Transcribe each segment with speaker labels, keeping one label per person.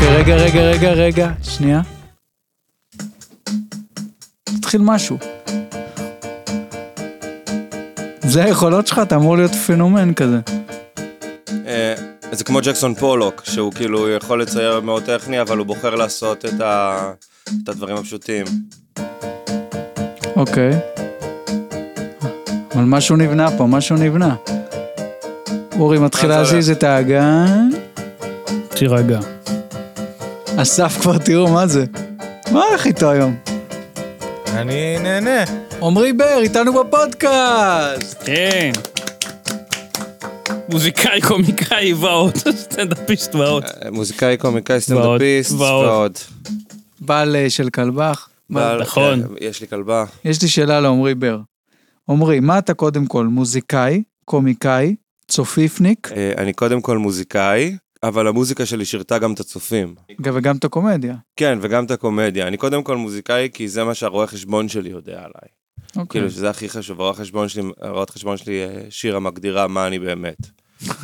Speaker 1: רגע, רגע, רגע, שנייה. התחיל משהו. זה היכולות שלך, אתה אמור להיות פנומן כזה.
Speaker 2: אה, זה כמו ג'קסון פולוק, שהוא כאילו יכול לצייר מאוד טכני, אבל הוא בוחר לעשות את, ה... את הדברים הפשוטים.
Speaker 1: אוקיי. אבל משהו נבנה פה, משהו נבנה. אורי מתחיל
Speaker 2: אז הולך.
Speaker 1: להזיז את האגן.
Speaker 3: תירגע.
Speaker 1: אסף כבר, תראו מה זה. מה הולך איתו היום?
Speaker 4: אני נהנה.
Speaker 1: עמרי בר, איתנו בפודקאסט!
Speaker 3: כן. מוזיקאי, קומיקאי, ועוד. סטנדאפיסט ועוד.
Speaker 2: אה, מוזיקאי, קומיקאי, סטנדאפיסט,
Speaker 3: ועוד.
Speaker 2: ועוד.
Speaker 1: בעל אה, של כלבח.
Speaker 2: בעל-
Speaker 3: נכון.
Speaker 2: אה, יש לי כלבה.
Speaker 1: יש לי שאלה לעמרי בר. עמרי, מה אתה קודם כל, מוזיקאי, קומיקאי, צופיפניק,
Speaker 2: אה, אני קודם כל מוזיקאי, אבל המוזיקה שלי שירתה גם את הצופים.
Speaker 1: ג- אוקיי, וגם את הקומדיה?
Speaker 2: כן, וגם את הקומדיה. אני קודם כל מוזיקאי, כי זה מה שהרואה חשבון שלי יודע עליי.
Speaker 3: כן.
Speaker 1: אוקיי.
Speaker 2: כאילו, שזה הכי חשוב. הרואה חשבון שלי, הרואת חשבון שלי, אה, שירה מגדירה מה אני באמת.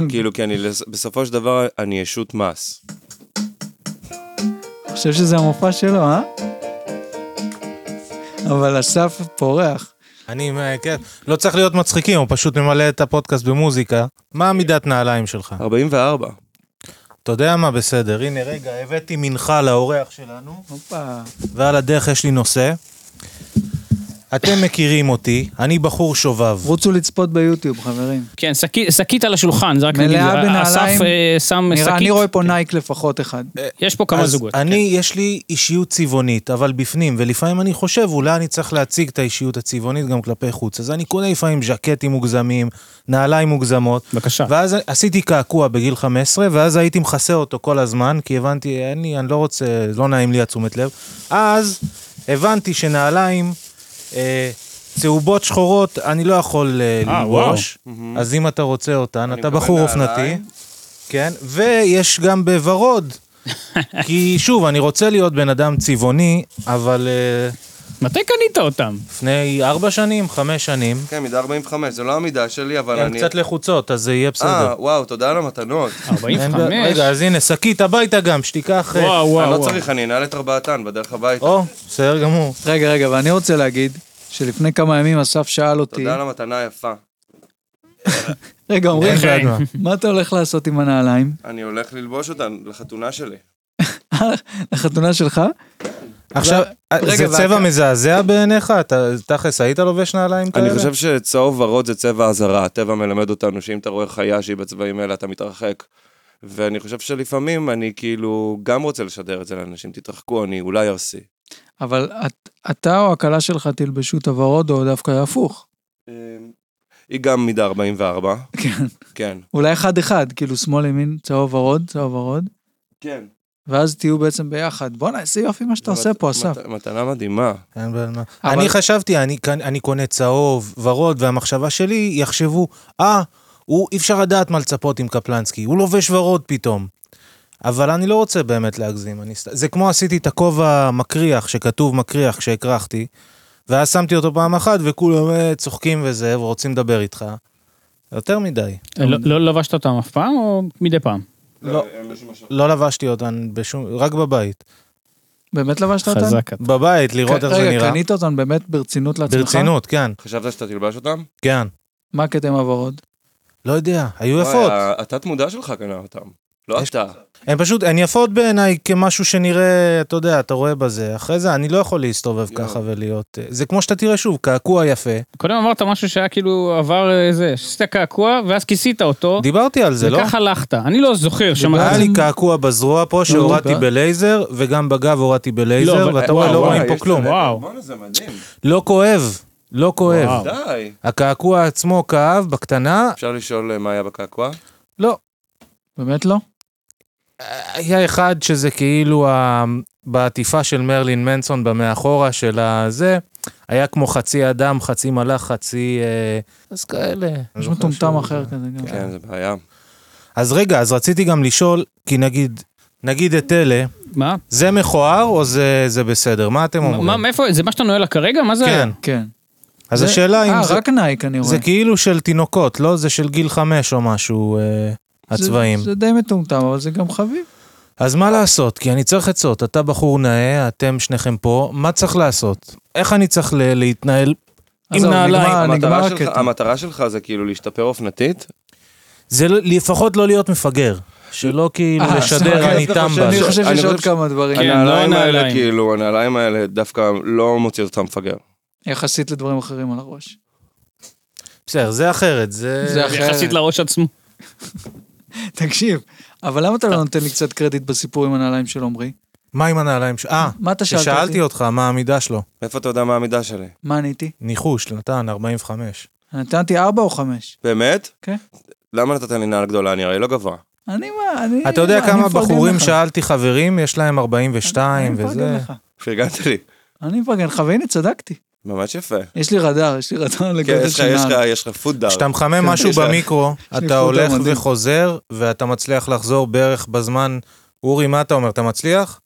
Speaker 2: כאילו, כי אני, לס- בסופו של דבר, אני ישות מס.
Speaker 1: אני חושב שזה המופע שלו, אה? אבל אסף פורח.
Speaker 4: אני, מה- כן, לא צריך להיות מצחיקים, הוא פשוט ממלא את הפודקאסט במוזיקה. מה מידת נעליים שלך?
Speaker 2: 44.
Speaker 4: אתה יודע מה, בסדר. הנה, רגע, הבאתי מנחה לאורח שלנו,
Speaker 1: הופה.
Speaker 4: ועל הדרך יש לי נושא. אתם מכירים אותי, אני בחור שובב.
Speaker 1: רוצו לצפות ביוטיוב, חברים.
Speaker 3: כן, שקית- שקית על השולחן, זה רק נגיד.
Speaker 1: מלאה בנעליים.
Speaker 3: אסף אה, שם
Speaker 1: נראה, אני
Speaker 3: שקית. כן.
Speaker 1: רואה פה נייק לפחות אחד.
Speaker 3: יש פה כמה
Speaker 4: אז
Speaker 3: זוגות. כן.
Speaker 4: אני, יש לי אישיות צבעונית, אבל בפנים, ולפעמים אני חושב, אולי אני צריך להציג את האישיות הצבעונית גם כלפי חוץ. אז אני קונה לפעמים ז'קטים מוגזמים, נעליים מוגזמות.
Speaker 3: בבקשה.
Speaker 4: ואז עשיתי קעקוע בגיל 15, ואז הייתי מכסה אותו כל הזמן, כי הבנתי, אין לי, אני לא רוצה, לא נעים לי התשומת לב. אז הבנתי שנעליים אה, צהובות שחורות, אני לא יכול אה,
Speaker 3: אה,
Speaker 4: ללבוש, אז אם אתה רוצה אותן, אתה
Speaker 2: מקבל
Speaker 4: בחור
Speaker 2: נעליים.
Speaker 4: אופנתי, כן, ויש גם בוורוד. כי שוב, אני רוצה להיות בן אדם צבעוני, אבל אה,
Speaker 3: כן. מתי קנית אותם?
Speaker 4: לפני ארבע שנים, חמש שנים,
Speaker 2: כן, מידה 45, זו לא המידה שלי, אבל
Speaker 4: הן
Speaker 2: אני...
Speaker 4: כן, קצת לחוצות, אז זה יהיה בסדר.
Speaker 2: אה, וואו, תודה על המתנות.
Speaker 4: אין
Speaker 3: 45?
Speaker 4: בעיה. רגע, לא אז הנה, שקית הביתה גם, שתיקח... אה,
Speaker 3: וואו,
Speaker 2: אני
Speaker 3: וואו,
Speaker 2: לא
Speaker 3: וואו.
Speaker 2: צריך, אני אנעל את ארבעתן בדרך הביתה.
Speaker 4: או, בסדר גמור.
Speaker 1: רגע, רגע, ואני רוצה להגיד שלפני כמה ימים אסף שאל אותי,
Speaker 2: תודה על המתנה היפה.
Speaker 1: רגע, עמרי,
Speaker 2: אוקיי.
Speaker 4: אין בעד מה.
Speaker 1: מה אתה הולך לעשות עם הנעליים?
Speaker 2: אני הולך ללבוש אותן לחתונה שלי.
Speaker 1: לחתונה שלך?
Speaker 4: עכשיו,
Speaker 1: רגע,
Speaker 4: זה
Speaker 1: ואתה-
Speaker 4: צבע מזעזע בעיניך? אתה תכלס היית לובש נעליים כאלה?
Speaker 2: אני חושב שצהוב ורוד זה צבע אזהרה. הטבע מלמד אותנו שאם אתה רואה חיה שהיא בצבעים האלה, אתה מתרחק. ואני חושב שלפעמים אני כאילו גם רוצה לשדר את זה לאנשים, תתרחקו, אני אולי ארסי.
Speaker 1: אבל את- אתה או הכלה שלך תלבשו את הוורוד או דווקא הפוך.
Speaker 2: אמ, היא גם מידה 44.
Speaker 1: כן.
Speaker 2: כן.
Speaker 1: אולי אחד-אחד, כאילו שמאל ימין, צהוב ורוד, צהוב ורוד,
Speaker 2: כן.
Speaker 1: ואז תהיו בעצם ביחד. בואנה, איזה יופי מה שאתה עושה פה, אסף.
Speaker 2: מתנה מדהימה.
Speaker 4: אין בעיה, כן, מה.
Speaker 1: אבל-
Speaker 4: אני חשבתי, אני קנ- אני קונה צהוב, ורוד, והמחשבה שלי, יחשבו, אה, הוא, אי אפשר לדעת מה לצפות עם קפלנסקי, הוא לובש ורוד פתאום. אבל אני לא רוצה באמת להגזים, אני... סת- זה כמו עשיתי את הכובע מקריח, שכתוב מקריח, שהקרחתי, ואז שמתי אותו פעם אחת, וכולם אה, צוחקים וזה, ורוצים לדבר איתך. יותר מדי.
Speaker 3: לא- לא לבשת אותם אף פעם או מדי פעם?
Speaker 4: לא.
Speaker 2: כן,
Speaker 4: לא לבשתי אותן בשום, רק בבית.
Speaker 1: באמת לבשת אותן?
Speaker 3: חזק אתה.
Speaker 4: בבית, לראות איך זה
Speaker 1: כן. רגע,
Speaker 4: נראה.
Speaker 1: קנית אותן באמת ברצינות לעצמך?
Speaker 4: ברצינות, כן,
Speaker 2: חשבת שאתה תלבש אותם?
Speaker 4: כן.
Speaker 1: מה הקטע עם הוורוד?
Speaker 4: לא יודע, היו יפות.
Speaker 1: אה,
Speaker 2: וואי, התת מודע שלך קנה אותם. לא
Speaker 4: יש-
Speaker 2: אתה.
Speaker 4: הן פשוט, הן יפות בעיניי כמשהו שנראה, אתה יודע, אתה רואה בזה. אחרי זה אני לא יכול להסתובב
Speaker 2: יואו.
Speaker 4: ככה ולהיות... אה, זה כמו שאתה תראה שוב, קעקוע יפה.
Speaker 3: קודם אמרת משהו שהיה כאילו עבר אה, זה, עשית קעקוע ואז כיסית אותו,
Speaker 4: דיברתי על זה, לא?
Speaker 3: וכך הלכת. אני לא זוכר
Speaker 4: היה
Speaker 3: שמרתי.
Speaker 4: לי קעקוע בזרוע פה שהורדתי
Speaker 1: דיבר-
Speaker 4: בלייזר, וגם בגב הורדתי בלייזר,
Speaker 3: אבל-
Speaker 4: ואתה רואה,
Speaker 3: וואו,
Speaker 4: לא
Speaker 3: וואי,
Speaker 4: רואים
Speaker 2: אה, יש
Speaker 4: פה כלום.
Speaker 2: לזה-
Speaker 3: וואו.
Speaker 2: בואנה, זה מדהים.
Speaker 4: לא כואב, לא כואב.
Speaker 3: וואו.
Speaker 2: די.
Speaker 4: הקעקוע עצמו כאב בקטנה,
Speaker 2: אפשר לשאול אה, מה היה בקעקוע?
Speaker 4: לא,
Speaker 1: באמת לא?
Speaker 4: היה אחד שזה כאילו ה... בעטיפה של מרלין מנסון במאחורה של הזה, היה כמו חצי אדם, חצי מלאך, חצי... אה, אז כאלה.
Speaker 1: יש מטומטם אחר כזה גם.
Speaker 2: כן, זה בעיה.
Speaker 4: אה, אז רגע, אז רציתי גם לשאול, כי נגיד, נגיד את אלה,
Speaker 3: מה?
Speaker 4: זה מכוער או זה, זה בסדר? מה אתם אומרים?
Speaker 3: מה, מאיפה, זה מה שאתה נועל לה כרגע? מה זה?
Speaker 4: אוקיי. כן.
Speaker 1: כן.
Speaker 4: אז
Speaker 1: זה-
Speaker 4: השאלה אם זה,
Speaker 1: אה, רק נייק אני רואה.
Speaker 4: זה כאילו של תינוקות, לא? זה של גיל חמש או משהו, אה,
Speaker 1: זה-
Speaker 4: הצבעים.
Speaker 1: זה די מטומטם, אבל זה גם חביב.
Speaker 4: אז מה לעשות? כי אני צריך עצות. אתה בחור נאה, אתם שניכם פה, מה צריך לעשות? איך אני צריך ל- להתנהל עם
Speaker 1: עזוב,
Speaker 4: נעליים?
Speaker 1: נגמר-
Speaker 2: המטרה
Speaker 1: הקטע.
Speaker 2: שלך, המטרה שלך זה כאילו להשתפר אופנתית?
Speaker 4: זה ל- לפחות לא להיות מפגר. שלא כאילו
Speaker 1: אה,
Speaker 4: לשדר
Speaker 1: סליחה,
Speaker 4: אני
Speaker 2: דווקא
Speaker 4: טמבל.
Speaker 2: חושב
Speaker 1: אני חושב
Speaker 2: אני
Speaker 1: שיש עוד
Speaker 2: חושב
Speaker 1: כמה דברים,
Speaker 5: כן,
Speaker 2: הנעליים
Speaker 5: לא
Speaker 2: האלה,
Speaker 5: הנעליים.
Speaker 2: כאילו, הנעליים האלה דווקא לא מוציא אותך מפגר.
Speaker 1: יחסית לדברים אחרים על הראש.
Speaker 4: בסדר, זה אחרת, זה...
Speaker 1: זה אחרת.
Speaker 5: יחסית לראש עצמו.
Speaker 1: תקשיב, אבל למה אתה
Speaker 4: אה.
Speaker 1: לא נותן לי קצת קרדיט בסיפור עם הנעליים של עמרי?
Speaker 4: מה עם הנעליים ש... אה,
Speaker 1: מה אתה שאלת אותי?
Speaker 4: ששאלתי אותך מה העמידה שלו.
Speaker 2: מאיפה אתה יודע מה המידה שלי?
Speaker 1: מה עניתי?
Speaker 4: ניחוש, נתן 45.
Speaker 1: נתנתי ארבע או חמש?
Speaker 2: באמת?
Speaker 1: כן.
Speaker 2: למה נתת לי נעל גדולה? אני הרי לא גבוה.
Speaker 1: אני מה, אני...
Speaker 4: אתה יודע
Speaker 1: אה, לא, אני
Speaker 4: כמה
Speaker 1: מפרגן
Speaker 4: בחורים
Speaker 1: לך.
Speaker 4: שאלתי חברים, יש להם
Speaker 1: אני
Speaker 4: 42
Speaker 1: מפרגן
Speaker 4: וזה...
Speaker 1: לך.
Speaker 2: פרגנת לי.
Speaker 1: אני מפרגן לך, והנה צדקתי.
Speaker 2: ממש יפה.
Speaker 1: יש לי רדאר, יש לי רדאר
Speaker 2: כן,
Speaker 1: לגודל
Speaker 2: יש לך-
Speaker 1: של
Speaker 2: יש לך-
Speaker 1: נעל.
Speaker 2: יש לך פוד דאר.
Speaker 4: כשאתה מחמם משהו
Speaker 2: יש לך-
Speaker 4: במיקרו,
Speaker 1: כן, לי
Speaker 4: אתה
Speaker 1: פוטו
Speaker 4: הולך
Speaker 1: מדהים.
Speaker 4: וחוזר, ואתה מצליח לחזור בערך בזמן... אורי, מה אתה אומר? אתה מצליח?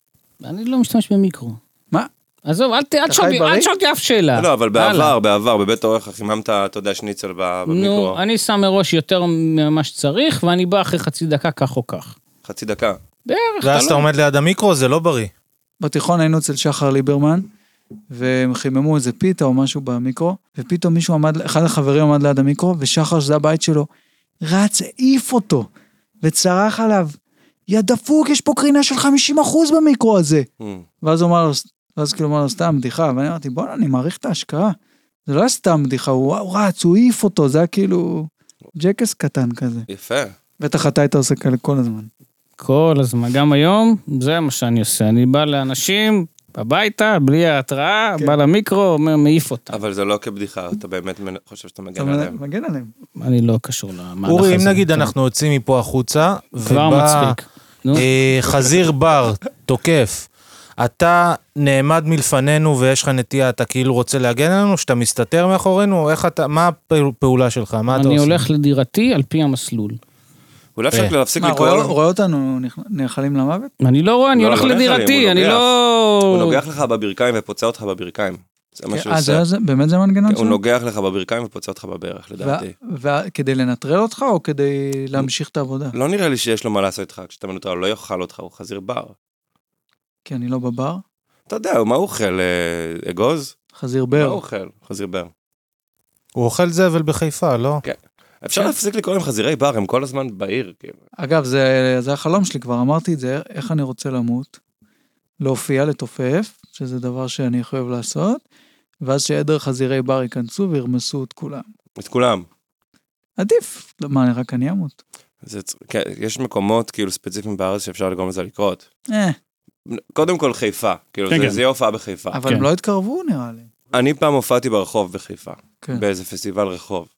Speaker 5: אני לא משתמש במיקרו.
Speaker 1: מה?
Speaker 5: עזוב, אל ת- אל
Speaker 1: אתה
Speaker 5: תשאל
Speaker 1: חי
Speaker 5: בי-
Speaker 1: בריא?
Speaker 5: אל תשאל אותי אף שאלה.
Speaker 2: לא, אבל
Speaker 5: הלאה.
Speaker 2: בעבר, בעבר, בבית האורח חיממת, אתה יודע, שניצל ב- במיקרו.
Speaker 4: אה.
Speaker 5: נו, אני שם מראש יותר ממה שצריך, ואני בא אחרי חצי דקה כך או כך.
Speaker 2: חצי דקה.
Speaker 5: בערך,
Speaker 4: ואז
Speaker 5: אתה
Speaker 4: אתה
Speaker 5: לא...
Speaker 4: עומד ליד המיקרו, זה לא בריא.
Speaker 1: בתיכון היינו אצל שחר ליברמן, והם חיממו איזה פיתה או משהו במיקרו, ופתאום מישהו עמד, אחד החברים עמד ליד המיקרו, ושחר, שזה הבית שלו, רץ, העיף אותו, וצרח עליו, יא דפוק, יש פה קרינה של 50% במיקרו הזה.
Speaker 2: Mm.
Speaker 1: ואז הוא אמר לו, ואז כאילו אמר לו, סתם בדיחה, ואני אמרתי, בוא'נה, אני מעריך את ההשקעה. זה לא היה סתם בדיחה, הוא הוא רץ, הוא העיף אותו, זה היה כאילו ג'קס קטן כזה.
Speaker 2: יפה.
Speaker 1: בטח אתה היית עושה כאלה כל הזמן.
Speaker 5: כל הזמן, גם היום, זה מה שאני עושה. אני בא לאנשים הביתה, בלי ההתראה,
Speaker 4: כן.
Speaker 5: בא למיקרו, אומר, מעיף אותם.
Speaker 2: אבל זה לא כבדיחה, אתה באמת מנ- חושב שאתה
Speaker 1: אתה
Speaker 2: מגן עליהם.
Speaker 1: מגן עליהם.
Speaker 5: אני לא קשור למהלך הזה.
Speaker 4: אורי, אם נגיד
Speaker 5: אתה
Speaker 4: אנחנו יוצאים מפה החוצה,
Speaker 5: כבר
Speaker 4: ובא
Speaker 5: מצחיק. נו,
Speaker 4: אה, חזיר בר תוקף, אתה נעמד מלפנינו ויש לך נטייה, אתה כאילו רוצה להגן עלינו, שאתה מסתתר מאחורינו, איך אתה, מה הפעולה שלך, מה אתה עושה?
Speaker 5: אני הולך לדירתי על פי המסלול.
Speaker 2: אולי אפשר
Speaker 4: אה.
Speaker 2: כאילו להפסיק
Speaker 1: מה,
Speaker 2: לקרוא
Speaker 1: רואה
Speaker 2: לו...
Speaker 1: רואה אותנו נאכלים למוות?
Speaker 5: אני לא רואה, אני
Speaker 2: לא,
Speaker 5: הולך
Speaker 2: לא נלך עליהם,
Speaker 5: לדירתי,
Speaker 2: הוא
Speaker 5: אני
Speaker 2: נוגח. הוא
Speaker 5: לא...
Speaker 2: נוגח לך בברכיים ופוצע אותך בברכיים. זה מה שהוא
Speaker 1: אה,
Speaker 2: עושה. כן,
Speaker 1: זה- זה- באמת זה המנגנון
Speaker 2: הוא
Speaker 1: שלו?
Speaker 2: נוגח לך בברכיים ופוצע אותך בברך, לדעתי.
Speaker 1: וכדי לנטרל אותך או כדי להמשיך את העבודה?
Speaker 2: לא נראה לי שיש לו מה לעשות איתך, כשאתה מנוטרל, הוא לא יאכל אותך, הוא חזיר בר.
Speaker 1: כי אני לא בבר,
Speaker 2: אתה יודע, מה הוא אוכל? אה, אגוז?
Speaker 1: חזיר
Speaker 2: מה הוא
Speaker 1: בר.
Speaker 2: אוכל? חזיר בר.
Speaker 4: הוא אוכל זבל בחיפה, לא?
Speaker 2: אפשר
Speaker 1: כן.
Speaker 2: להפסיק לקרוא להם חזירי בר, הם כל הזמן בעיר, כאילו.
Speaker 1: אגב, זה זה החלום שלי כבר, אמרתי את זה, איך אני רוצה למות? להופיע, לתופף, שזה דבר שאני הכי אוהב לעשות, ואז שעדר חזירי בר ייכנסו וירמסו את כולם.
Speaker 2: את כולם.
Speaker 1: עדיף. לא, מה, רק אני אמות?
Speaker 2: זה, צ- כן, יש מקומות כאילו ספציפיים בארץ שאפשר לגרום לזה לקרות.
Speaker 1: אה,
Speaker 2: קודם כל חיפה, כאילו
Speaker 5: כן,
Speaker 2: זה-
Speaker 5: כן.
Speaker 2: זה יהיה הופעה בחיפה.
Speaker 4: אה,
Speaker 1: אבל הם
Speaker 5: כן.
Speaker 1: לא התקרבו נראה לי.
Speaker 2: אני פעם הופעתי ברחוב בחיפה,
Speaker 1: כן,
Speaker 2: באיזה פסטיבל רחוב.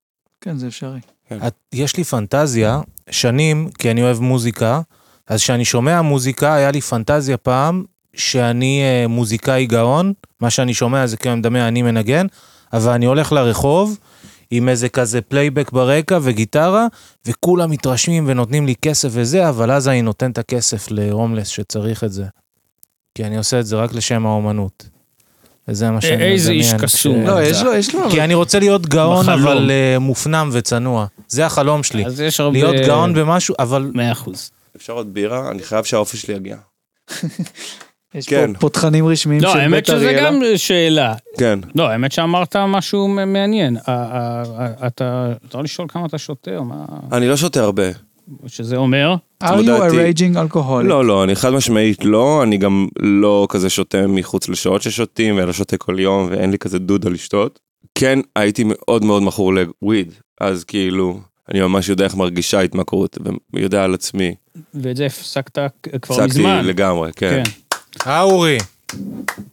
Speaker 1: כן, זה אפשרי.
Speaker 4: את- יש לי פנטזיה, שנים, כי אני אוהב מוזיקה, אז כשאני שומע מוזיקה, היה לי פנטזיה פעם, שאני אה, מוזיקאי גאון, מה שאני שומע זה כאילו אני מדמיין, אני מנגן, אבל אני הולך לרחוב עם איזה כזה פלייבק ברקע וגיטרה, וכולם מתרשמים ונותנים לי כסף וזה, אבל אז אני נותן את הכסף להומלס שצריך את זה. כי אני עושה את זה רק לשם האומנות. וזה מה שאני מדמיין.
Speaker 5: אה, איזה איש
Speaker 4: כש-
Speaker 5: קסום.
Speaker 1: לא, יש לו, יש לו,
Speaker 4: אה, כי אני רוצה להיות גאון,
Speaker 5: בחלום.
Speaker 4: אבל אה, מופנם וצנוע. זה החלום שלי.
Speaker 5: אז אה, יש הרבה...
Speaker 4: להיות גאון במשהו, אבל...
Speaker 5: מאה אחוז.
Speaker 2: אפשר עוד בירה? אני חייב שהאופי שלי יגיע.
Speaker 1: יש
Speaker 2: כן.
Speaker 1: פה פותחנים רשמיים של
Speaker 5: לא,
Speaker 1: בית אריאלה.
Speaker 5: האמת שזה גם שאלה.
Speaker 2: כן.
Speaker 5: לא, האמת שאמרת משהו מ- מעניין. ה- ה- ה- אתה אתה יכול לשאול כמה אתה שותה, או מה...
Speaker 2: אני לא שותה הרבה.
Speaker 5: שזה אומר?
Speaker 1: are you a
Speaker 2: התמודדתי.
Speaker 1: raging alcoholic?
Speaker 2: לא, לא, אני חד משמעית לא, אני גם לא כזה שותה מחוץ לשעות ששותים, אלא שותה כל יום, ואין לי כזה דודה לשתות. כן, הייתי מאוד מאוד מכור לוויד, אז כאילו, אני ממש יודע איך מרגישה ההתמכרות, ויודע על עצמי.
Speaker 5: ואת זה הפסקת כבר
Speaker 2: הפסקתי
Speaker 5: מזמן.
Speaker 2: לגמרי, כן.
Speaker 5: כן.
Speaker 4: אה, אורי.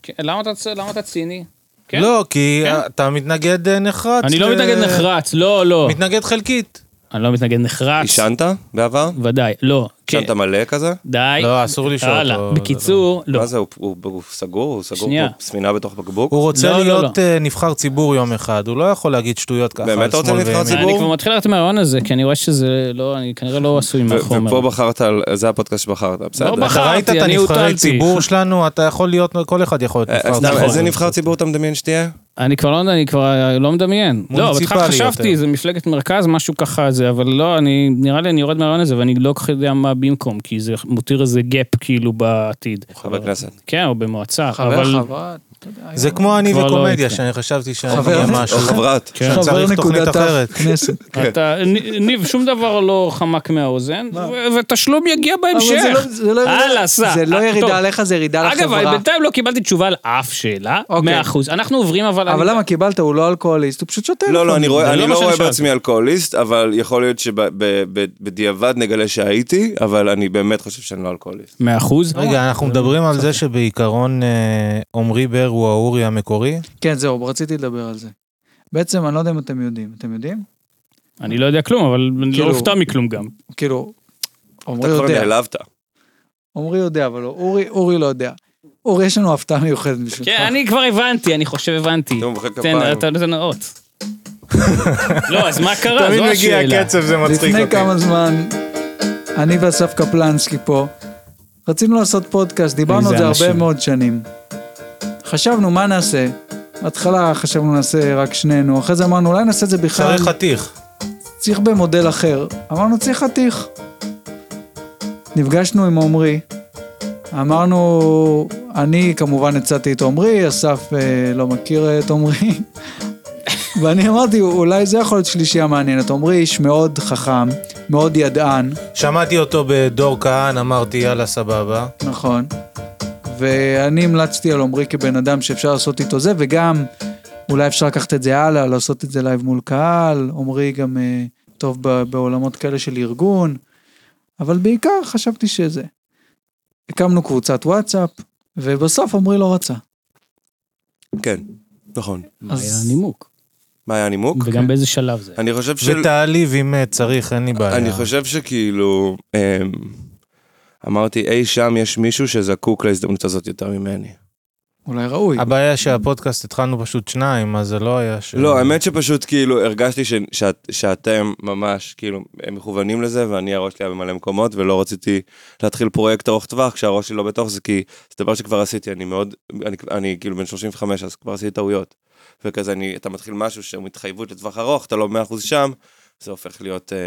Speaker 5: כן, למה אתה צ- למה אתה ציני? כן.
Speaker 4: לא, כי אה, אתה מתנגד אה, נחרץ.
Speaker 5: אני
Speaker 4: ל-
Speaker 5: לא מתנגד נחרץ, לא, לא.
Speaker 4: מתנגד חלקית.
Speaker 5: אני לא מתנגד נחרץ.
Speaker 2: עישנת בעבר?
Speaker 5: ודאי, לא. כן.
Speaker 2: עישנת מלא כזה?
Speaker 5: די.
Speaker 4: לא, אסור לשאול
Speaker 5: הלאה.
Speaker 4: אותו, זה
Speaker 5: בקיצור, לא.
Speaker 2: מה זה, הוא- הוא הוא סגור? הוא סגור
Speaker 5: שנייה.
Speaker 2: כמו ספינה בתוך בקבוק?
Speaker 4: הוא רוצה
Speaker 5: לא, לא,
Speaker 4: להיות אה, נבחר ציבור יום אחד, הוא לא יכול להגיד שטויות ככה.
Speaker 2: באמת
Speaker 4: על
Speaker 2: אתה רוצה
Speaker 4: שמאל
Speaker 2: נבחר
Speaker 4: וימין.
Speaker 2: ציבור?
Speaker 5: אני כבר מתחיל ללכת מהרעיון הזה, כי אני רואה שזה לא, אני כנראה לא עשוי
Speaker 2: ו-
Speaker 5: מהחומר.
Speaker 2: ופה בחרת, על- זה הפודקאסט שבחרת, בסדר.
Speaker 5: בחרתי,
Speaker 4: אתה ראית את
Speaker 5: אני
Speaker 4: הנבחרי
Speaker 5: הוטלתי.
Speaker 4: ציבור שלנו, אתה יכול להיות, כל אחד יכול
Speaker 2: אה,
Speaker 4: להיות נבחר
Speaker 2: אז
Speaker 4: ציבור.
Speaker 2: אתה-
Speaker 5: נכון.
Speaker 2: איזה נבחר ציבור אתה מדמיין שתהיה?
Speaker 5: אני כבר לא, אני כבר לא מדמיין. לא, בהתחלה
Speaker 4: מוניציפלי
Speaker 5: חשבתי,
Speaker 4: יותר.
Speaker 5: זה מפלגת מרכז, משהו ככה זה, אבל לא, אני, נראה לי אני יורד מהרעיון הזה, ואני לא כל כך יודע מה במקום, כי זה מותיר איזה גאפ כאילו בעתיד.
Speaker 2: חבר כנסת.
Speaker 5: כן, או במועצה,
Speaker 1: חבר,
Speaker 5: אבל...
Speaker 1: חברה, אתה יודע,
Speaker 4: זה
Speaker 1: היום-
Speaker 4: כמו אני
Speaker 5: כבר לא
Speaker 4: וקומדיה,
Speaker 5: הייתי.
Speaker 4: שאני חשבתי שאני
Speaker 1: חבר.
Speaker 4: אהיה
Speaker 2: או
Speaker 4: משהו.
Speaker 2: חברת.
Speaker 5: כן.
Speaker 4: עכשיו, צריך
Speaker 1: חבר
Speaker 4: תוכנית
Speaker 1: נקודת
Speaker 4: אחרת.
Speaker 1: הכנסת.
Speaker 5: אתה,
Speaker 2: כן.
Speaker 5: נ- ניב, שום דבר לא חמק מהאוזן, ו- ותשלום יגיע
Speaker 1: אבל זה
Speaker 5: בהמשך.
Speaker 1: לא- זה לא ירידה-
Speaker 5: הלאה, סע.
Speaker 1: זה לא
Speaker 5: אה, טוב.
Speaker 1: ירידה עליך, זה ירידה
Speaker 5: אגב,
Speaker 1: לחברה.
Speaker 5: בינתיים לא קיבלתי תשובה על אף שאלה,
Speaker 1: אוקיי.
Speaker 5: 100%. אנחנו עוברים אבל...
Speaker 1: אבל
Speaker 5: אני-
Speaker 1: למה קיבלת? הוא לא אלכוהוליסט, הוא פשוט שותה.
Speaker 2: לא, לא,
Speaker 1: לפעמים.
Speaker 2: אני רואה-
Speaker 5: זה
Speaker 2: אני
Speaker 5: לא מה
Speaker 2: לא
Speaker 5: שאני
Speaker 2: רואה
Speaker 5: שאלתי.
Speaker 2: בעצמי אלכוהוליסט, אבל יכול להיות שבדיעבד נגלה שהייתי, אבל אני באמת חושב שאני לא אלכוהוליסט.
Speaker 5: 100%.
Speaker 4: רגע, אנחנו מדברים על זה שבעיקרון אה, עמרי בר הוא האורי המקורי?
Speaker 1: כן, זהו, רציתי לדבר על זה. בעצם, אני לא יודע אם אתם יודעים. אתם יודעים?
Speaker 5: אני לא יודע כלום, אבל אני לא
Speaker 1: כאילו-
Speaker 5: אופתע מכלום גם. כן,
Speaker 1: כאילו,
Speaker 2: אתה
Speaker 1: עמרי
Speaker 2: כבר
Speaker 1: יודע.
Speaker 2: נעלבת.
Speaker 1: עמרי יודע, אבל לא, אורי, אורי לא יודע. אורי, יש לנו הפתעה מיוחדת בשבילך.
Speaker 5: כן, אני כבר הבנתי, אני חושב הבנתי.
Speaker 2: נו, מוחא
Speaker 5: תן,
Speaker 2: כפיים.
Speaker 5: אתה נותן אות. לא, אז מה קרה? זו השאלה.
Speaker 4: זה
Speaker 1: לפני כמה זמן, אני ואסף קפלנסקי פה, רצינו לעשות פודקאסט, דיברנו
Speaker 5: איזה
Speaker 1: על זה
Speaker 5: אנשים.
Speaker 1: הרבה מאוד שנים. חשבנו, מה נעשה? בהתחלה חשבנו נעשה רק שנינו, אחרי זה אמרנו, אולי נעשה את זה בכלל,
Speaker 4: צריך חתיך.
Speaker 1: צריך במודל אחר. אמרנו, צריך חתיך. נפגשנו עם עמרי, אמרנו, אני כמובן הצעתי את עמרי, אסף אה, לא מכיר את עמרי, ואני אמרתי, אולי זה יכול להיות שלישייה מעניינת. עמרי איש מאוד חכם, מאוד ידען,
Speaker 4: שמעתי אותו בדור כהן, אמרתי יאללה סבבה.
Speaker 1: נכון, ואני המלצתי על עמרי כבן אדם שאפשר לעשות איתו זה, וגם אולי אפשר לקחת את זה הלאה, לעשות את זה לייב מול קהל, עמרי גם אה, טוב ב- בעולמות כאלה של ארגון, אבל בעיקר חשבתי שזה. הקמנו קבוצת וואטסאפ, ובסוף עמרי לא רצה.
Speaker 2: כן, נכון.
Speaker 5: מה
Speaker 1: אז-
Speaker 5: היה הנימוק?
Speaker 2: מה היה הנימוק?
Speaker 5: וגם באיזה שלב זה? היה?
Speaker 2: אני חושב של...
Speaker 4: ותעליב אם אה, צריך, אין לי בעיה.
Speaker 2: אני חושב שכאילו, אמ, אמרתי, אי שם יש מישהו שזקוק להזדמנות הזאת יותר ממני.
Speaker 1: אולי ראוי.
Speaker 4: הבעיה שהפודקאסט התחלנו פשוט שניים, אז זה לא היה ש...
Speaker 2: לא, האמת שפשוט כאילו הרגשתי ש- שאת- שאתם ממש כאילו הם מכוונים לזה ואני הראש שלי היה במלא מקומות ולא רציתי להתחיל פרויקט ארוך טווח כשהראש שלי לא בתוך זה כי זה דבר שכבר עשיתי אני מאוד אני, אני כאילו בן 35 אז כבר עשיתי טעויות. וכזה אני אתה מתחיל משהו שהוא התחייבות לטווח ארוך אתה לא 100% שם זה הופך להיות אה,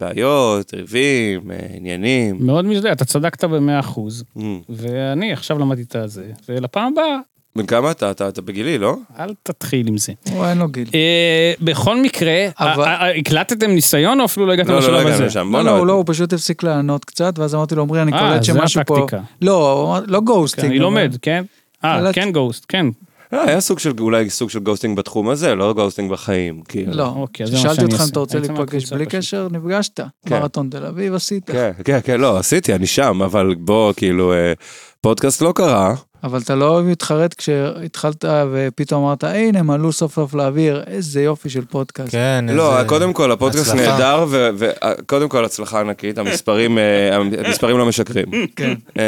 Speaker 2: בעיות ריבים אה, עניינים.
Speaker 5: מאוד מזדהה, אתה צדקת במאה אחוז,
Speaker 2: Mm.
Speaker 5: ואני עכשיו למדתי את הזה, ולפעם הבאה,
Speaker 2: בן כמה אתה? אתה אתה בגילי לא?
Speaker 5: אל תתחיל עם זה.
Speaker 1: הוא אין לו גיל.
Speaker 5: אה, בכל מקרה,
Speaker 1: אבל-
Speaker 5: אה, אה, הקלטתם ניסיון או אפילו לא הגעתם
Speaker 2: לא לא לא
Speaker 5: לשלב הזה?
Speaker 2: הגענו שם. בוא
Speaker 1: לא, לא,
Speaker 2: נעבוד.
Speaker 1: הוא לא, הוא פשוט הפסיק לענות קצת, ואז אמרתי לו, עמרי, אני
Speaker 5: אה,
Speaker 1: קולט
Speaker 5: זה
Speaker 1: שמשהו פה...
Speaker 5: הטקטיקה.
Speaker 1: לא, הוא אמר- לא גוסטינג.
Speaker 5: כן, אני
Speaker 1: אבל-
Speaker 5: לומד, כן? אה,
Speaker 1: קלט-
Speaker 5: כן גוסט, כן.
Speaker 2: לא, היה סוג של אולי סוג של גוסטינג בתחום הזה לא גוסטינג בחיים. כאילו.
Speaker 1: לא,
Speaker 5: אוקיי, אז זה מה
Speaker 1: שאלתי
Speaker 5: שאני
Speaker 1: אותך אם
Speaker 5: אעשה.
Speaker 1: אתה רוצה
Speaker 5: אני יוצא
Speaker 1: להיפגש
Speaker 5: מהקבוצה
Speaker 1: בלי
Speaker 5: פשוט.
Speaker 1: קשר, נפגשת.
Speaker 2: כן.
Speaker 1: מרתון תל אביב עשית.
Speaker 2: כן, כן, כן, לא, עשיתי, אני שם, אבל בוא, כאילו, אה, פודקאסט לא קרה.
Speaker 1: אבל אתה לא מתחרט כשהתחלת ופתאום אמרת, "היי, הנה, הם עלו סוף סוף לאוויר, איזה יופי של פודקאסט.
Speaker 4: כן,
Speaker 2: לא,
Speaker 4: איזה-
Speaker 2: קודם כל, הפודקאסט
Speaker 4: הצלחה.
Speaker 2: נהדר, וקודם כל, הצלחה ענקית, המספרים אה, המספרים לא משקרים.
Speaker 1: כן.
Speaker 2: אה,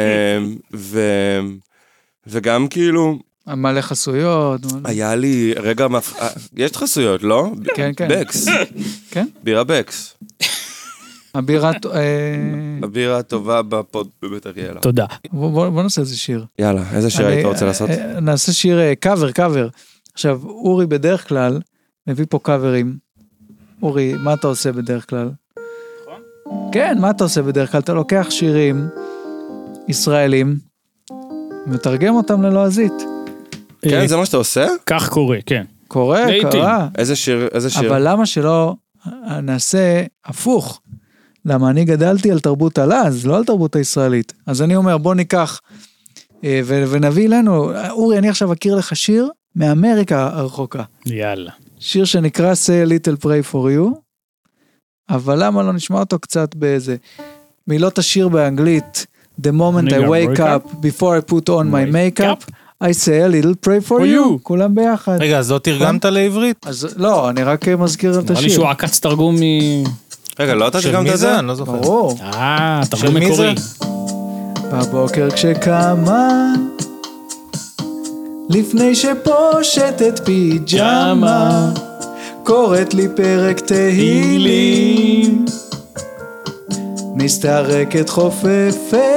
Speaker 2: ו- וגם כאילו,
Speaker 1: כן. מלא חסויות.
Speaker 5: אה,
Speaker 1: מלא-
Speaker 2: היה לי רגע, מפ- אה, יש חסויות, לא?
Speaker 1: כן, כן.
Speaker 2: בקס,
Speaker 1: כן?
Speaker 2: בירה בקס,
Speaker 1: הבירה... אה,
Speaker 2: הבירה הטובה בפוד- בבית אריאלה.
Speaker 5: תודה.
Speaker 1: בוא בוא- בוא נעשה איזה שיר.
Speaker 2: יאללה, איזה שיר
Speaker 1: אני-
Speaker 2: היית רוצה לעשות?
Speaker 1: אה, נעשה שיר אה, קאבר, קאבר. עכשיו, אורי בדרך כלל מביא פה קאברים. אורי, מה אתה עושה בדרך כלל? כן, מה אתה עושה בדרך כלל? אתה לוקח שירים ישראלים, מתרגם אותם ללועזית.
Speaker 5: אה,
Speaker 2: כן, זה מה שאתה עושה?
Speaker 5: כך קורה, כן.
Speaker 1: קורה,
Speaker 5: לעיתים.
Speaker 1: קרה.
Speaker 2: איזה שיר, איזה שיר?
Speaker 1: אבל למה שלא נעשה הפוך? למה אני גדלתי על תרבות הלעז, לא על תרבות הישראלית. אז אני אומר, בוא ניקח אה, ו- ונביא אלינו, אורי, אני עכשיו אכיר לך שיר מאמריקה הרחוקה.
Speaker 5: יאללה.
Speaker 1: שיר שנקרא say a little pray for you, אבל למה לא נשמע אותו קצת באיזה... מילות השיר באנגלית, The moment
Speaker 5: אני
Speaker 1: I
Speaker 5: גם
Speaker 1: wake
Speaker 5: wake
Speaker 1: up, before I put on my
Speaker 5: Wake
Speaker 1: makeup, I say a little pray for
Speaker 5: For
Speaker 1: you,
Speaker 5: you.
Speaker 1: כולם ביחד.
Speaker 4: רגע, אז לא תרגמת
Speaker 2: כן?
Speaker 4: לעברית?
Speaker 1: אז לא, אני רק אה, מזכיר את
Speaker 5: נראה לי
Speaker 1: השיר.
Speaker 5: שהוא עקץ תרגום מ...
Speaker 2: רגע, לא אתה
Speaker 4: של
Speaker 2: שגם את
Speaker 4: מי
Speaker 2: זה?
Speaker 4: זה? אני לא זוכר.
Speaker 1: ברור.
Speaker 5: אה,
Speaker 4: של
Speaker 5: תרגום
Speaker 4: מי
Speaker 5: מקורי.
Speaker 4: זה?
Speaker 1: בבוקר כשקמה, לפני שפושטת פיג'מה, קוראת לי פרק תהילים, מסתרקת חופפת,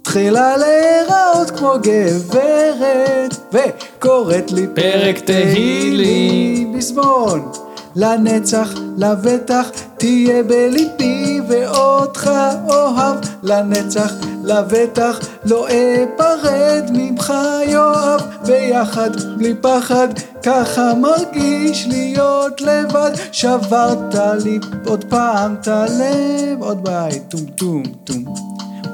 Speaker 1: מתחילה להיראות כמו גברת, וקוראת לי
Speaker 5: פרק תהילים.
Speaker 1: פזמון, לנצח, לבטח, תהיה בליבי ואותך אוהב, לנצח, לבטח, לא אפרד ממך יואב, ביחד, בלי פחד, ככה מרגיש להיות לבד, שברת לי עוד פעם את הלב, עוד בית, טום טום טום,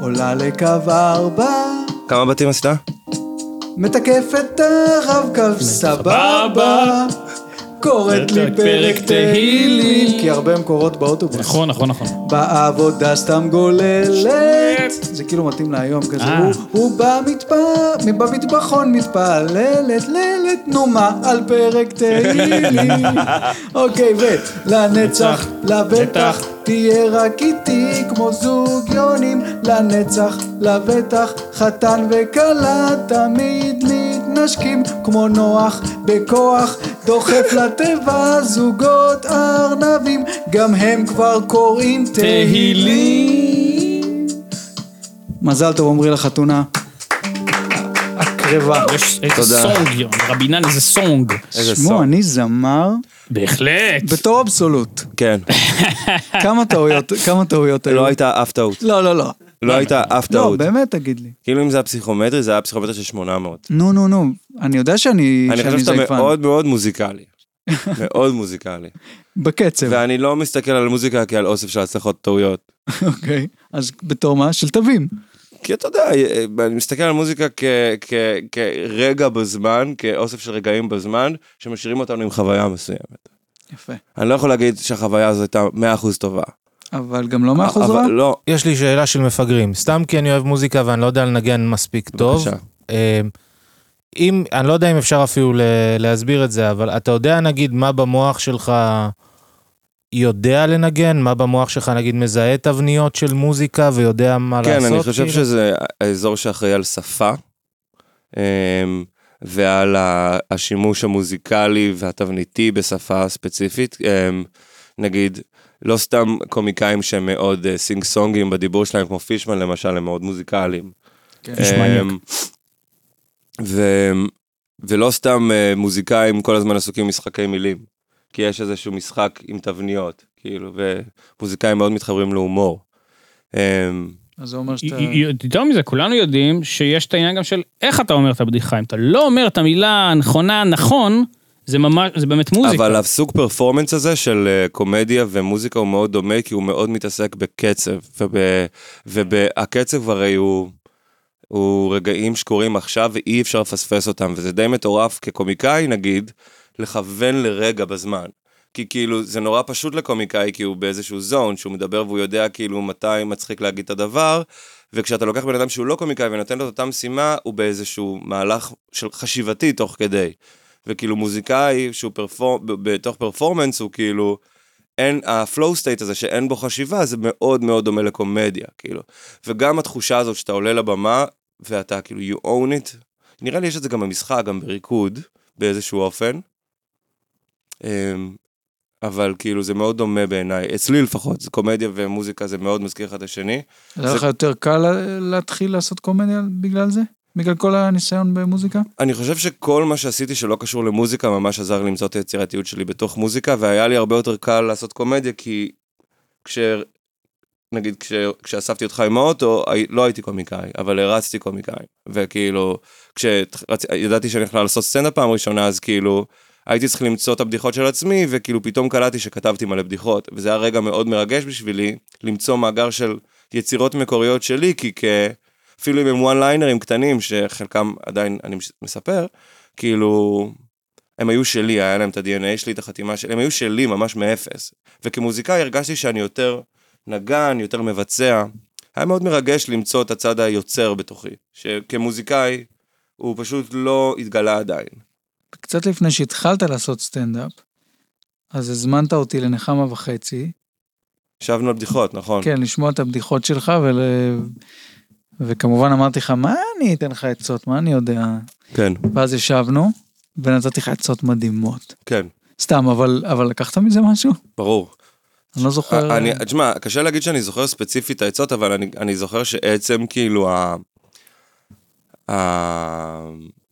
Speaker 1: עולה לקו ארבע.
Speaker 2: כמה בתים עשתה?
Speaker 1: מתקף את הרב-קו, סבבה. קוראת לי פרק תהילים, כי הרבה מקורות באוטובוס.
Speaker 3: נכון, נכון, נכון.
Speaker 1: בעבודה סתם גוללת. זה כאילו מתאים להיום כזה.
Speaker 3: אה.
Speaker 1: הוא- הוא במטבח- במטבחון מתפללת, ללת, נו מה, על פרק תהילים. אוקיי, ולנצח, לבטח, תהיה רק איתי כמו זוג יונים. לנצח, לבטח, חתן וכלה, תמיד מתנשקים כמו נוח, בכוח, דוחף לתיבה, זוגות ארנבים, גם הם כבר קוראים תהילים. מזל טוב עמרי לחתונה. הקרבה.
Speaker 3: יש איזה סונג, יום, רבי נן, איזה סונג.
Speaker 2: איזה
Speaker 1: שמו,
Speaker 2: סאונד.
Speaker 1: אני זמר
Speaker 3: בהחלט.
Speaker 1: בתור אבסולוט.
Speaker 2: כן.
Speaker 1: כמה טעויות, כמה טעויות היו?
Speaker 2: לא הייתה אף טעות.
Speaker 1: לא, לא, לא.
Speaker 2: לא הייתה אף
Speaker 1: לא,
Speaker 2: טעות.
Speaker 1: באמת תגיד לי.
Speaker 2: כאילו אם זה היה פסיכומטרי, זה היה פסיכומטרי של 800.
Speaker 1: נו, נו, נו. אני יודע שאני
Speaker 2: אני
Speaker 1: שאני
Speaker 2: חושב שאתה
Speaker 1: זייפן.
Speaker 2: מאוד מאוד מוזיקלי. מאוד מוזיקלי.
Speaker 1: בקצב,
Speaker 2: ואני לא מסתכל על מוזיקה כעל אוסף של הצלחות טעויות.
Speaker 1: אוקיי. אז בתור מה? של תווים.
Speaker 2: כי אתה יודע, אה, אני מסתכל על מוזיקה כ- כ- כרגע בזמן, כאוסף של רגעים בזמן, שמשאירים אותנו עם חוויה מסוימת.
Speaker 1: יפה.
Speaker 2: אני לא יכול להגיד שהחוויה הזו הייתה 100% טובה.
Speaker 1: אבל גם לא מאחוז
Speaker 2: אבל
Speaker 1: רע?
Speaker 2: לא,
Speaker 4: יש לי שאלה של מפגרים, סתם כי אני אוהב מוזיקה ואני לא יודע לנגן מספיק טוב.
Speaker 2: בבקשה.
Speaker 4: אה, אם, אני לא יודע אם אפשר אפילו ל- להסביר את זה, אבל אתה יודע נגיד מה במוח שלך יודע לנגן? מה במוח שלך נגיד מזהה תבניות של מוזיקה ויודע מה
Speaker 2: כן,
Speaker 4: לעשות?
Speaker 2: אני חושב
Speaker 4: כאילו?
Speaker 2: שזה האזור שאחראי על שפה, אמ, ועל ה- השימוש המוזיקלי והתבניתי בשפה ספציפית. אמ, נגיד, לא סתם קומיקאים שהם מאוד אה, סינג סונגים בדיבור שלהם, כמו פישמן למשל, הם מאוד מוזיקליים.
Speaker 1: כן.
Speaker 3: פישמניאק.
Speaker 2: אמ, ו- ולא סתם אה, מוזיקאים כל הזמן עסוקים במשחקי מילים, כי יש איזשהו משחק עם תבניות, כאילו, ומוזיקאים מאוד מתחברים להומור. אמ,
Speaker 1: אז זה אומר שאתה...
Speaker 3: י- י- יותר מזה, כולנו יודעים שיש את העניין גם של איך אתה אומר את הבדיחה. אם אתה לא אומר את המילה הנכונה נכון, זה ממש, זה באמת מוזיקה.
Speaker 2: אבל הסוג פרפורמנס הזה של אה, קומדיה ומוזיקה הוא מאוד דומה, כי הוא מאוד מתעסק בקצב, והקצב הרי הוא... הוא רגעים שקורים עכשיו ואי אפשר לפספס אותם, וזה די מטורף כקומיקאי נגיד, לכוון לרגע בזמן. כי כאילו זה נורא פשוט לקומיקאי, כי הוא באיזשהו זון, שהוא מדבר והוא יודע כאילו מתי מצחיק להגיד את הדבר, וכשאתה לוקח בן אדם שהוא לא קומיקאי ונותן לו את אותה משימה, הוא באיזשהו מהלך של חשיבתי תוך כדי. וכאילו מוזיקאי שהוא פרפור... ב- בתוך פרפורמנס הוא כאילו, אין, הפלואו סטייט הזה שאין בו חשיבה זה מאוד מאוד דומה לקומדיה, כאילו. וגם התחושה הזאת שאתה עולה לבמה ואתה כאילו you own it, נראה לי יש את זה גם במשחק, גם בריקוד, באיזשהו אופן. אמ, אבל כאילו זה מאוד דומה בעיניי, אצלי לפחות, זה קומדיה ומוזיקה זה מאוד מזכיר אחד את השני.
Speaker 1: היה לך יותר קל לה- להתחיל לעשות קומדיה בגלל זה? בגלל כל הניסיון במוזיקה?
Speaker 2: אני חושב שכל מה שעשיתי שלא קשור למוזיקה ממש עזר לי למצוא את היצירתיות שלי בתוך מוזיקה, והיה לי הרבה יותר קל לעשות קומדיה, כי כש... נגיד כש... כשאספתי אותך עם האוטו, הי- לא הייתי קומיקאי, אבל הרצתי קומיקאים. וכאילו, כשידעתי שאני הולך לעשות סצנה פעם ראשונה, אז כאילו, הייתי צריך למצוא את הבדיחות של עצמי, וכאילו פתאום קלטתי שכתבתי מלא בדיחות, וזה היה רגע מאוד מרגש בשבילי, למצוא מאגר של יצירות מקוריות שלי, כי כ... אפילו אם הם וואן ליינרים קטנים, שחלקם עדיין אני מש- מספר, כאילו, הם היו שלי, היה להם את ה-DNA שלי, את החתימה שלי, הם היו שלי ממש מאפס. וכמוזיקאי הרגשתי שאני יותר נגן, יותר מבצע. היה מאוד מרגש למצוא את הצד היוצר בתוכי, שכמוזיקאי הוא פשוט לא התגלה עדיין.
Speaker 1: קצת לפני שהתחלת לעשות סטנדאפ, אז הזמנת אותי לנחמה וחצי,
Speaker 2: ישבנו על בדיחות, נכון?
Speaker 1: כן, לשמוע את הבדיחות שלך, ול... וכמובן אמרתי לך, מה אני אתן לך עצות, מה אני יודע?
Speaker 2: כן,
Speaker 1: ואז ישבנו, ונתתי לך עצות מדהימות.
Speaker 2: כן,
Speaker 1: סתם, אבל, אבל לקחת מזה משהו?
Speaker 2: ברור.
Speaker 1: אני לא זוכר.
Speaker 2: אה, אני, תשמע, קשה להגיד שאני זוכר ספציפית את העצות, אבל אני, אני זוכר שעצם כאילו ה... ה...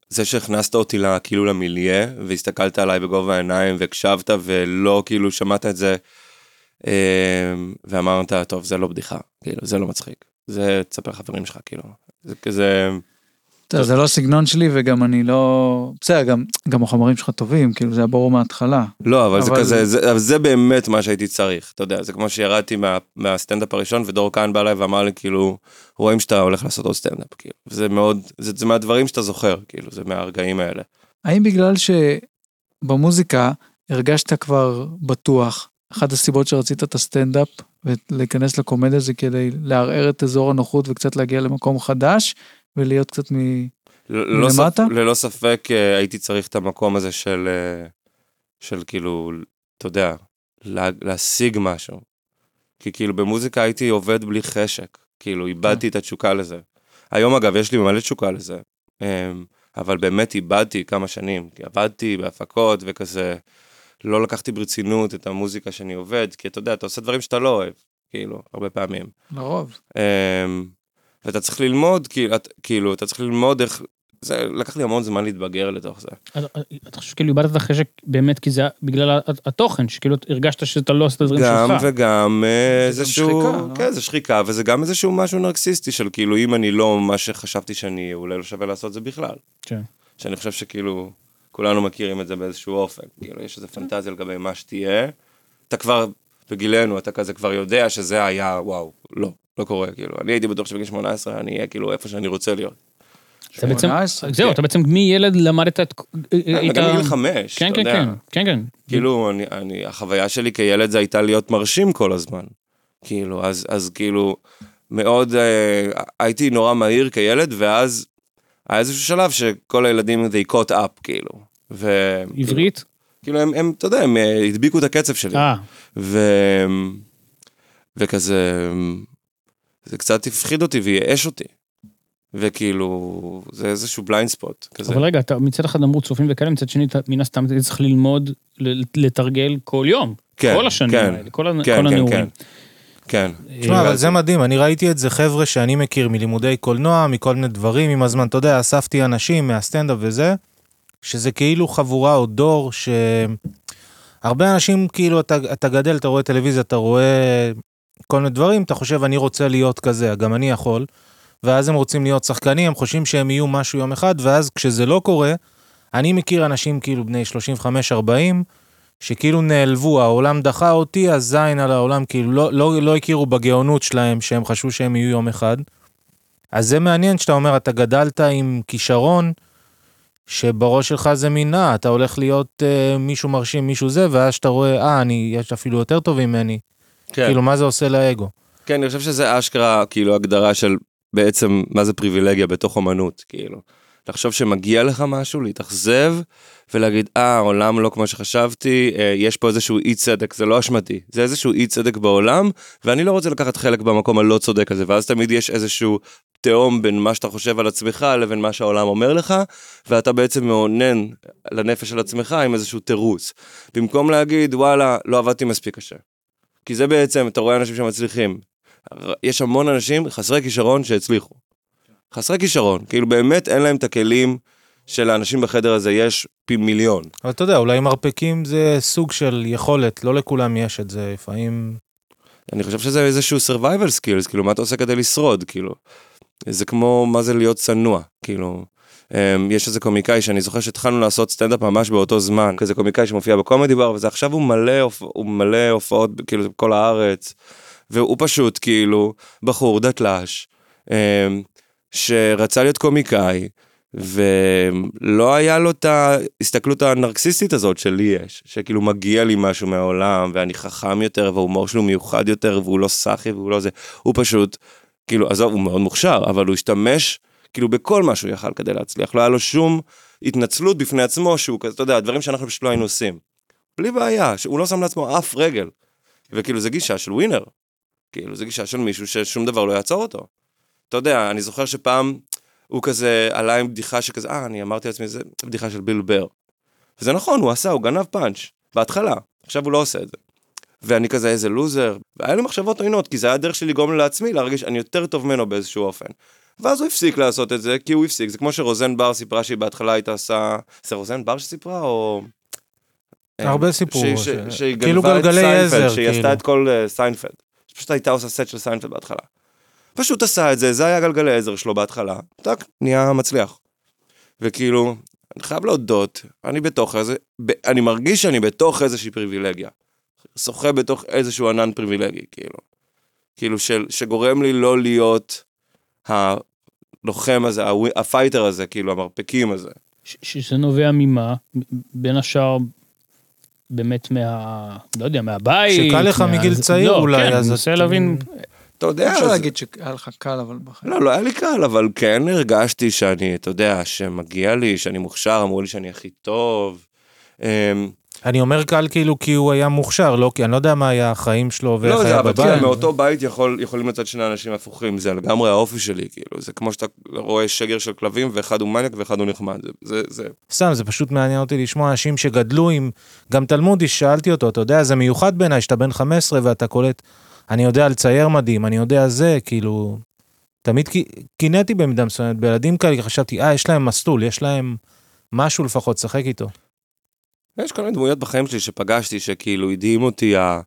Speaker 2: זה שהכנסת אותי לה, כאילו למיליה, והסתכלת עליי בגובה העיניים, והקשבת, ולא כאילו שמעת את זה, אה, ואמרת, טוב, זה לא בדיחה, כאילו, זה לא מצחיק. זה תספר לחברים שלך, כאילו. זה כזה...
Speaker 1: אתה יודע, זה לא הסגנון שלי, וגם אני לא... בסדר, גם- גם החומרים שלך טובים, כאילו, זה היה ברור מההתחלה.
Speaker 2: לא, אבל, זה
Speaker 1: אבל-
Speaker 2: כזה, זה, אבל זה באמת מה שהייתי צריך, אתה יודע, זה כמו שירדתי מה, מהסטנדאפ הראשון, ודור כהן בא אליי ואמר לי, כאילו, רואים שאתה הולך לעשות עוד סטנדאפ, כאילו, זה מאוד, זה, זה מהדברים שאתה זוכר, כאילו, זה מהרגעים האלה.
Speaker 1: האם בגלל שבמוזיקה הרגשת כבר בטוח, אחת הסיבות שרצית את הסטנדאפ ולהיכנס לקומדיה זה כדי לערער את אזור הנוחות וקצת להגיע למקום חדש ולהיות קצת מ...
Speaker 2: ל- ללא
Speaker 1: מלמטה?
Speaker 2: ספ- ללא ספק אה, הייתי צריך את המקום הזה של, אה, של כאילו, אתה יודע, לה, להשיג משהו. כי כאילו במוזיקה הייתי עובד בלי חשק, כאילו איבדתי את התשוקה לזה. היום אגב יש לי מלא תשוקה לזה, אה, אבל באמת איבדתי כמה שנים, כי עבדתי בהפקות וכזה, לא לקחתי ברצינות את המוזיקה שאני עובד, כי אתה יודע, אתה עושה דברים שאתה לא אוהב, כאילו, הרבה פעמים.
Speaker 1: לרוב.
Speaker 2: אמ, ואתה צריך ללמוד, כאילו, את- כאילו, אתה צריך ללמוד איך... זה לקח לי המון זמן להתבגר לתוך זה.
Speaker 3: אתה- אתה חושב כאילו איבדת את החשק באמת כי זה היה בגלל ה- התוכן, שכאילו הרגשת שאתה לא עושה את הדברים
Speaker 2: גם
Speaker 3: שלך.
Speaker 2: וגם אה,
Speaker 1: זה גם
Speaker 2: איזשהו...
Speaker 1: שחיקה, לא?
Speaker 2: כן, זה שחיקה, וזה גם איזשהו משהו נרקסיסטי של כאילו, אם אני לא מה שחשבתי שאני, אולי לא שווה לעשות זה בכלל.
Speaker 3: כן.
Speaker 2: שאני חושב שכאילו, כולנו מכירים את זה באיזשהו אופן. כאילו, יש איזו פנטזיה לגבי מה שתהיה. אתה כבר, בגילנו, אתה כזה כבר יודע שזה היה, וואו, לא, לא קורה, כאילו. אני הייתי בטוח שבגיל 18 אני אהיה כאילו איפה שאני רוצה להיות.
Speaker 3: אתה בעצם,
Speaker 1: 18,
Speaker 3: זהו,
Speaker 2: כן.
Speaker 3: אתה בעצם מילד למדת את...
Speaker 2: גם
Speaker 5: אה,
Speaker 3: היית-
Speaker 2: כן, בגיל חמש,
Speaker 3: כן,
Speaker 2: אתה
Speaker 3: כן,
Speaker 2: יודע.
Speaker 3: כן, כן, כן.
Speaker 2: כאילו, אני, אני, החוויה שלי כילד זה הייתה להיות מרשים כל הזמן. כאילו, אז, אז כאילו, מאוד, אה, הייתי נורא מהיר כילד, ואז היה איזשהו שלב שכל הילדים they caught up, כאילו. ו...
Speaker 3: עברית?
Speaker 2: כאילו, הם, הם, אתה יודע, הם אה, הדביקו את הקצב שלי.
Speaker 3: אה,
Speaker 2: ו... וכזה, זה קצת הפחיד אותי וייאש אותי. וכאילו, זה איזשהו בליינד ספוט. כזה.
Speaker 3: אבל רגע, אתה מצד אחד אמרו צופים וכאלה, מצד שני, אתה מן הסתם אתה צריך ללמוד ל- לתרגל כל יום.
Speaker 2: כן,
Speaker 3: כל השנים
Speaker 2: כן,
Speaker 3: האלה, כל הנ-
Speaker 2: כן,
Speaker 3: כל
Speaker 2: כן,
Speaker 3: הנעורים.
Speaker 2: כן.
Speaker 5: אה,
Speaker 4: תשמע, אבל זה מדהים, אני ראיתי את זה חבר'ה שאני מכיר מלימודי קולנוע, מכל מיני דברים, עם הזמן, אתה יודע, אספתי אנשים מהסטנדאפ וזה, שזה כאילו חבורה או דור ש... הרבה אנשים, כאילו, אתה, אתה גדל, אתה רואה טלוויזיה, אתה רואה כל מיני דברים, אתה חושב, אני רוצה להיות כזה, גם אני יכול, ואז הם רוצים להיות שחקנים, הם חושבים שהם יהיו משהו יום אחד, ואז כשזה לא קורה, אני מכיר אנשים כאילו בני 35-40, שכאילו נעלבו, העולם דחה אותי, הזין על העולם, כאילו לא, לא, לא הכירו בגאונות שלהם, שהם חשבו שהם יהיו יום אחד. אז זה מעניין שאתה אומר, אתה גדלת עם כישרון, שבראש שלך זה מין, אה, אתה הולך להיות אה, מישהו מרשים, מישהו זה, ואז שאתה רואה, אה, אני, יש אפילו יותר טוב ממני.
Speaker 2: כן.
Speaker 4: כאילו, מה זה עושה לאגו?
Speaker 2: כן, אני חושב שזה אשכרה, כאילו, הגדרה של בעצם מה זה פריבילגיה בתוך אומנות, כאילו. לחשוב שמגיע לך משהו, להתאכזב, ולהגיד, אה, העולם לא כמו שחשבתי, אה, יש פה איזשהו אי צדק, זה לא אשמתי, זה איזשהו אי צדק בעולם, ואני לא רוצה לקחת חלק במקום הלא צודק הזה, ואז תמיד יש איזשהו תהום בין מה שאתה חושב על עצמך לבין מה שהעולם אומר לך, ואתה בעצם מאונן לנפש של עצמך עם איזשהו תירוץ. במקום להגיד, וואלה, לא עבדתי מספיק קשה. כי זה בעצם, אתה רואה אנשים שמצליחים. יש המון אנשים חסרי כישרון שהצליחו. חסרי כישרון, כאילו באמת אין להם את הכלים שלאנשים בחדר הזה יש פי מיליון.
Speaker 4: אבל אתה יודע, אולי מרפקים זה סוג של יכולת, לא לכולם יש את זה, לפעמים...
Speaker 2: אני חושב שזה איזשהו survival skills, כאילו מה אתה עושה כדי לשרוד, כאילו. זה כמו מה זה להיות צנוע, כאילו. אמ, יש איזה קומיקאי שאני זוכר שהתחלנו לעשות סטנדאפ ממש באותו זמן, כזה קומיקאי שמופיע בקומדי בר, וזה עכשיו הוא מלא, הופ- הוא מלא הופעות, כאילו, זה בכל הארץ. והוא פשוט כאילו בחור דתל"ש, אמ, שרצה להיות קומיקאי, ולא היה לו את ההסתכלות הנרקסיסטית הזאת שלי יש, שכאילו מגיע לי משהו מהעולם, ואני חכם יותר, וההומור שלו מיוחד יותר, והוא לא סאחי והוא לא זה, הוא פשוט, כאילו, עזוב, הוא מאוד מוכשר, אבל הוא השתמש, כאילו, בכל מה שהוא יכל כדי להצליח, לא היה לו שום התנצלות בפני עצמו, שהוא כזה, אתה יודע, דברים שאנחנו פשוט לא היינו עושים. בלי בעיה, שהוא לא שם לעצמו אף רגל. וכאילו, זו גישה של ווינר. כאילו, זו גישה של מישהו ששום דבר לא יעצור אותו. אתה יודע, אני זוכר שפעם הוא כזה עלה עם בדיחה שכזה, אה, אני אמרתי לעצמי, זה בדיחה של ביל בר. וזה נכון, הוא עשה, הוא גנב פאנץ', בהתחלה, עכשיו הוא לא עושה את זה. ואני כזה, איזה לוזר. והיה לי מחשבות עוינות, כי זה היה הדרך שלי לגרום לעצמי להרגיש, אני יותר טוב ממנו באיזשהו אופן. ואז הוא הפסיק לעשות את זה, כי הוא הפסיק. זה כמו שרוזן בר סיפרה שהיא בהתחלה הייתה עושה... זה רוזן בר שסיפרה, או...
Speaker 4: הרבה סיפור.
Speaker 2: שהיא-
Speaker 4: ש-
Speaker 2: כן. ש- שהיא
Speaker 4: כאילו
Speaker 2: גנבה את
Speaker 4: גלגלי
Speaker 2: סיינפלד,
Speaker 4: עזר,
Speaker 2: שהיא
Speaker 4: כאילו.
Speaker 2: עשתה את כל אה, סיינפלד. פשוט הייתה עושה סט של סיינפלד בהתחלה. פשוט עשה את זה, זה היה גלגלי עזר שלו בהתחלה, טאק, נהיה מצליח. וכאילו, אני חייב להודות, אני בתוך איזה, ב, אני מרגיש שאני בתוך איזושהי פריבילגיה. שוחה בתוך איזשהו ענן פריבילגי, כאילו. כאילו, של, שגורם לי לא להיות הלוחם הזה, הוו- הפייטר הזה, כאילו, המרפקים הזה.
Speaker 5: ש- שזה נובע ממה? בין השאר באמת מה... לא יודע, מהבית.
Speaker 4: שקל לך
Speaker 5: מה-
Speaker 4: מגיל
Speaker 5: זה-
Speaker 4: צעיר
Speaker 5: לא,
Speaker 4: אולי,
Speaker 5: כן,
Speaker 4: אז
Speaker 5: אני מנסה
Speaker 4: את-
Speaker 5: להבין.
Speaker 2: אתה יודע,
Speaker 1: אפשר
Speaker 2: זה-
Speaker 1: להגיד שהיה לך קל, אבל בחיים.
Speaker 2: לא, לא היה לי קל, אבל כן הרגשתי שאני, אתה יודע, שמגיע לי, שאני מוכשר, אמרו לי שאני הכי טוב. אמ,
Speaker 4: אני אומר קל כאילו כי הוא היה מוכשר, לא כי אני לא יודע מה היה החיים שלו ואיך
Speaker 2: לא, זה
Speaker 4: היה
Speaker 2: אבל כן,
Speaker 4: בבית.
Speaker 2: מאותו בית יכול, יכולים לצאת שני אנשים הפוכים, זה לגמרי האופי שלי, כאילו, זה כמו שאתה רואה שגר של כלבים, ואחד הוא מניאק ואחד הוא נחמד, זה- זה, זה,
Speaker 4: סתם, זה פשוט מעניין אותי לשמוע אנשים שגדלו עם... גם תלמודי, שאלתי אותו, אתה יודע, זה מיוחד בעיניי שאתה בן 15 ואתה קולט, אני יודע לצייר מדהים, אני יודע זה, כאילו... תמיד כי- קינאתי במידה מסוימת, בילדים כאלה כי חשבתי, אה, יש להם מסלול, יש להם משהו לפחות, לשחק איתו.
Speaker 2: יש כל מיני דמויות בחיים שלי שפגשתי, שכאילו הדהים אותי ה-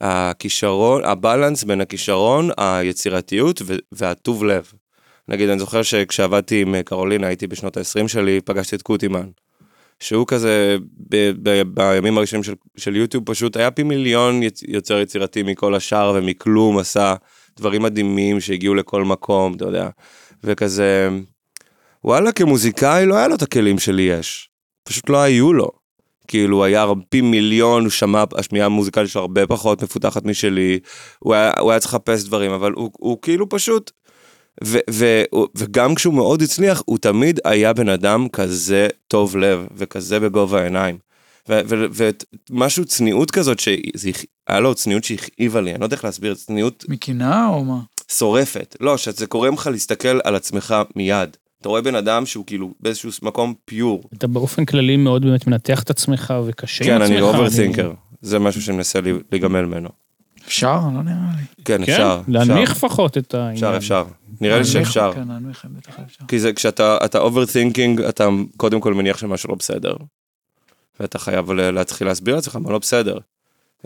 Speaker 2: הכישרון, הבלנס בין הכישרון, היצירתיות ו- והטוב לב. נגיד, אני זוכר שכשעבדתי עם אה, קרולינה, הייתי בשנות ה-20 שלי, פגשתי את קוטימן. שהוא כזה, ב- ב- בימים הראשונים של, של יוטיוב, פשוט היה פי מיליון יצ- יוצר יצירתי מכל השאר ומכלום, עשה דברים מדהימים שהגיעו לכל מקום, אתה יודע. וכזה, וואלה, כמוזיקאי לא היה לו את הכלים שלי יש. פשוט לא היו לו. כאילו הוא היה פי מיליון, הוא שמע, השמיעה המוזיקלית שלו הרבה פחות מפותחת משלי, הוא היה, הוא היה צריך לחפש דברים, אבל הוא, הוא כאילו פשוט, ו, ו, הוא- וגם כשהוא מאוד הצליח, הוא תמיד היה בן אדם כזה טוב לב, וכזה בגובה העיניים. ומשהו, צניעות כזאת, שהיה לו צניעות שהכאיבה לי, אני לא יודע איך להסביר, צניעות
Speaker 1: מקנאה או מה?
Speaker 2: שורפת. לא, שזה גורם לך להסתכל על עצמך מיד. אתה רואה בן אדם שהוא כאילו באיזשהו מקום פיור.
Speaker 5: אתה באופן כללי מאוד באמת מנתח את עצמך וקשה עם
Speaker 2: כן,
Speaker 5: עצמך.
Speaker 2: אני אוברתינקר. זה משהו שאני מנסה לי- להיגמל ממנו.
Speaker 1: אפשר? לא נראה לי.
Speaker 2: כן,
Speaker 5: כן,
Speaker 2: אפשר.
Speaker 5: להנמיך לפחות את העניין.
Speaker 2: אפשר, אפשר, אפשר. נראה לי
Speaker 1: להנמיך-
Speaker 2: שאפשר.
Speaker 1: כן, להנמיך, בטח אפשר.
Speaker 2: כי זה כשאתה אתה אוברתינקינג, אתה קודם כל מניח שמשהו לא בסדר. ואתה חייב ל- להתחיל להסביר לעצמך מה לא בסדר.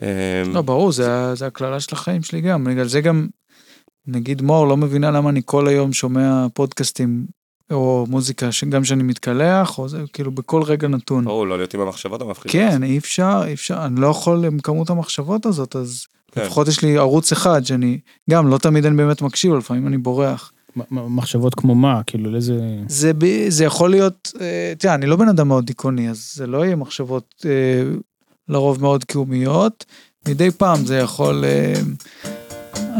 Speaker 2: אמ,
Speaker 1: לא, ברור, זה ה- זה הקללה של החיים שלי גם. בגלל זה גם, נגיד מור לא מבינה למה אני כל היום שומע פודקאסטים או מוזיקה, שגם כשאני מתקלח, או זה, כאילו בכל רגע נתון.
Speaker 2: ברור, לא להיות עם המחשבות המפחידות.
Speaker 1: כן, אי אפשר, אי אפשר, אני לא יכול עם כמות המחשבות הזאת, אז
Speaker 2: כן.
Speaker 1: לפחות יש לי ערוץ אחד שאני, גם לא תמיד אני באמת מקשיב, אבל לפעמים אני בורח.
Speaker 5: מ- מ- מחשבות כמו מה, כאילו לאיזה...
Speaker 1: זה, ב- זה יכול להיות, אה, תראה, אני לא בן אדם מאוד דיכאוני, אז זה לא יהיה מחשבות אה, לרוב מאוד קיומיות. מדי פעם זה יכול, אה,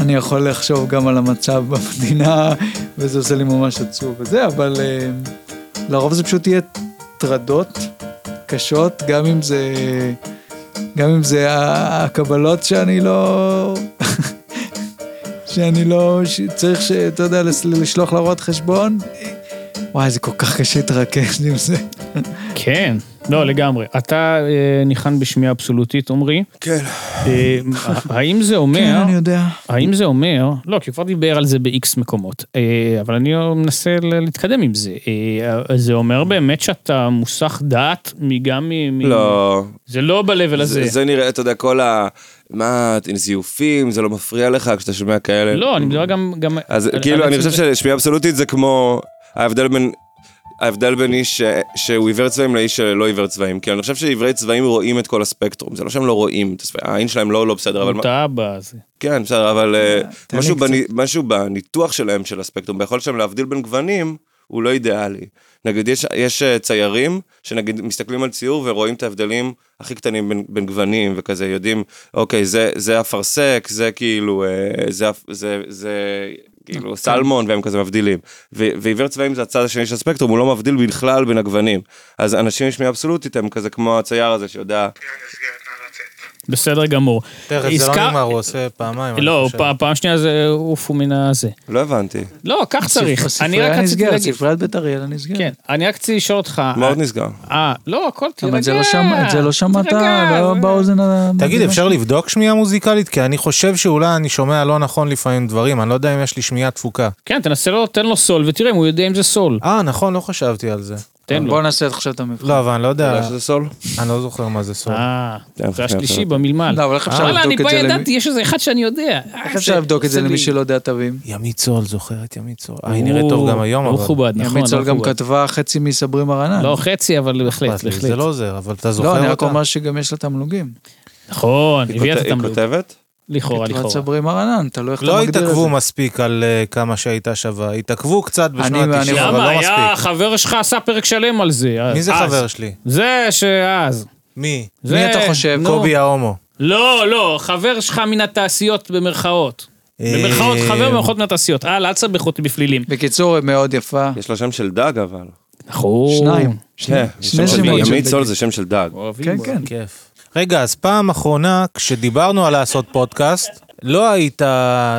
Speaker 1: אני יכול לחשוב גם על המצב במדינה, וזה עושה לי ממש עצוב וזה, אבל אה, לרוב זה פשוט יהיה טרדות קשות, גם אם זה, גם אם זה ה- הקבלות שאני לא... שאני לא, שצריך, ש- אתה יודע, לס- לשלוח לרואות חשבון, וואי, זה כל כך קשה להתרכז עם זה.
Speaker 5: כן, לא, לגמרי. אתה אה, ניחן בשמיעה אבסולוטית, עמרי.
Speaker 2: כן.
Speaker 5: אה, האם זה
Speaker 1: כן,
Speaker 5: אומר...
Speaker 1: אני יודע.
Speaker 5: האם זה אומר, לא, כי הוא כבר דיבר על זה ב-X מקומות, אה, אבל אני מנסה ל- להתקדם עם זה. אה, זה אומר באמת שאתה מוסך דעת מגם מ... מ-
Speaker 2: לא,
Speaker 5: זה לא ב-level הזה.
Speaker 2: זה זה נראה, אתה יודע, כל ה... מה, עם זיופים, זה לא מפריע לך כשאתה שומע כאלה.
Speaker 5: לא, אני מדבר גם... גם
Speaker 2: אז
Speaker 5: על-
Speaker 2: כאילו,
Speaker 5: על
Speaker 2: אני
Speaker 5: עצם
Speaker 2: חושב
Speaker 5: זה-
Speaker 2: ששמיעה אבסולוטית זה כמו ההבדל בין... ההבדל בין איש ש- שהוא עיוור צבעים לאיש שלא עיוור צבעים. כי אני חושב שעיוורי צבעים רואים את כל הספקטרום. זה לא שהם לא רואים את הספקטרום, העין שלהם לא לא בסדר, אבל... מה-
Speaker 5: אתה בזה.
Speaker 2: כן, בסדר, אבל אה,
Speaker 1: תעלה
Speaker 2: משהו
Speaker 1: קצת.
Speaker 2: בני- משהו בניתוח שלהם של הספקטרום, ביכולת שלהם להבדיל בין גוונים, הוא לא אידיאלי. נגיד, יש- יש אה, ציירים שנגיד מסתכלים על ציור ורואים את ההבדלים הכי קטנים בין- בין גוונים, וכזה יודעים, אוקיי, זה- זה אפרסק, זה כאילו, אה, זה אפ- זה- זה כאילו סלמון, והם כזה מבדילים. ו- ועיוור צבעים זה הצד השני של הספקטרום, הוא לא מבדיל בכלל בין הגוונים. אז אנשים עם שמיעה אבסולוטית הם כזה כמו הצייר הזה שיודע...
Speaker 5: בסדר גמור.
Speaker 4: תכף, זה
Speaker 5: עסקה-
Speaker 4: לא נגמר, הוא עושה פעמיים. אני
Speaker 5: לא,
Speaker 4: חושב.
Speaker 5: פ- פעם שנייה זה עופו מן הזה.
Speaker 2: לא הבנתי.
Speaker 5: לא, כך צריך. אני רק
Speaker 1: הספרייה
Speaker 4: אה,
Speaker 5: רציתי
Speaker 1: נסגרת,
Speaker 5: להגיד.
Speaker 1: ספריית בית אריאל נסגרת.
Speaker 5: כן, אני רק רציתי לשאול אותך.
Speaker 2: מה עוד נסגר?
Speaker 5: אה, לא, הכל תירגע.
Speaker 1: אבל את זה לא שמע- את זה לא שמעת
Speaker 5: תירגע,
Speaker 1: בא-
Speaker 5: זה-
Speaker 1: באוזן ה...
Speaker 4: תגיד, אפשר לבדוק שמיעה מוזיקלית? כי אני חושב שאולי אני שומע לא נכון לפעמים דברים, אני לא יודע אם יש לי שמיעה תפוקה.
Speaker 5: כן, תנסה לו, תן לו סול, ותראה אם הוא יודע אם זה סול.
Speaker 4: אה, נכון, לא חשבתי על זה.
Speaker 5: תן לו.
Speaker 1: אה, בוא נעשה עכשיו את המבחן.
Speaker 4: לא, אבל אני לא
Speaker 2: אתה
Speaker 4: יודע,
Speaker 1: אה,
Speaker 2: יודע שזה סול?
Speaker 4: אני לא זוכר מה זה סול.
Speaker 5: אה,
Speaker 2: כן,
Speaker 5: זה
Speaker 2: כן.
Speaker 5: השלישי במלמל.
Speaker 1: לא, אבל איך אפשר
Speaker 5: וואלה, אני
Speaker 1: לבדוק את
Speaker 5: כבר
Speaker 1: זה למי-
Speaker 5: ידעתי, יש איזה אחד שאני יודע. אה,
Speaker 1: איך אפשר לבדוק את זה למי שלא יודע תווים?
Speaker 4: ימית סול, זוכרת ימית סול. אה, היא נראית טוב גם היום,
Speaker 5: אבל...
Speaker 4: אבל...
Speaker 5: לא מכובד, נכון.
Speaker 1: ימית
Speaker 5: לא
Speaker 1: סול גם
Speaker 5: מכובד.
Speaker 1: כתבה חצי מסברי מרנן.
Speaker 5: לא חצי, אבל בהחלט,
Speaker 4: אכפת לי, זה
Speaker 5: בהחלט.
Speaker 4: לא עוזר, אבל אתה
Speaker 1: לא, אני
Speaker 4: זוכר
Speaker 1: רק
Speaker 4: אותה.
Speaker 1: אומר שגם יש לה תמלוגים.
Speaker 5: נכון,
Speaker 2: היא
Speaker 5: הביאה את
Speaker 2: כות- היא
Speaker 5: התמלוג.
Speaker 2: כותבת?
Speaker 5: לכאורה,
Speaker 1: כתבת
Speaker 5: לכאורה.
Speaker 1: סברי מרנן, תלוי איך אתה
Speaker 4: לא
Speaker 1: מגדיר את זה.
Speaker 4: התעכבו מספיק על אה, כמה שהייתה שווה, התעכבו קצת
Speaker 1: אני-
Speaker 4: בשנות
Speaker 1: אני-
Speaker 4: ה-90, אבל
Speaker 5: למה?
Speaker 4: לא
Speaker 5: היה,
Speaker 4: מספיק.
Speaker 5: חבר שלך עשה פרק שלם על זה.
Speaker 4: מי זה
Speaker 5: אז.
Speaker 4: חבר שלי?
Speaker 5: זה שאז.
Speaker 4: מי?
Speaker 5: זה-
Speaker 1: מי אתה חושב?
Speaker 5: נו.
Speaker 4: קובי ההומו.
Speaker 5: לא, לא, חבר שלך מן התעשיות במרכאות. במרכאות
Speaker 4: אה,
Speaker 5: חבר במרכאות מן התעשיות. הלאה, אל תסבך אותי בפלילים.
Speaker 1: בקיצור, היא מאוד יפה.
Speaker 2: יש לה שם של דג אבל.
Speaker 5: נכון.
Speaker 1: שניים.
Speaker 2: כן,
Speaker 1: שני
Speaker 2: שם של-
Speaker 1: שמות של
Speaker 2: ימית
Speaker 1: דג.
Speaker 2: סול זה שם של דג.
Speaker 5: אוקיי.
Speaker 1: כן, כן.
Speaker 4: כיף. רגע, אז פעם אחרונה, כשדיברנו על לעשות פודקאסט, לא היית...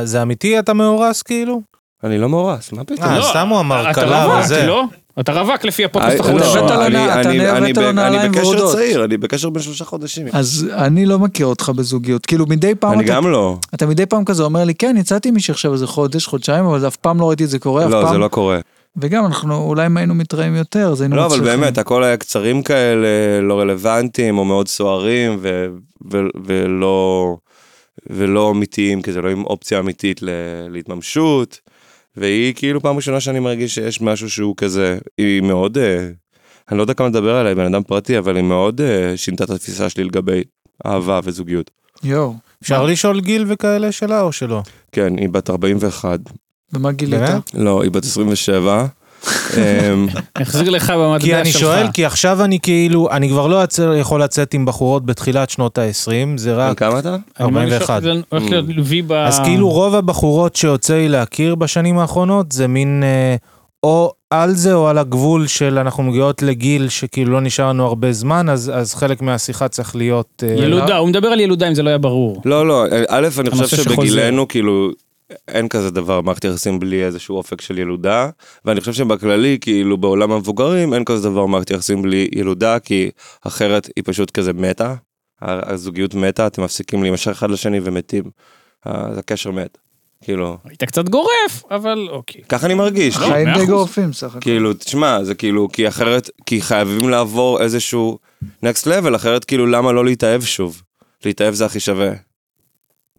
Speaker 4: זה אמיתי אתה מאורס כאילו?
Speaker 2: אני לא מאורס, מה פתאום?
Speaker 4: אה,
Speaker 5: לא,
Speaker 4: סתם הוא אמר,
Speaker 5: אתה
Speaker 4: קלה
Speaker 5: רווק,
Speaker 4: וזה.
Speaker 5: לא? אתה רווק לפי
Speaker 2: אה,
Speaker 5: הפודקאסט
Speaker 2: לא,
Speaker 5: החדש.
Speaker 1: הבאת לו
Speaker 2: אני-
Speaker 1: נע- אתה
Speaker 2: אני-
Speaker 1: הבאת
Speaker 2: אני
Speaker 1: לו
Speaker 2: ב- אני
Speaker 1: נעליים
Speaker 2: בקשר
Speaker 1: ורודות.
Speaker 2: צעיר, אני בקשר בין שלושה חודשים.
Speaker 1: אז אני לא מכיר אותך בזוגיות. כאילו, מדי פעם
Speaker 2: אני
Speaker 1: אתה...
Speaker 2: גם לא.
Speaker 1: אתה מדי פעם כזה אומר לי, כן, יצאתי עם מישהי עכשיו איזה חודש, חודשיים, אבל אף פעם לא ראיתי את זה קורה, אף
Speaker 2: לא, זה
Speaker 1: פעם.
Speaker 2: לא קורה.
Speaker 1: וגם אנחנו, אולי אם היינו מתראים יותר, אז היינו
Speaker 2: לא, אבל
Speaker 1: מצליחים.
Speaker 2: באמת, הכל היה קצרים כאלה, לא רלוונטיים, או מאוד סוערים, ו- ו- ולא ולא אמיתיים, כי זה לא עם אופציה אמיתית ל- להתממשות. והיא כאילו פעם ראשונה שאני מרגיש שיש משהו שהוא כזה, היא מאוד, אה, אני לא יודע כמה לדבר עליה, היא בן אדם פרטי, אבל היא מאוד אה, שינתה את התפיסה שלי לגבי אהבה וזוגיות.
Speaker 1: יואו,
Speaker 4: אפשר לשאול גיל וכאלה שלה או שלא?
Speaker 2: כן, היא בת 41,
Speaker 1: ומה גילית?
Speaker 4: באמת?
Speaker 2: לא, היא בת 27. אמ,
Speaker 5: החזיר לך במטבע שלך.
Speaker 4: כי אני שואל, כי עכשיו אני כאילו, אני כבר לא יצא- יכול לצאת עם בחורות בתחילת שנות ה-20, זה
Speaker 2: בן
Speaker 4: רק...
Speaker 2: כמה אתה?
Speaker 5: אני מאמין
Speaker 4: 41.
Speaker 5: שהולך להיות- הולך להיות
Speaker 2: Mm.
Speaker 5: וי ב...
Speaker 4: אז כאילו רוב הבחורות שיוצא לי להכיר בשנים האחרונות זה מין אה, או על זה או על הגבול של אנחנו מגיעות לגיל שכאילו לא נשאר לנו הרבה זמן, אז, אז חלק מהשיחה צריך להיות... אה,
Speaker 5: ילודה, הוא מדבר על ילודה אם זה לא היה ברור.
Speaker 2: לא, לא, א', אני
Speaker 5: הנושא
Speaker 2: חושב
Speaker 5: שחוזר.
Speaker 2: שבגילנו, כאילו, אין כזה דבר, מערכת יחסים בלי איזשהו אופק של ילודה, ואני חושב שבכללי, כאילו, בעולם המבוגרים, אין כזה דבר מערכת יחסים בלי ילודה, כי אחרת היא פשוט כזה מתה, ה- הזוגיות מתה, אתם מפסיקים להימשך אחד לשני ומתים, ה- הקשר מת, כאילו,
Speaker 5: היית קצת גורף, אבל אוקיי.
Speaker 2: ככה אני מרגיש,
Speaker 5: לא,
Speaker 1: חיים
Speaker 5: מאה
Speaker 1: די
Speaker 5: אחוז.
Speaker 1: גורפים סך הכל.
Speaker 2: כאילו, תשמע, זה כאילו, כי אחרת, כי חייבים לעבור איזשהו next level, אחרת כאילו, למה לא להתאהב שוב? להתאהב זה הכי שווה.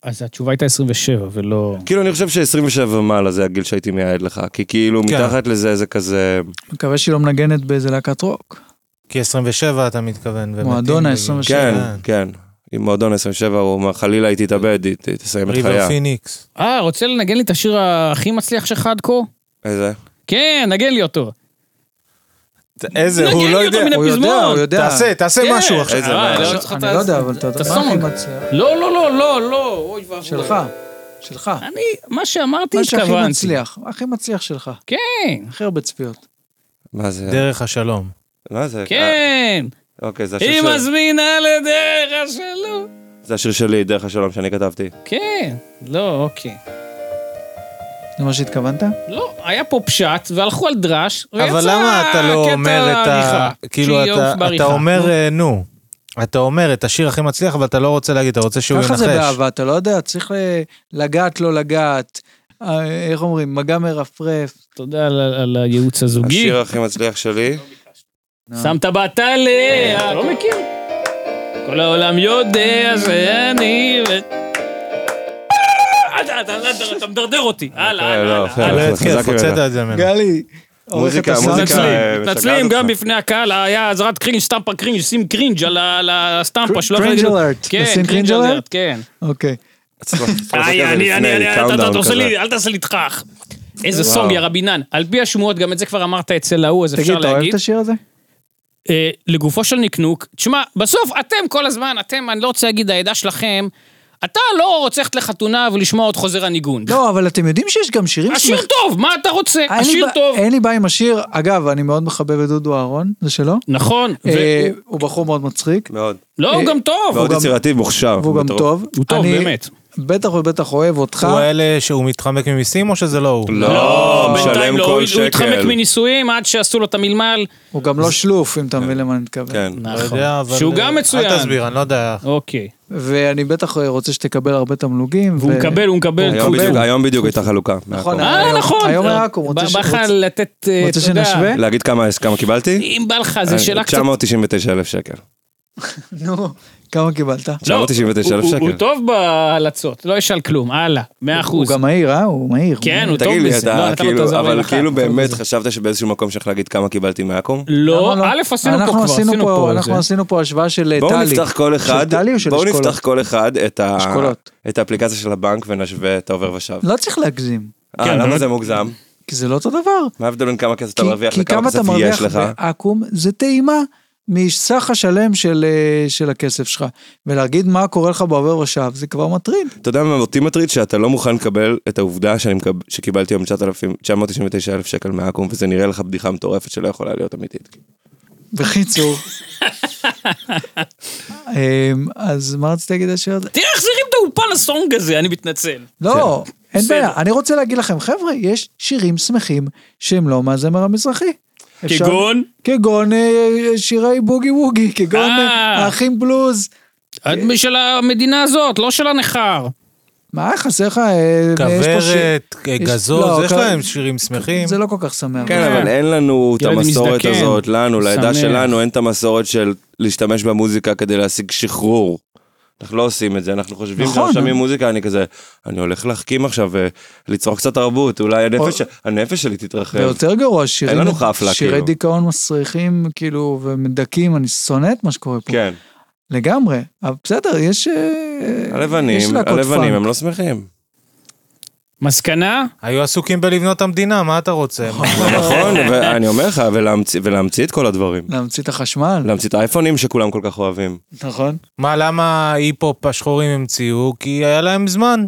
Speaker 5: אז התשובה הייתה 27 ולא...
Speaker 2: כאילו אני חושב ש-27 ומעלה זה הגיל שהייתי מייעד לך, כי כאילו
Speaker 4: כן.
Speaker 2: מתחת לזה זה כזה,
Speaker 1: מקווה שהיא לא מנגנת באיזה להקת רוק.
Speaker 4: כי 27 אתה מתכוון. ומתאים
Speaker 1: מועדון
Speaker 4: בגיל.
Speaker 1: ה-27.
Speaker 2: כן,
Speaker 4: כן.
Speaker 2: כן. עם מועדון 27 הוא אומר חלילה היא תתאבד, היא ת- תסיים את
Speaker 4: ריבר
Speaker 2: חייה.
Speaker 4: פיניקס.
Speaker 5: אה, רוצה לנגן לי את השיר הכי מצליח שלך עד כה?
Speaker 2: איזה?
Speaker 5: כן, נגן לי אותו.
Speaker 4: איזה, הוא
Speaker 5: נגן
Speaker 4: לא
Speaker 5: לי אותו
Speaker 4: יודע.
Speaker 5: מן
Speaker 1: הוא יודע, הוא
Speaker 5: הפזמון.
Speaker 1: יודע.
Speaker 4: תעשה, תעשה
Speaker 5: כן.
Speaker 4: משהו עכשיו.
Speaker 2: איזה
Speaker 5: אה,
Speaker 2: מה?
Speaker 5: לא,
Speaker 1: אני לא יודע, אבל אתה
Speaker 5: את
Speaker 1: אתה הכי
Speaker 5: הסונג.
Speaker 1: מצליח.
Speaker 5: לא, לא, לא, לא, לא, אוי ואבוי.
Speaker 1: שלך, שלך.
Speaker 5: אני, מה שאמרתי
Speaker 1: מה שהכי
Speaker 5: התכוונתי.
Speaker 1: מצליח, אה, הכי מצליח שלך.
Speaker 5: כן,
Speaker 1: הכי הרבה צפיות.
Speaker 2: מה זה?
Speaker 4: דרך השלום.
Speaker 2: מה זה?
Speaker 5: כן.
Speaker 2: אה, אוקיי, זה השיר
Speaker 5: היא
Speaker 2: של-
Speaker 5: מזמינה לדרך השלום.
Speaker 2: זה השיר שלי, דרך השלום שאני כתבתי.
Speaker 5: כן, לא, אוקיי.
Speaker 1: זה מה שהתכוונת?
Speaker 5: לא, היה פה פשט, והלכו על דרש, ויצא
Speaker 4: אבל למה אתה לא
Speaker 5: קטע
Speaker 4: אומר את ה...
Speaker 5: עריכה,
Speaker 4: כאילו,
Speaker 5: שהיא
Speaker 4: אתה-
Speaker 5: בעריכה.
Speaker 4: אתה אומר, אה, נו. אתה אומר את השיר הכי מצליח, אבל אתה לא רוצה להגיד, אתה רוצה שהוא
Speaker 1: ככה זה
Speaker 4: ינחש.
Speaker 1: באהבה, אתה לא יודע, צריך ל- לגעת, לא לגעת. אה, איך אומרים, מגע מרפרף.
Speaker 5: תודה על- על הייעוץ הזוגי.
Speaker 2: השיר הכי מצליח שלי,
Speaker 5: שמת בת עליה. לא מכיר. כל העולם יודע שאני... ו- אה, אתה- אתה- אתה מדרדר אותי. הלאה,
Speaker 2: אה,
Speaker 5: הלאה,
Speaker 2: לא,
Speaker 5: הלאה.
Speaker 2: יפה.
Speaker 5: הלאה.
Speaker 4: זה התקף,
Speaker 2: חזק
Speaker 4: הוצאת
Speaker 2: ממנו.
Speaker 4: את זה
Speaker 5: כן.
Speaker 4: ממנו.
Speaker 1: גלי,
Speaker 2: מוזיקה,
Speaker 1: הסאונד.
Speaker 2: מוזיקה.
Speaker 1: מתנצלים.
Speaker 2: אה, משגעת
Speaker 5: מתנצלים
Speaker 2: אותך.
Speaker 5: גם בפני הקהל, היה עזרת קרינג', סטמפה קרינג', שים קרינג' על ה- על הסטמפה שלא יכול
Speaker 1: קרינג'
Speaker 5: להגיד-
Speaker 1: אלרט.
Speaker 5: כן,
Speaker 1: לשים
Speaker 5: קרינג'
Speaker 1: קרינג' אלרט?
Speaker 5: אלרט, כן.
Speaker 1: אוקיי.
Speaker 2: צריך לעשות את זה
Speaker 5: איי, אה, אני,
Speaker 2: לפני,
Speaker 5: אני, אני, אתה- אתה
Speaker 2: countdown
Speaker 5: אתה עושה
Speaker 2: כזה.
Speaker 5: לי, אל תעשה לי תכך. איזה סונג,
Speaker 2: וואו.
Speaker 5: יא רבינן. על פי השמועות, גם את זה כבר אמרת אצל ההוא, אז
Speaker 1: תגיד,
Speaker 5: אפשר
Speaker 1: אתה אוהב
Speaker 5: להגיד.
Speaker 1: את השיר הזה?
Speaker 5: אה, לגופו של נקנוק, תשמע, בסוף אתם כל הזמן, אתם, אני לא רוצה להגיד העדה שלכם,
Speaker 3: אתה לא רוצה ללכת לחתונה ולשמוע את חוזר הניגון.
Speaker 1: לא, אבל אתם יודעים שיש גם שירים
Speaker 3: השיר
Speaker 1: שמח-
Speaker 3: טוב, מה אתה רוצה?
Speaker 1: אין לי
Speaker 3: השיר
Speaker 1: בע-
Speaker 3: טוב.
Speaker 1: אין לי בעיה עם השיר. אגב, אני מאוד מחבב את דודו אהרון, זה שלו.
Speaker 3: נכון, ו-
Speaker 1: אה, הוא בחור מאוד מצחיק,
Speaker 2: מאוד.
Speaker 3: לא, הוא גם טוב.
Speaker 2: מאוד
Speaker 1: גם-
Speaker 2: יצירתי ומוכשר.
Speaker 1: והוא גם
Speaker 2: מטורף.
Speaker 1: טוב.
Speaker 3: הוא טוב,
Speaker 1: אני
Speaker 3: באמת.
Speaker 1: בטח ובטח אוהב אותך.
Speaker 4: הוא אלה שהוא מתחמק ממיסים או שזה לא הוא?
Speaker 2: לא,
Speaker 3: בינתיים
Speaker 2: משלם
Speaker 3: לא, הוא-
Speaker 2: כל
Speaker 3: הוא התחמק
Speaker 2: שקל.
Speaker 3: מנישואים עד שעשו לו את המלמל. נכון.
Speaker 1: הוא גם לא שלוף, אם אתה מבין למה אני מתכוון.
Speaker 2: כן.
Speaker 4: לא
Speaker 1: נכון.
Speaker 4: יודע, אבל...
Speaker 3: שהוא גם
Speaker 4: אל
Speaker 3: מצוין.
Speaker 4: תסביר, אני לא
Speaker 1: אה,
Speaker 4: יודע.
Speaker 3: אוקיי.
Speaker 1: ואני בטח רוצה שתקבל הרבה תמלוגים.
Speaker 3: והוא
Speaker 1: ו-
Speaker 3: מקבל, הוא מקבל.
Speaker 2: היום
Speaker 3: טפו,
Speaker 2: בדיוק-
Speaker 3: טפו.
Speaker 2: היום בדיוק הייתה חלוקה.
Speaker 1: נכון,
Speaker 2: מהכל.
Speaker 3: אה,
Speaker 1: היום-
Speaker 3: נכון.
Speaker 1: היום היה עכו"ם, רוצה
Speaker 3: ב-
Speaker 1: ש-
Speaker 3: בא לך
Speaker 1: רוצ-
Speaker 3: לתת, אה,
Speaker 1: רוצה
Speaker 3: אתה יודע,
Speaker 1: שנשווה?
Speaker 2: להגיד כמה כמה קיבלתי?
Speaker 3: אם בא לך,
Speaker 2: אה,
Speaker 3: זו שאלה קצת...
Speaker 2: 999,000 שקל.
Speaker 1: נו, כמה קיבלת?
Speaker 3: לא,
Speaker 2: 999,000
Speaker 3: הוא- הוא-
Speaker 2: שקל.
Speaker 3: הוא טוב בהלצות, לא אשאל כלום, הלאה, מאה
Speaker 1: הוא
Speaker 3: אחוז.
Speaker 1: גם מהיר, אה? הוא מהיר.
Speaker 3: כן, הוא טוב
Speaker 2: תגיד לי,
Speaker 3: בזה. לא,
Speaker 2: אתה
Speaker 3: נתנו את
Speaker 2: כאילו,
Speaker 3: הזרים
Speaker 2: אבל
Speaker 3: לך.
Speaker 2: כאילו
Speaker 1: לא
Speaker 2: באמת חשבת שבאיזשהו מקום שלך להגיד כמה קיבלתי מעכו"ם?
Speaker 3: לא,
Speaker 1: למה
Speaker 3: א', עשינו פה
Speaker 1: אנחנו
Speaker 3: כבר,
Speaker 1: עשינו
Speaker 3: עשינו פה
Speaker 1: אנחנו
Speaker 3: איזה.
Speaker 1: עשינו פה השוואה של אה, טלי.
Speaker 2: בואו נפתח כל אחד,
Speaker 1: של טלי או של
Speaker 2: בואו
Speaker 1: אשכולות?
Speaker 2: נפתח כל אחד את ה-
Speaker 1: אשכולות.
Speaker 2: את האפליקציה של הבנק ונשווה את העובר ושב.
Speaker 1: לא צריך להגזים,
Speaker 2: אה, למה זה מוגזם?
Speaker 1: כי זה לא אותו דבר.
Speaker 2: מה ההבדל בין כמה כסף אתה
Speaker 1: כי-
Speaker 2: מרוויח
Speaker 1: כי
Speaker 2: לכמה
Speaker 1: כמה
Speaker 2: כסף
Speaker 1: אתה
Speaker 2: יש
Speaker 1: מרוויח
Speaker 2: לך?
Speaker 1: בעכו"ם זה טעימה מסך השלם של, אה, של הכסף שלך. ולהגיד מה קורה לך בעובר ושב זה כבר מטריד.
Speaker 2: אתה יודע מה אותי מטריד? שאתה לא מוכן לקבל את העובדה שאני מקב- שקיבלתי היום 9,000 999,000 שקל מעכו"ם, וזה נראה לך בדיחה מטורפת שלא יכולה להיות אמיתית.
Speaker 1: בקיצור. אמ, אז מה רציתי להגיד השיר הזה?
Speaker 5: תראה איך זה הרים את האולפן הסונג הזה, אני מתנצל.
Speaker 1: לא,
Speaker 4: כן.
Speaker 1: אין
Speaker 5: בסדר.
Speaker 1: בעיה. אני רוצה להגיד לכם, חבר'ה, יש שירים שמחים שהם לא מהזמר המזרחי. אפשר-
Speaker 5: כגון?
Speaker 1: כגון אה, שירי בוגי ווגי, כגון
Speaker 3: אה.
Speaker 1: אה, האחים בלוז. אה,
Speaker 3: את של המדינה הזאת, לא של הנכר.
Speaker 1: מה חסר לך? אה, יש פה שיר-
Speaker 4: כוורת,
Speaker 1: יש-
Speaker 4: גזוז,
Speaker 1: לא,
Speaker 4: יש
Speaker 1: כ-
Speaker 4: להם שירים שמחים.
Speaker 1: זה לא כל כך שמח.
Speaker 2: כן, אבל אין לנו את
Speaker 3: ילד
Speaker 2: המסורת
Speaker 3: מזדקן,
Speaker 2: הזאת, לנו, לעדה
Speaker 3: שמח.
Speaker 2: שלנו, אין את המסורת של להשתמש במוזיקה כדי להשיג שחרור. אנחנו לא עושים את זה, אנחנו חושבים
Speaker 1: נכון.
Speaker 2: שאנחנו שומעים מוזיקה, אני כזה, אני הולך להחכים עכשיו וליצור קצת תרבות, אולי הנפש- הנפש שלי תתרחב.
Speaker 1: ויותר גרוע, שירי,
Speaker 2: לנו חפלה,
Speaker 1: שירי
Speaker 2: כאילו.
Speaker 1: דיכאון מסריחים, כאילו, ומדכאים, אני שונא את מה שקורה פה.
Speaker 2: כן,
Speaker 1: לגמרי. אבל בסדר, יש... אה, יש
Speaker 2: הלבנים,
Speaker 1: להקות
Speaker 2: הלבנים
Speaker 1: פאנק.
Speaker 2: הם לא שמחים.
Speaker 3: מסקנה?
Speaker 4: היו עסוקים בלבנות המדינה, מה אתה רוצה?
Speaker 1: אה,
Speaker 2: נכון, ואני אומר לך, ולהמציא- ולהמציא את כל הדברים.
Speaker 1: להמציא את החשמל,
Speaker 2: להמציא את האייפונים שכולם כל כך אוהבים.
Speaker 1: נכון?
Speaker 4: מה, למה ההיפ-הופ השחורים המציאו? כי היה להם זמן.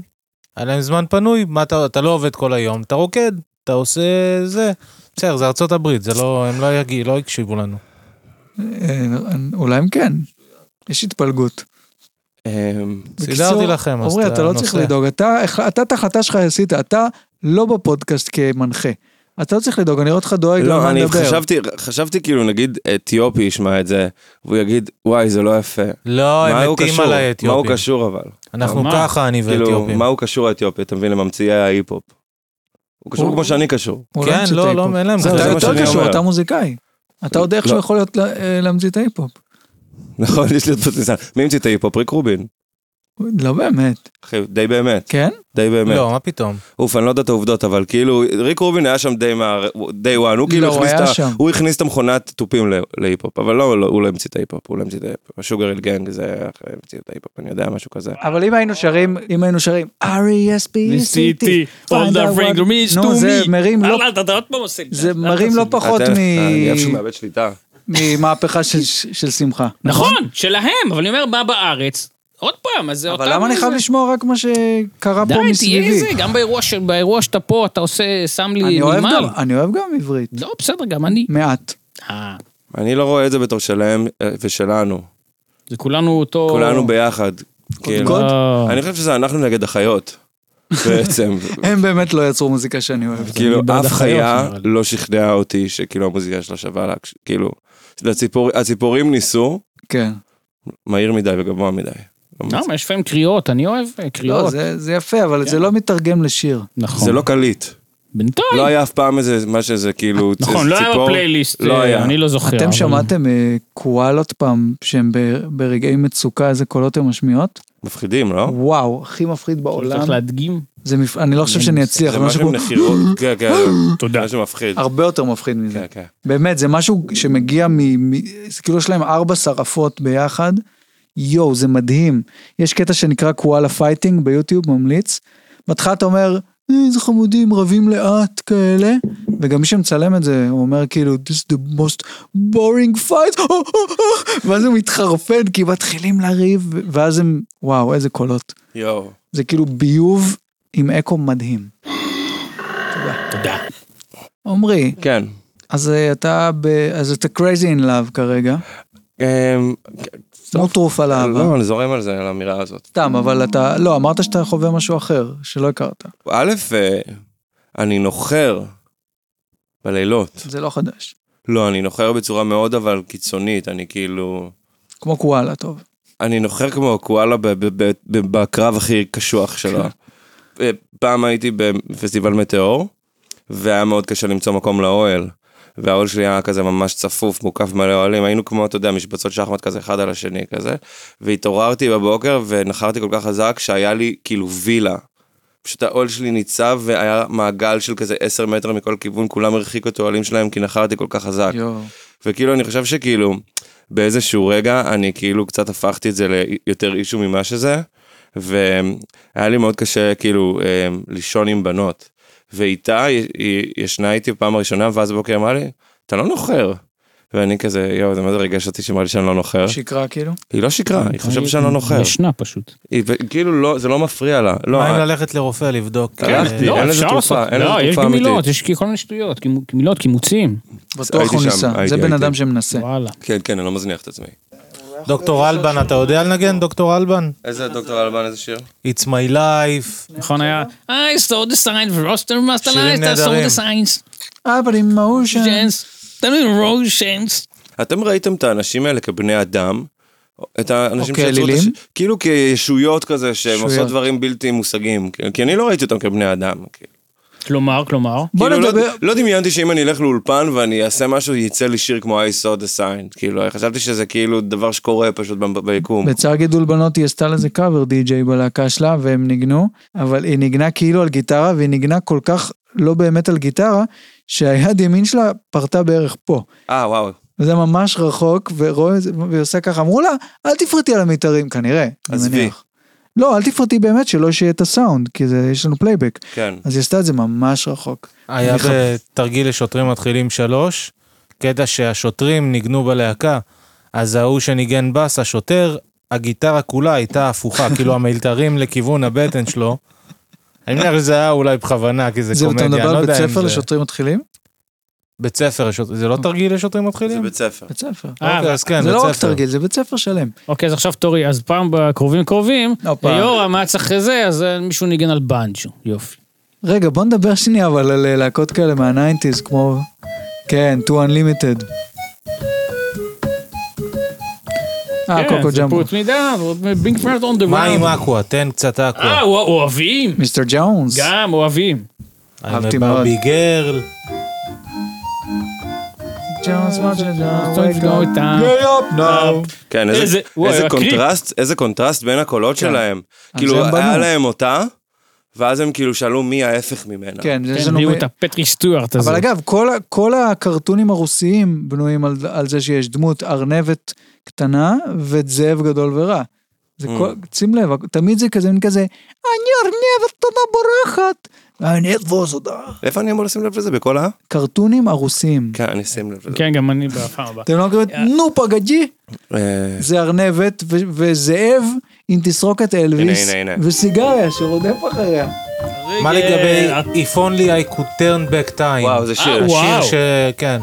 Speaker 4: היה להם זמן פנוי. מה, אתה, אתה לא עובד כל היום, אתה רוקד, אתה עושה זה. בסדר, זה ארצות הברית, זה לא, הם לא, יגיע, לא יקשיבו לנו.
Speaker 1: אה, אולי הם כן. יש התפלגות. אה,
Speaker 2: אמ,
Speaker 4: סידרתי לכם, אז
Speaker 1: עמרי, אתה לא
Speaker 4: נוסע.
Speaker 1: צריך לדאוג. אתה, אתה את ההחלטה שלך עשית, אתה לא בפודקאסט כמנחה. אתה לא צריך לדאוג, אני רואה אותך דואג
Speaker 2: לא,
Speaker 1: למה
Speaker 2: אני
Speaker 1: לדבר.
Speaker 2: חשבתי, חשבתי כאילו נגיד אתיופי ישמע את זה, והוא יגיד, וואי, זה לא יפה.
Speaker 4: לא,
Speaker 2: מה
Speaker 4: הם
Speaker 2: הוא
Speaker 4: מתים
Speaker 2: קשור?
Speaker 4: על
Speaker 2: מה הוא
Speaker 4: האתיופים.
Speaker 2: קשור אבל?
Speaker 4: אנחנו
Speaker 3: מה?
Speaker 4: ככה, אני
Speaker 2: כאילו,
Speaker 4: ואתיופים.
Speaker 2: מה הוא קשור האתיופי? אתה מבין, לממציאי ההיפ-הופ. הוא קשור
Speaker 1: הוא-
Speaker 2: כמו שאני קשור.
Speaker 1: הוא
Speaker 4: כן,
Speaker 1: המציא את
Speaker 4: לא,
Speaker 1: ההיפ-הופ.
Speaker 4: לא, אין להם
Speaker 1: זהו,
Speaker 2: זה
Speaker 1: אתה
Speaker 2: מה
Speaker 1: יותר
Speaker 2: שאני
Speaker 1: קשור,
Speaker 2: אומר.
Speaker 1: אתה מוזיקאי. אתה עוד איכשהו
Speaker 2: לא.
Speaker 1: יכול להיות לה- אה, להמציא את ההיפ-הופ.
Speaker 2: נכון, יש לי את פוטנציאל. מי המציא את ההיפ-הופ? ריק רובין.
Speaker 1: לא באמת.
Speaker 2: אחי, די באמת,
Speaker 1: כן?
Speaker 2: די באמת.
Speaker 4: לא, מה פתאום.
Speaker 2: אוף, אני לא יודע את העובדות, אבל כאילו, ריק רובין היה שם די מה... די וואן, הוא כאילו
Speaker 1: לא, הוא
Speaker 2: הכניס
Speaker 1: היה
Speaker 2: את ה...
Speaker 1: שם.
Speaker 2: הוא הכניס את המכונת תופים ל- להיפ-הופ, אבל לא, לא, הוא לא המציא את ההיפ-הופ, הוא לא המציא את ההיפ-הופ. השוגר אל גנג זה אחרי המציא את ההיפ-הופ, אני יודע, משהו כזה.
Speaker 1: אבל אם היינו שרים, אם היינו שרים E R-E-S-P-E-C-T,
Speaker 5: All that brings me is
Speaker 1: נו,
Speaker 5: to
Speaker 1: זה
Speaker 5: me.
Speaker 1: מרים לא-
Speaker 5: אה, אתה אתה עוד פעם עושה לי את
Speaker 1: זה
Speaker 5: אל
Speaker 1: מרים
Speaker 5: תעשה
Speaker 1: לא
Speaker 5: לי.
Speaker 1: פחות
Speaker 2: אתה-
Speaker 1: מ-
Speaker 2: אני איפשהו מאבד שליטה.
Speaker 1: ממהפכה של- של שמחה.
Speaker 3: נכון, שלהם, אבל אני אומר, בא בארץ, עוד פעם, אז זה אותם...
Speaker 1: אבל למה אני חייב לשמוע רק מה שקרה
Speaker 3: די,
Speaker 1: פה
Speaker 3: תהיה
Speaker 1: מסביבי?
Speaker 3: זה, גם באירוע ש- באירוע שאתה פה, אתה עושה, שם לי
Speaker 1: אני אוהב
Speaker 3: נמל.
Speaker 1: גם, אני אוהב גם עברית.
Speaker 3: לא, בסדר, גם אני.
Speaker 1: מעט.
Speaker 3: אה,
Speaker 2: אני לא רואה את זה בתור שלהם אה, ושלנו.
Speaker 3: זה כולנו אותו...
Speaker 2: כולנו ביחד. כאילו.
Speaker 1: כל-
Speaker 3: לא.
Speaker 2: אני חושב שזה אנחנו נגד החיות, בעצם.
Speaker 1: הם באמת לא יצרו מוזיקה שאני אוהב.
Speaker 2: כאילו,
Speaker 3: אני בעד
Speaker 2: אף
Speaker 3: אה, החיות,
Speaker 2: חיה
Speaker 3: אבל.
Speaker 2: לא שכנעה אותי שכאילו המוזיקה שלה שווה לה, כש- כאילו, לציפור- הציפורים ניסו,
Speaker 1: כן. מהיר
Speaker 2: מדי וגבוה מדי.
Speaker 3: אה,
Speaker 2: לא
Speaker 3: למה, יש לפעמים קריאות, אני אוהב אה,
Speaker 1: לא,
Speaker 3: קריאות.
Speaker 1: זה זה יפה, אבל זה לא מתרגם לשיר.
Speaker 3: נכון.
Speaker 2: זה לא קליט.
Speaker 3: בינתיים.
Speaker 2: לא היה אף פעם איזה, מה שזה כאילו, צ-
Speaker 3: נכון, לא היה
Speaker 2: ציפור.
Speaker 3: בפלייליסט,
Speaker 2: לא
Speaker 3: אה,
Speaker 2: היה.
Speaker 3: אני לא זוכר.
Speaker 1: אתם
Speaker 3: אבל-
Speaker 1: שמעתם אה, קואלות פעם, שהם ב- ברגעי מצוקה, איזה קולות הן משמיעות?
Speaker 2: מפחידים, לא?
Speaker 1: וואו, הכי מפחיד בעולם.
Speaker 3: צריך להדגים.
Speaker 1: זה מפ... אני לא חושב שאני אצליח,
Speaker 2: זה
Speaker 1: זה משהו
Speaker 2: משהו עם
Speaker 1: כמו-
Speaker 2: נחירות, כן, כן. תודה. משהו מפחיד.
Speaker 1: הרבה יותר מפחיד מזה.
Speaker 2: כן, כן.
Speaker 1: באמת, זה משהו שמגיע מ... מ... זה כאילו יש להם ארבע שרפות ביחד. יואו, זה מדהים. יש קטע שנקרא קואלה פייטינג ביוטיוב, ממליץ. בהתחלה אתה אומר, "אה, איזה חמודים, רבים לאט כאלה. וגם מי שמצלם את זה, הוא אומר כאילו, this is the most boring fight, ואז הם מתחרפן, כי מתחילים לריב, ואז הם, וואו, איזה קולות.
Speaker 2: יואו.
Speaker 1: זה כאילו ביוב עם אקו מדהים.
Speaker 5: תודה.
Speaker 1: עמרי,
Speaker 2: כן.
Speaker 1: אז אה, אתה ב... אז אתה crazy in love כרגע,
Speaker 2: אמ,
Speaker 1: כמו תרופה לאהבה.
Speaker 2: לא, אני זורם על זה, על האמירה הזאת.
Speaker 1: סתם, אבל אתה... לא, אמרת שאתה חווה משהו אחר, שלא הכרת.
Speaker 2: א', אה, אני נוחר בלילות.
Speaker 1: זה לא חדש.
Speaker 2: לא, אני נוחר בצורה מאוד אבל קיצונית, אני כאילו...
Speaker 1: כמו קואלה, טוב.
Speaker 2: אני נוחר כמו הקואלה ב- ב- ב- ב- בקרב הכי קשוח שלו. אה, פעם הייתי בפסטיבל מטאור, והיה מאוד קשה למצוא מקום לאוהל. והאוהל שלי היה כזה ממש צפוף, מוקף מלא אוהלים, היינו כמו, אתה יודע, משבצות שחמט כזה אחד על השני כזה. והתעוררתי בבוקר ונחרתי כל כך חזק שהיה לי כאילו וילה. פשוט האוהל שלי ניצב והיה מעגל של כזה 10 מטר מכל כיוון, כולם הרחיקו את האוהלים שלהם כי נחרתי כל כך חזק.
Speaker 1: יואו.
Speaker 2: וכאילו אני חושב שכאילו באיזשהו רגע אני כאילו קצת הפכתי את זה ליותר אישו ממה שזה והיה לי מאוד קשה כאילו אה, לישון עם בנות ואיתה היא- היא ישנה איתי פעם הראשונה ואז בבוקר אמרה לי אתה לא נוחר. ואני כזה יואו זה מה זה ריגש אותי שאמרה לי שאני לא נוחר
Speaker 1: שיקרה כאילו?
Speaker 2: היא לא שיקרה היא חושבת שאני לא נוחר
Speaker 3: אה, ישנה פשוט.
Speaker 2: היא ו- כאילו לא זה לא מפריע לה לא
Speaker 4: מה אם
Speaker 2: אה,
Speaker 4: ללכת לרופא לבדוק?
Speaker 2: הלכתי.
Speaker 4: אה,
Speaker 2: אין לזה
Speaker 3: כן, לא, אפשר
Speaker 2: תרופה,
Speaker 3: לעשות.
Speaker 2: אין לזה
Speaker 3: לא, יש
Speaker 2: תרופה
Speaker 3: גמילות,
Speaker 2: אמיתית.
Speaker 3: יש כל מיני שטויות, קימו- גמילות, קימוצים.
Speaker 1: בטוח הוא
Speaker 2: שם,
Speaker 1: ניסה.
Speaker 2: הייתי,
Speaker 1: זה בן
Speaker 2: הייתי.
Speaker 1: אדם שמנסה.
Speaker 3: וואלה.
Speaker 2: כן כן אני לא מזניח את עצמי.
Speaker 4: דוקטור אלבן, אתה יודע לנגן, דוקטור אלבן?
Speaker 2: איזה דוקטור אלבן איזה שיר?
Speaker 4: It's my life.
Speaker 3: נכון היה, I saw the sign ורוסטר מאסטר
Speaker 4: שירים
Speaker 3: לייט, I saw
Speaker 4: נהדרים.
Speaker 3: the signs,
Speaker 1: אה, אבל עם מהושן.
Speaker 3: שינס, תמיד רושנס.
Speaker 2: אתם ראיתם את האנשים האלה כבני אדם? את האנשים
Speaker 1: או
Speaker 2: שיצרו את
Speaker 1: כאלילים?
Speaker 2: הש... כאילו כישויות כזה שהם
Speaker 1: ישויות.
Speaker 2: עושות דברים בלתי מושגים. כי- כי אני לא ראיתי אותם כבני אדם. כאילו.
Speaker 3: כלומר, כלומר.
Speaker 1: בוא
Speaker 2: כאילו,
Speaker 1: נדבר...
Speaker 2: לא, לא דמיינתי שאם אני אלך לאולפן ואני אעשה משהו, יצא לי שיר כמו I saw the sign. כאילו, חשבתי שזה כאילו דבר שקורה פשוט ב- ביקום.
Speaker 1: לצער גידול בנות היא עשתה לזה קאבר די-ג'יי בלהקה שלה והם ניגנו, אבל היא ניגנה כאילו על גיטרה והיא ניגנה כל כך לא באמת על גיטרה, שהיד ימין שלה פרטה בערך פה.
Speaker 2: אה, וואו.
Speaker 1: וזה ממש רחוק, ורואה את זה, והיא עושה ככה, אמרו לה, אל תפרטי על המתארים, כנראה, אני
Speaker 2: עזבי.
Speaker 1: מניח. לא, אל תפרטי באמת, שלא שיהיה את הסאונד, כי זה, יש לנו פלייבק.
Speaker 2: כן.
Speaker 1: אז היא עשתה את זה ממש רחוק.
Speaker 4: היה
Speaker 1: אני חב-
Speaker 4: בתרגיל לשוטרים מתחילים שלוש, קטע שהשוטרים ניגנו בלהקה, אז ההוא שניגן בס, השוטר, הגיטרה כולה הייתה הפוכה, כאילו המיתרים לכיוון הבטן שלו. אני מניח שזה היה אולי בכוונה, כי זה
Speaker 1: זה אתה
Speaker 4: קומדיה, אני
Speaker 1: מדבר
Speaker 4: לא
Speaker 1: על בית
Speaker 4: יודע אם
Speaker 1: ספר
Speaker 4: זה...
Speaker 1: לשוטרים מתחילים?
Speaker 4: בית ספר לשוטרים, זה לא תרגיל לשוטרים
Speaker 2: זה
Speaker 4: מתחילים?
Speaker 2: בית ספר.
Speaker 1: בית ספר.
Speaker 3: אה,
Speaker 4: אוקיי, אז כן,
Speaker 1: זה
Speaker 4: בית
Speaker 1: לא רק
Speaker 4: ספר.
Speaker 1: תרגיל, זה בית ספר שלם.
Speaker 3: אוקיי, אז עכשיו תורי, אז פעם בקרובים קרובים,
Speaker 1: הופה.
Speaker 3: יורם היה צריך זה, אז אה, מישהו ניגן על בנג'ו, יופי.
Speaker 1: רגע, בוא נדבר שנייה אבל על אה, להקות כאלה מהניינטיז, כמו... כן, To Unlimited. אה, קוקו ג'מבו.
Speaker 3: פוט כן, מידה, בינק פרנט און דה
Speaker 4: מה עם אקווה? תן קצת אקווה.
Speaker 3: אה, הוא- אוהבים.
Speaker 1: מיסטר ג'ונס.
Speaker 3: גם
Speaker 1: Oh
Speaker 3: אוהבים.
Speaker 1: אהבתי
Speaker 4: I'm a
Speaker 1: מאוד.
Speaker 4: Barbie girl.
Speaker 1: ג'ונס, מה Oh
Speaker 3: Don't you know
Speaker 1: שג'ונס.
Speaker 3: it, אה?
Speaker 2: כן, איזה,
Speaker 3: איזה-
Speaker 2: איזה,
Speaker 3: וואי,
Speaker 2: איזה
Speaker 3: הקליפ.
Speaker 2: קונטרסט, איזה קונטרסט בין הקולות שלהם.
Speaker 1: כן. הם
Speaker 2: כאילו, היה
Speaker 1: בנו.
Speaker 2: להם אותה, ואז הם כאילו שאלו מי ההפך ממנה.
Speaker 1: כן, יש
Speaker 3: כן,
Speaker 1: לנו...
Speaker 3: הביאו
Speaker 1: מ-
Speaker 3: את הפטרי סטיוארט הזה.
Speaker 1: אבל אגב, כל, ה- כל הקרטונים הרוסיים בנויים על, על זה שיש דמות ארנבת קטנה וזאב גדול ורע. זה
Speaker 2: Mm.
Speaker 1: כל, שים לב, תמיד זה כזה, מין כזה, אני ארנבת קטנה בורחת. אני אתבוס אותה.
Speaker 2: איפה אני אמור לשים לב לזה? בכל ה...
Speaker 1: קרטונים הרוסיים.
Speaker 2: כן, אני אשים לב לזה.
Speaker 3: כן, גם אני בפעם הבאה.
Speaker 1: אתם לא מכירים, את נו פגג'י,
Speaker 2: אה,
Speaker 1: זה ארנבת ו- וזאב עם תסרוקת אלוויס,
Speaker 2: הנה, הנה.
Speaker 1: וסיגריה שרודף אחריה.
Speaker 4: מה לגבי
Speaker 3: אה,
Speaker 4: If only I could turn back time?
Speaker 2: וואו, זה שיר.
Speaker 3: אה, וואו.
Speaker 4: שיר ש... כן.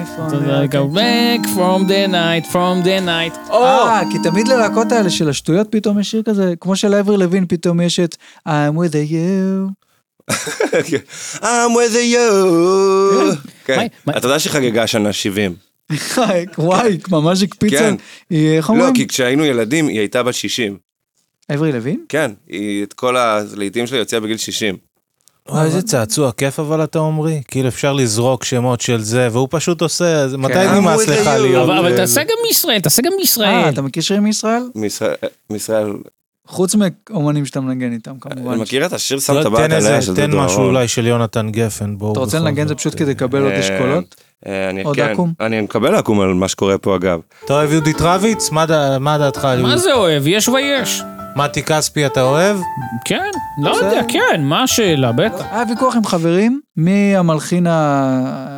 Speaker 1: איפה
Speaker 3: אתה יודע,
Speaker 1: אני?
Speaker 3: go back from the night, from the night.
Speaker 1: אה, כי תמיד ללהקות האלה של השטויות פתאום יש שיר כזה, כמו של אברי לוין פתאום יש את I'm with a you.
Speaker 2: כן. I'm with you. כן.
Speaker 3: מה-
Speaker 2: אתה יודע שחגגה השנה 70.
Speaker 1: חי, וואי, ממש הקפיצה.
Speaker 2: כן.
Speaker 1: היא- איך
Speaker 2: לא,
Speaker 1: אומרים?
Speaker 2: כי כשהיינו ילדים היא הייתה בת 60.
Speaker 1: אברי לוין?
Speaker 2: כן, היא את כל הלעיתים שלה יוצאה בגיל 60.
Speaker 4: וואי, איזה צעצוע כיף אבל אתה עומרי. כאילו אפשר לזרוק שמות של זה, והוא פשוט עושה,
Speaker 2: כן.
Speaker 4: זה- מתי
Speaker 2: אמרו
Speaker 4: נמאס
Speaker 2: את זה
Speaker 4: לך
Speaker 2: היום.
Speaker 4: להיות...
Speaker 3: אבל אבל
Speaker 4: זה-
Speaker 3: תעשה גם מישראל, תעשה גם
Speaker 1: אה,
Speaker 3: מישראל.
Speaker 1: אתה מכיר שירים מישראל?
Speaker 2: מישראל- מישראל,
Speaker 1: חוץ מאומנים שאתה מנגן איתם, כמובן.
Speaker 2: אני מכיר את השיר שם
Speaker 4: לא,
Speaker 2: טבעת
Speaker 4: תן
Speaker 2: עליה של
Speaker 4: איזה, תן
Speaker 2: דודו
Speaker 4: משהו
Speaker 2: אהרון.
Speaker 4: אולי של יונתן גפן, בואו.
Speaker 1: אתה רוצה
Speaker 4: בכל
Speaker 1: לנגן זה
Speaker 4: זאת.
Speaker 1: פשוט כדי לקבל עוד
Speaker 2: אה,
Speaker 1: אשכולות?
Speaker 2: אה, אני-
Speaker 1: עוד
Speaker 2: כן,
Speaker 1: עקום?
Speaker 2: אני מקבל עקום על מה שקורה פה אגב.
Speaker 4: אתה אוהב יהודית רביץ? מה דע- מה דעתך על
Speaker 3: מה
Speaker 4: יהודית?
Speaker 3: זה אוהב? יש ויש.
Speaker 4: מתי כספי אתה אוהב?
Speaker 5: כן, לא יודע, כן, מה השאלה, בטח.
Speaker 1: היה ויכוח עם חברים, מי המלחין ה...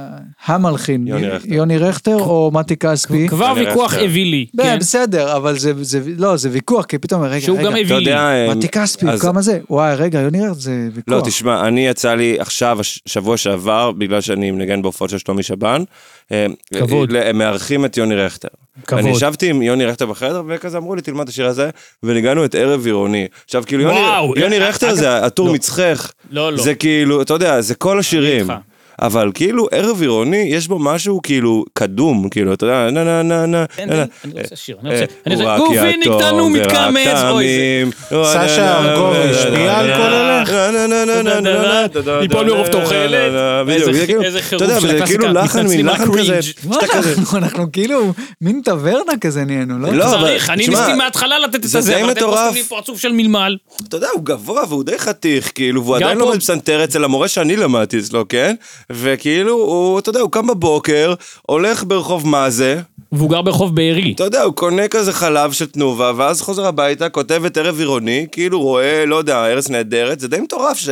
Speaker 1: המלחין,
Speaker 2: יוני רכטר.
Speaker 1: יוני רכטר או מתי כספי?
Speaker 5: כבר
Speaker 2: אני
Speaker 5: ויכוח
Speaker 2: רכטר.
Speaker 5: אווילי,
Speaker 1: כן,
Speaker 5: כן?
Speaker 1: בסדר, אבל זה, זה, לא, זה ויכוח, כי פתאום, רגע,
Speaker 5: שהוא
Speaker 1: רגע,
Speaker 5: גם
Speaker 2: אתה
Speaker 5: אווילי.
Speaker 2: יודע, אה,
Speaker 1: מתי כספי,
Speaker 2: אז-
Speaker 1: כמה זה? וואי, רגע, יוני רכטר זה ויכוח.
Speaker 2: לא, תשמע, אני יצא לי עכשיו, הש- שבוע שעבר, בגלל שאני מנגן בהופעות של שלומי שבן, אה,
Speaker 5: כבוד.
Speaker 2: ל- הם מארחים את יוני רכטר.
Speaker 5: כבוד.
Speaker 2: אני ישבתי עם יוני רכטר בחדר, וכזה אמרו לי, תלמד את השיר הזה, וניגענו את ערב עירוני. עכשיו, כאילו, יוני-
Speaker 5: וואו,
Speaker 2: יוני
Speaker 5: אה,
Speaker 2: רכטר
Speaker 5: אגב-
Speaker 2: זה הטור
Speaker 5: לא.
Speaker 2: מצחך.
Speaker 5: לא, לא.
Speaker 2: זה כאילו, אתה יודע, זה כל השירים.
Speaker 5: איתך.
Speaker 2: אבל כאילו, ערב עירוני, יש בו משהו כאילו קדום, כאילו, אתה יודע, נה נה נה נה.
Speaker 5: תן, תן,
Speaker 2: נה, נה.
Speaker 5: אני רוצה שיר, אני
Speaker 2: אה,
Speaker 5: רוצה... אני
Speaker 2: הוא
Speaker 5: רוצה...
Speaker 2: רק
Speaker 5: גופיניק
Speaker 2: יתום
Speaker 5: תנו
Speaker 2: ורק
Speaker 5: מתקמץ, אוי זה...
Speaker 2: תמים. נה, נה,
Speaker 4: סשה
Speaker 2: נה,
Speaker 4: ארגוב
Speaker 2: נה,
Speaker 4: השפיע על
Speaker 2: נה,
Speaker 4: כל אלה?
Speaker 2: נה, נה, נה, נה, נה, נה, נה,
Speaker 5: ליפול
Speaker 2: נה,
Speaker 5: מרוב
Speaker 2: נה,
Speaker 5: תוחלת?
Speaker 2: נה, נה,
Speaker 5: איזה-
Speaker 2: בדיוק, זה כאילו-
Speaker 5: איזה חירוף
Speaker 2: אתה יודע,
Speaker 5: של
Speaker 2: זה
Speaker 5: הקלאסיקה,
Speaker 2: כאילו לחן
Speaker 5: מתנצלים על
Speaker 2: מלחן כזה,
Speaker 5: הקרינג'.
Speaker 1: מה
Speaker 2: שאתה כזה-
Speaker 1: אנחנו, אנחנו כאילו מין טברנה כזה נהיינו, לא?
Speaker 2: לא, אבל-
Speaker 5: צריך, אני
Speaker 2: תשמע,
Speaker 5: ניסיתי מההתחלה לתת את
Speaker 2: זה
Speaker 5: הזה,
Speaker 2: די
Speaker 5: אבל אתם
Speaker 2: מטורף.
Speaker 5: עושים לי פרצוף של מלמל.
Speaker 2: אתה יודע, הוא גבוה והוא די חתיך, כאילו, והוא
Speaker 5: גם
Speaker 2: עדיין
Speaker 5: פה-
Speaker 2: לומד פסנתר אצל המורה שאני למדתי אצלו, כן? וכאילו, הוא, אתה יודע, הוא קם בבוקר, הולך ברחוב מאזה,
Speaker 5: והוא גר ברחוב בארי.
Speaker 2: אתה יודע, הוא קונה כזה חלב של תנובה, ואז חוזר הביתה, כותב את ערב עירוני, כאילו רואה, לא יודע, ארץ נהדרת, זה די מטורף ש...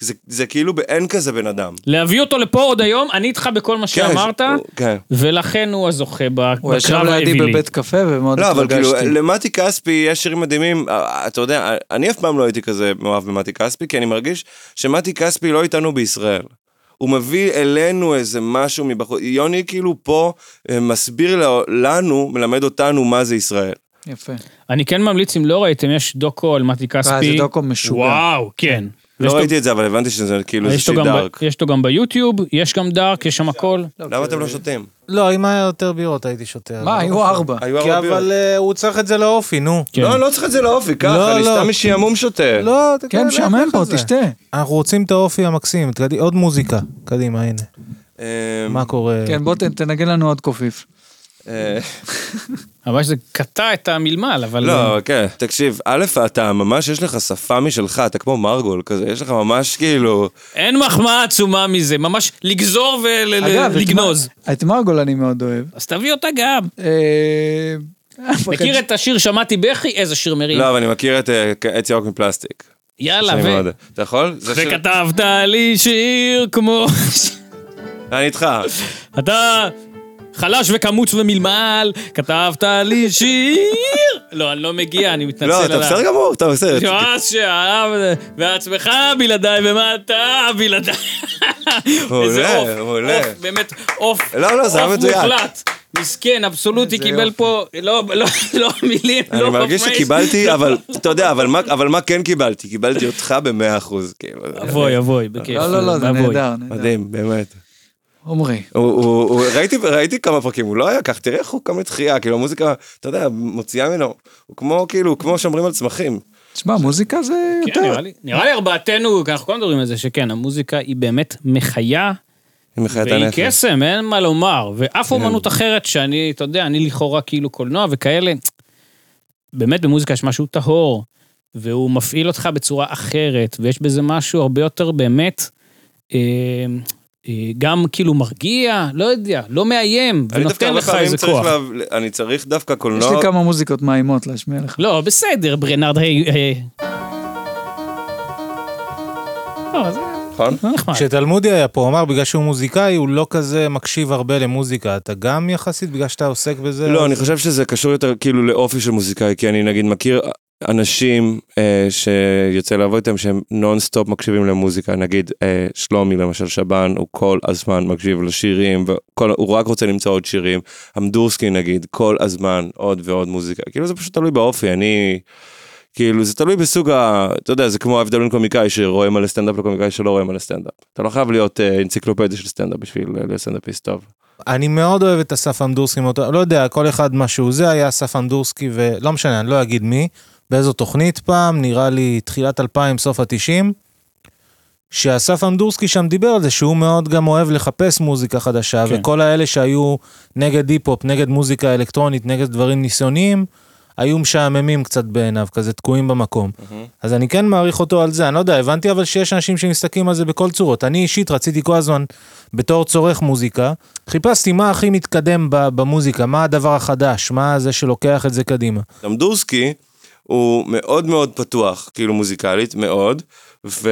Speaker 2: זה, זה כאילו באין כזה בן אדם.
Speaker 5: להביא אותו לפה עוד היום, אני איתך בכל מה שאמרת,
Speaker 2: הוא- כן.
Speaker 5: ולכן הוא הזוכה ב-
Speaker 1: הוא ישב
Speaker 5: בקרב
Speaker 1: לידי
Speaker 5: האווילי.
Speaker 1: בבית קפה ומאוד
Speaker 2: לא, אבל כאילו,
Speaker 1: התרגשתי.
Speaker 2: למתי כספי יש שירים מדהימים, אה, אתה יודע, אני אף פעם לא הייתי כזה מאוהב במתי כספי, כי אני מרגיש שמתי כספי לא איתנו בישראל. הוא מביא אלינו איזה משהו מבחוץ, יוני כאילו פה אה, מסביר לו- לנו, מלמד אותנו מה זה ישראל.
Speaker 1: יפה.
Speaker 5: אני כן ממליץ, אם לא ראיתם, יש דוקו על מתי כספי.
Speaker 1: זה דוקו משוגע.
Speaker 5: וואו, כן. יש
Speaker 2: לא
Speaker 5: לו-
Speaker 2: ראיתי את זה, אבל הבנתי שזה כאילו
Speaker 5: יש
Speaker 2: איזושהי
Speaker 5: לו גם ב-
Speaker 2: דארק.
Speaker 5: יש לו גם ביוטיוב, יש גם דארק, יש שם הכל.
Speaker 2: למה אתם לא שותים?
Speaker 4: לא, אם היה יותר בירות הייתי שותה.
Speaker 1: מה,
Speaker 4: אבל- לא.
Speaker 1: היו ארבע.
Speaker 2: היו
Speaker 4: כי
Speaker 2: הרבה בירות.
Speaker 4: אבל אה, הוא צריך את זה לאופי, נו.
Speaker 5: כן.
Speaker 2: לא, לא צריך את זה לאופי, ככה,
Speaker 4: לא,
Speaker 2: אני
Speaker 4: לא.
Speaker 2: סתם משעמום שותה.
Speaker 4: לא, אתה
Speaker 1: כן,
Speaker 4: יודע,
Speaker 1: משעמם
Speaker 4: לך
Speaker 1: פה,
Speaker 4: על זה.
Speaker 1: תשתה.
Speaker 4: אנחנו רוצים את האופי המקסים. תקדי- עוד מוזיקה. קדימה, הנה.
Speaker 2: אה,
Speaker 4: מה קורה?
Speaker 1: כן, בוא ת- תנגן לנו עוד קופיף.
Speaker 2: אה,
Speaker 5: אבל שזה קטע את המלמל, אבל...
Speaker 2: לא, כן. תקשיב, א', אתה ממש, יש לך שפה משלך, אתה כמו מרגול כזה, יש לך ממש כאילו...
Speaker 5: אין מחמאה עצומה מזה, ממש לגזור
Speaker 1: אגב, את
Speaker 5: ולגנוז.
Speaker 1: מר- את מרגול אני מאוד אוהב.
Speaker 5: אז תביא אותה גם.
Speaker 1: אה,
Speaker 5: מכיר את השיר שמעתי בכי? איזה שיר
Speaker 4: כן.
Speaker 5: מרים.
Speaker 2: לא, אבל אני מכיר את אה, עץ ירוק מפלסטיק.
Speaker 5: יאללה,
Speaker 2: שאני מאוד-
Speaker 5: ו...
Speaker 2: אתה יכול? זה שיר-
Speaker 5: וכתבת לי שיר כמו...
Speaker 2: אני איתך.
Speaker 5: אתה חלש וקמוץ ומלמל, כתבת לי שיר. לא, אני לא מגיע, אני מתנצל
Speaker 2: לא,
Speaker 5: עליו.
Speaker 2: אתה בסדר גמור, אתה בסדר.
Speaker 5: שאז שאהב, ועצמך בלעדיי, ומה אתה בלעדיי. איזה
Speaker 2: מעולה,
Speaker 5: עוף,
Speaker 2: מעולה.
Speaker 5: עוף, באמת עוף,
Speaker 2: לא, לא, זה היה
Speaker 5: עוף
Speaker 2: מצוין.
Speaker 5: מוחלט. מסכן, אבסולוטי,
Speaker 1: זה
Speaker 5: קיבל
Speaker 1: יופי.
Speaker 5: פה, לא, לא, לא מילים, לא
Speaker 2: אני מרגיש
Speaker 5: חופש.
Speaker 2: שקיבלתי, אבל, אתה יודע, אבל מה- אבל מה כן קיבלתי? קיבלתי אותך במאה אחוז, כאילו.
Speaker 5: אבוי, אבוי, בכיף.
Speaker 1: לא, לא, לא, זה
Speaker 5: אבוי.
Speaker 1: נהדר, נהדר.
Speaker 2: מדהים, באמת.
Speaker 1: עומרי.
Speaker 2: הוא- הוא- הוא- ראיתי- ראיתי כמה פרקים, הוא לא היה כך, תראה איך הוא קם לתחייה, כאילו המוזיקה, אתה יודע, מוציאה ממנו, הוא כמו, כאילו, כמו שומרים על צמחים.
Speaker 1: תשמע, מוזיקה זה
Speaker 5: כן,
Speaker 1: יותר.
Speaker 5: נראה לי- נראה לי ארבעתנו, אנחנו כל הזמן מדברים על זה, שכן, המוזיקה היא באמת מחיה,
Speaker 2: עם מחיית
Speaker 5: והיא
Speaker 2: הנפש. כן.
Speaker 5: קסם, אין מה לומר. ואף אומנות אחרת שאני, אתה יודע, אני לכאורה כאילו קולנוע וכאלה, באמת במוזיקה יש משהו טהור, והוא מפעיל אותך בצורה אחרת, ויש בזה משהו הרבה יותר באמת, אה, אה, גם כאילו מרגיע, לא יודע, לא מאיים,
Speaker 2: אני דווקא
Speaker 5: ונותן
Speaker 2: הרבה
Speaker 5: לך
Speaker 2: פעמים
Speaker 5: איזה
Speaker 2: צריך
Speaker 5: כוח.
Speaker 2: לה- אני לא- צריך דווקא
Speaker 1: יש
Speaker 2: קולנוע.
Speaker 1: לי כמה מוזיקות מאיימות להשמיע לך.
Speaker 5: לא, בסדר, ברנרד, היי... היי.
Speaker 2: נכון?
Speaker 5: לא, זה
Speaker 2: נכון?
Speaker 5: לא נחמד.
Speaker 4: כשתלמודי היה פה, הוא אמר, בגלל שהוא מוזיקאי, הוא לא כזה מקשיב הרבה למוזיקה. אתה גם יחסית, בגלל שאתה עוסק בזה?
Speaker 2: לא,
Speaker 4: אז-
Speaker 2: אני חושב שזה קשור יותר כאילו לאופי של מוזיקאי, כי אני נגיד מכיר אנשים אה, שיוצא לעבוד איתם שהם נונסטופ מקשיבים למוזיקה, נגיד אה, שלומי למשל שבן, הוא כל הזמן מקשיב לשירים, וכל, הוא רק רוצה למצוא עוד שירים, אמדורסקי נגיד, כל הזמן עוד ועוד מוזיקה, כאילו זה פשוט תלוי באופי, אני... כאילו זה תלוי בסוג ה... אתה יודע, זה כמו ההבדל בין קומיקאי שרואה מלא סטנדאפ לקומיקאי שלא רואה מלא סטנדאפ. אתה לא חייב להיות אה, אנציקלופדיה של סטנדאפ בשביל אה, להיות סטנדאפיסט טוב.
Speaker 4: אני מאוד אוהב את אסף אמדורסקי, מאותו- לא יודע, כל אחד מה שהוא זה, היה אסף אמדורסקי ולא משנה, אני לא אגיד מי, באיזו תוכנית פעם, נראה לי תחילת 2000, סוף ה-90, שאסף אמדורסקי שם דיבר על זה שהוא מאוד גם אוהב לחפש מוזיקה חדשה,
Speaker 5: כן.
Speaker 4: כן. וכל האלה שהיו נגד היפ-הופ, נגד מוזיקה אלקטרונית, נגד דברים ניסיוניים, היו משעממים קצת בעיניו, כזה תקועים במקום. אז אני כן מעריך אותו על זה, אני לא יודע, הבנתי אבל שיש אנשים שמסתכלים על זה בכל צורות. אני אישית רציתי כל הזמן, בתור צורך מוזיקה, חיפשתי מה הכי
Speaker 3: כן.
Speaker 4: מתקדם ב- במוזיקה, מה הדבר החדש, מה זה שלוקח את זה קדימה.
Speaker 2: למדורסקי, הוא מאוד מאוד פתוח, כאילו מוזיקלית, מאוד, ו...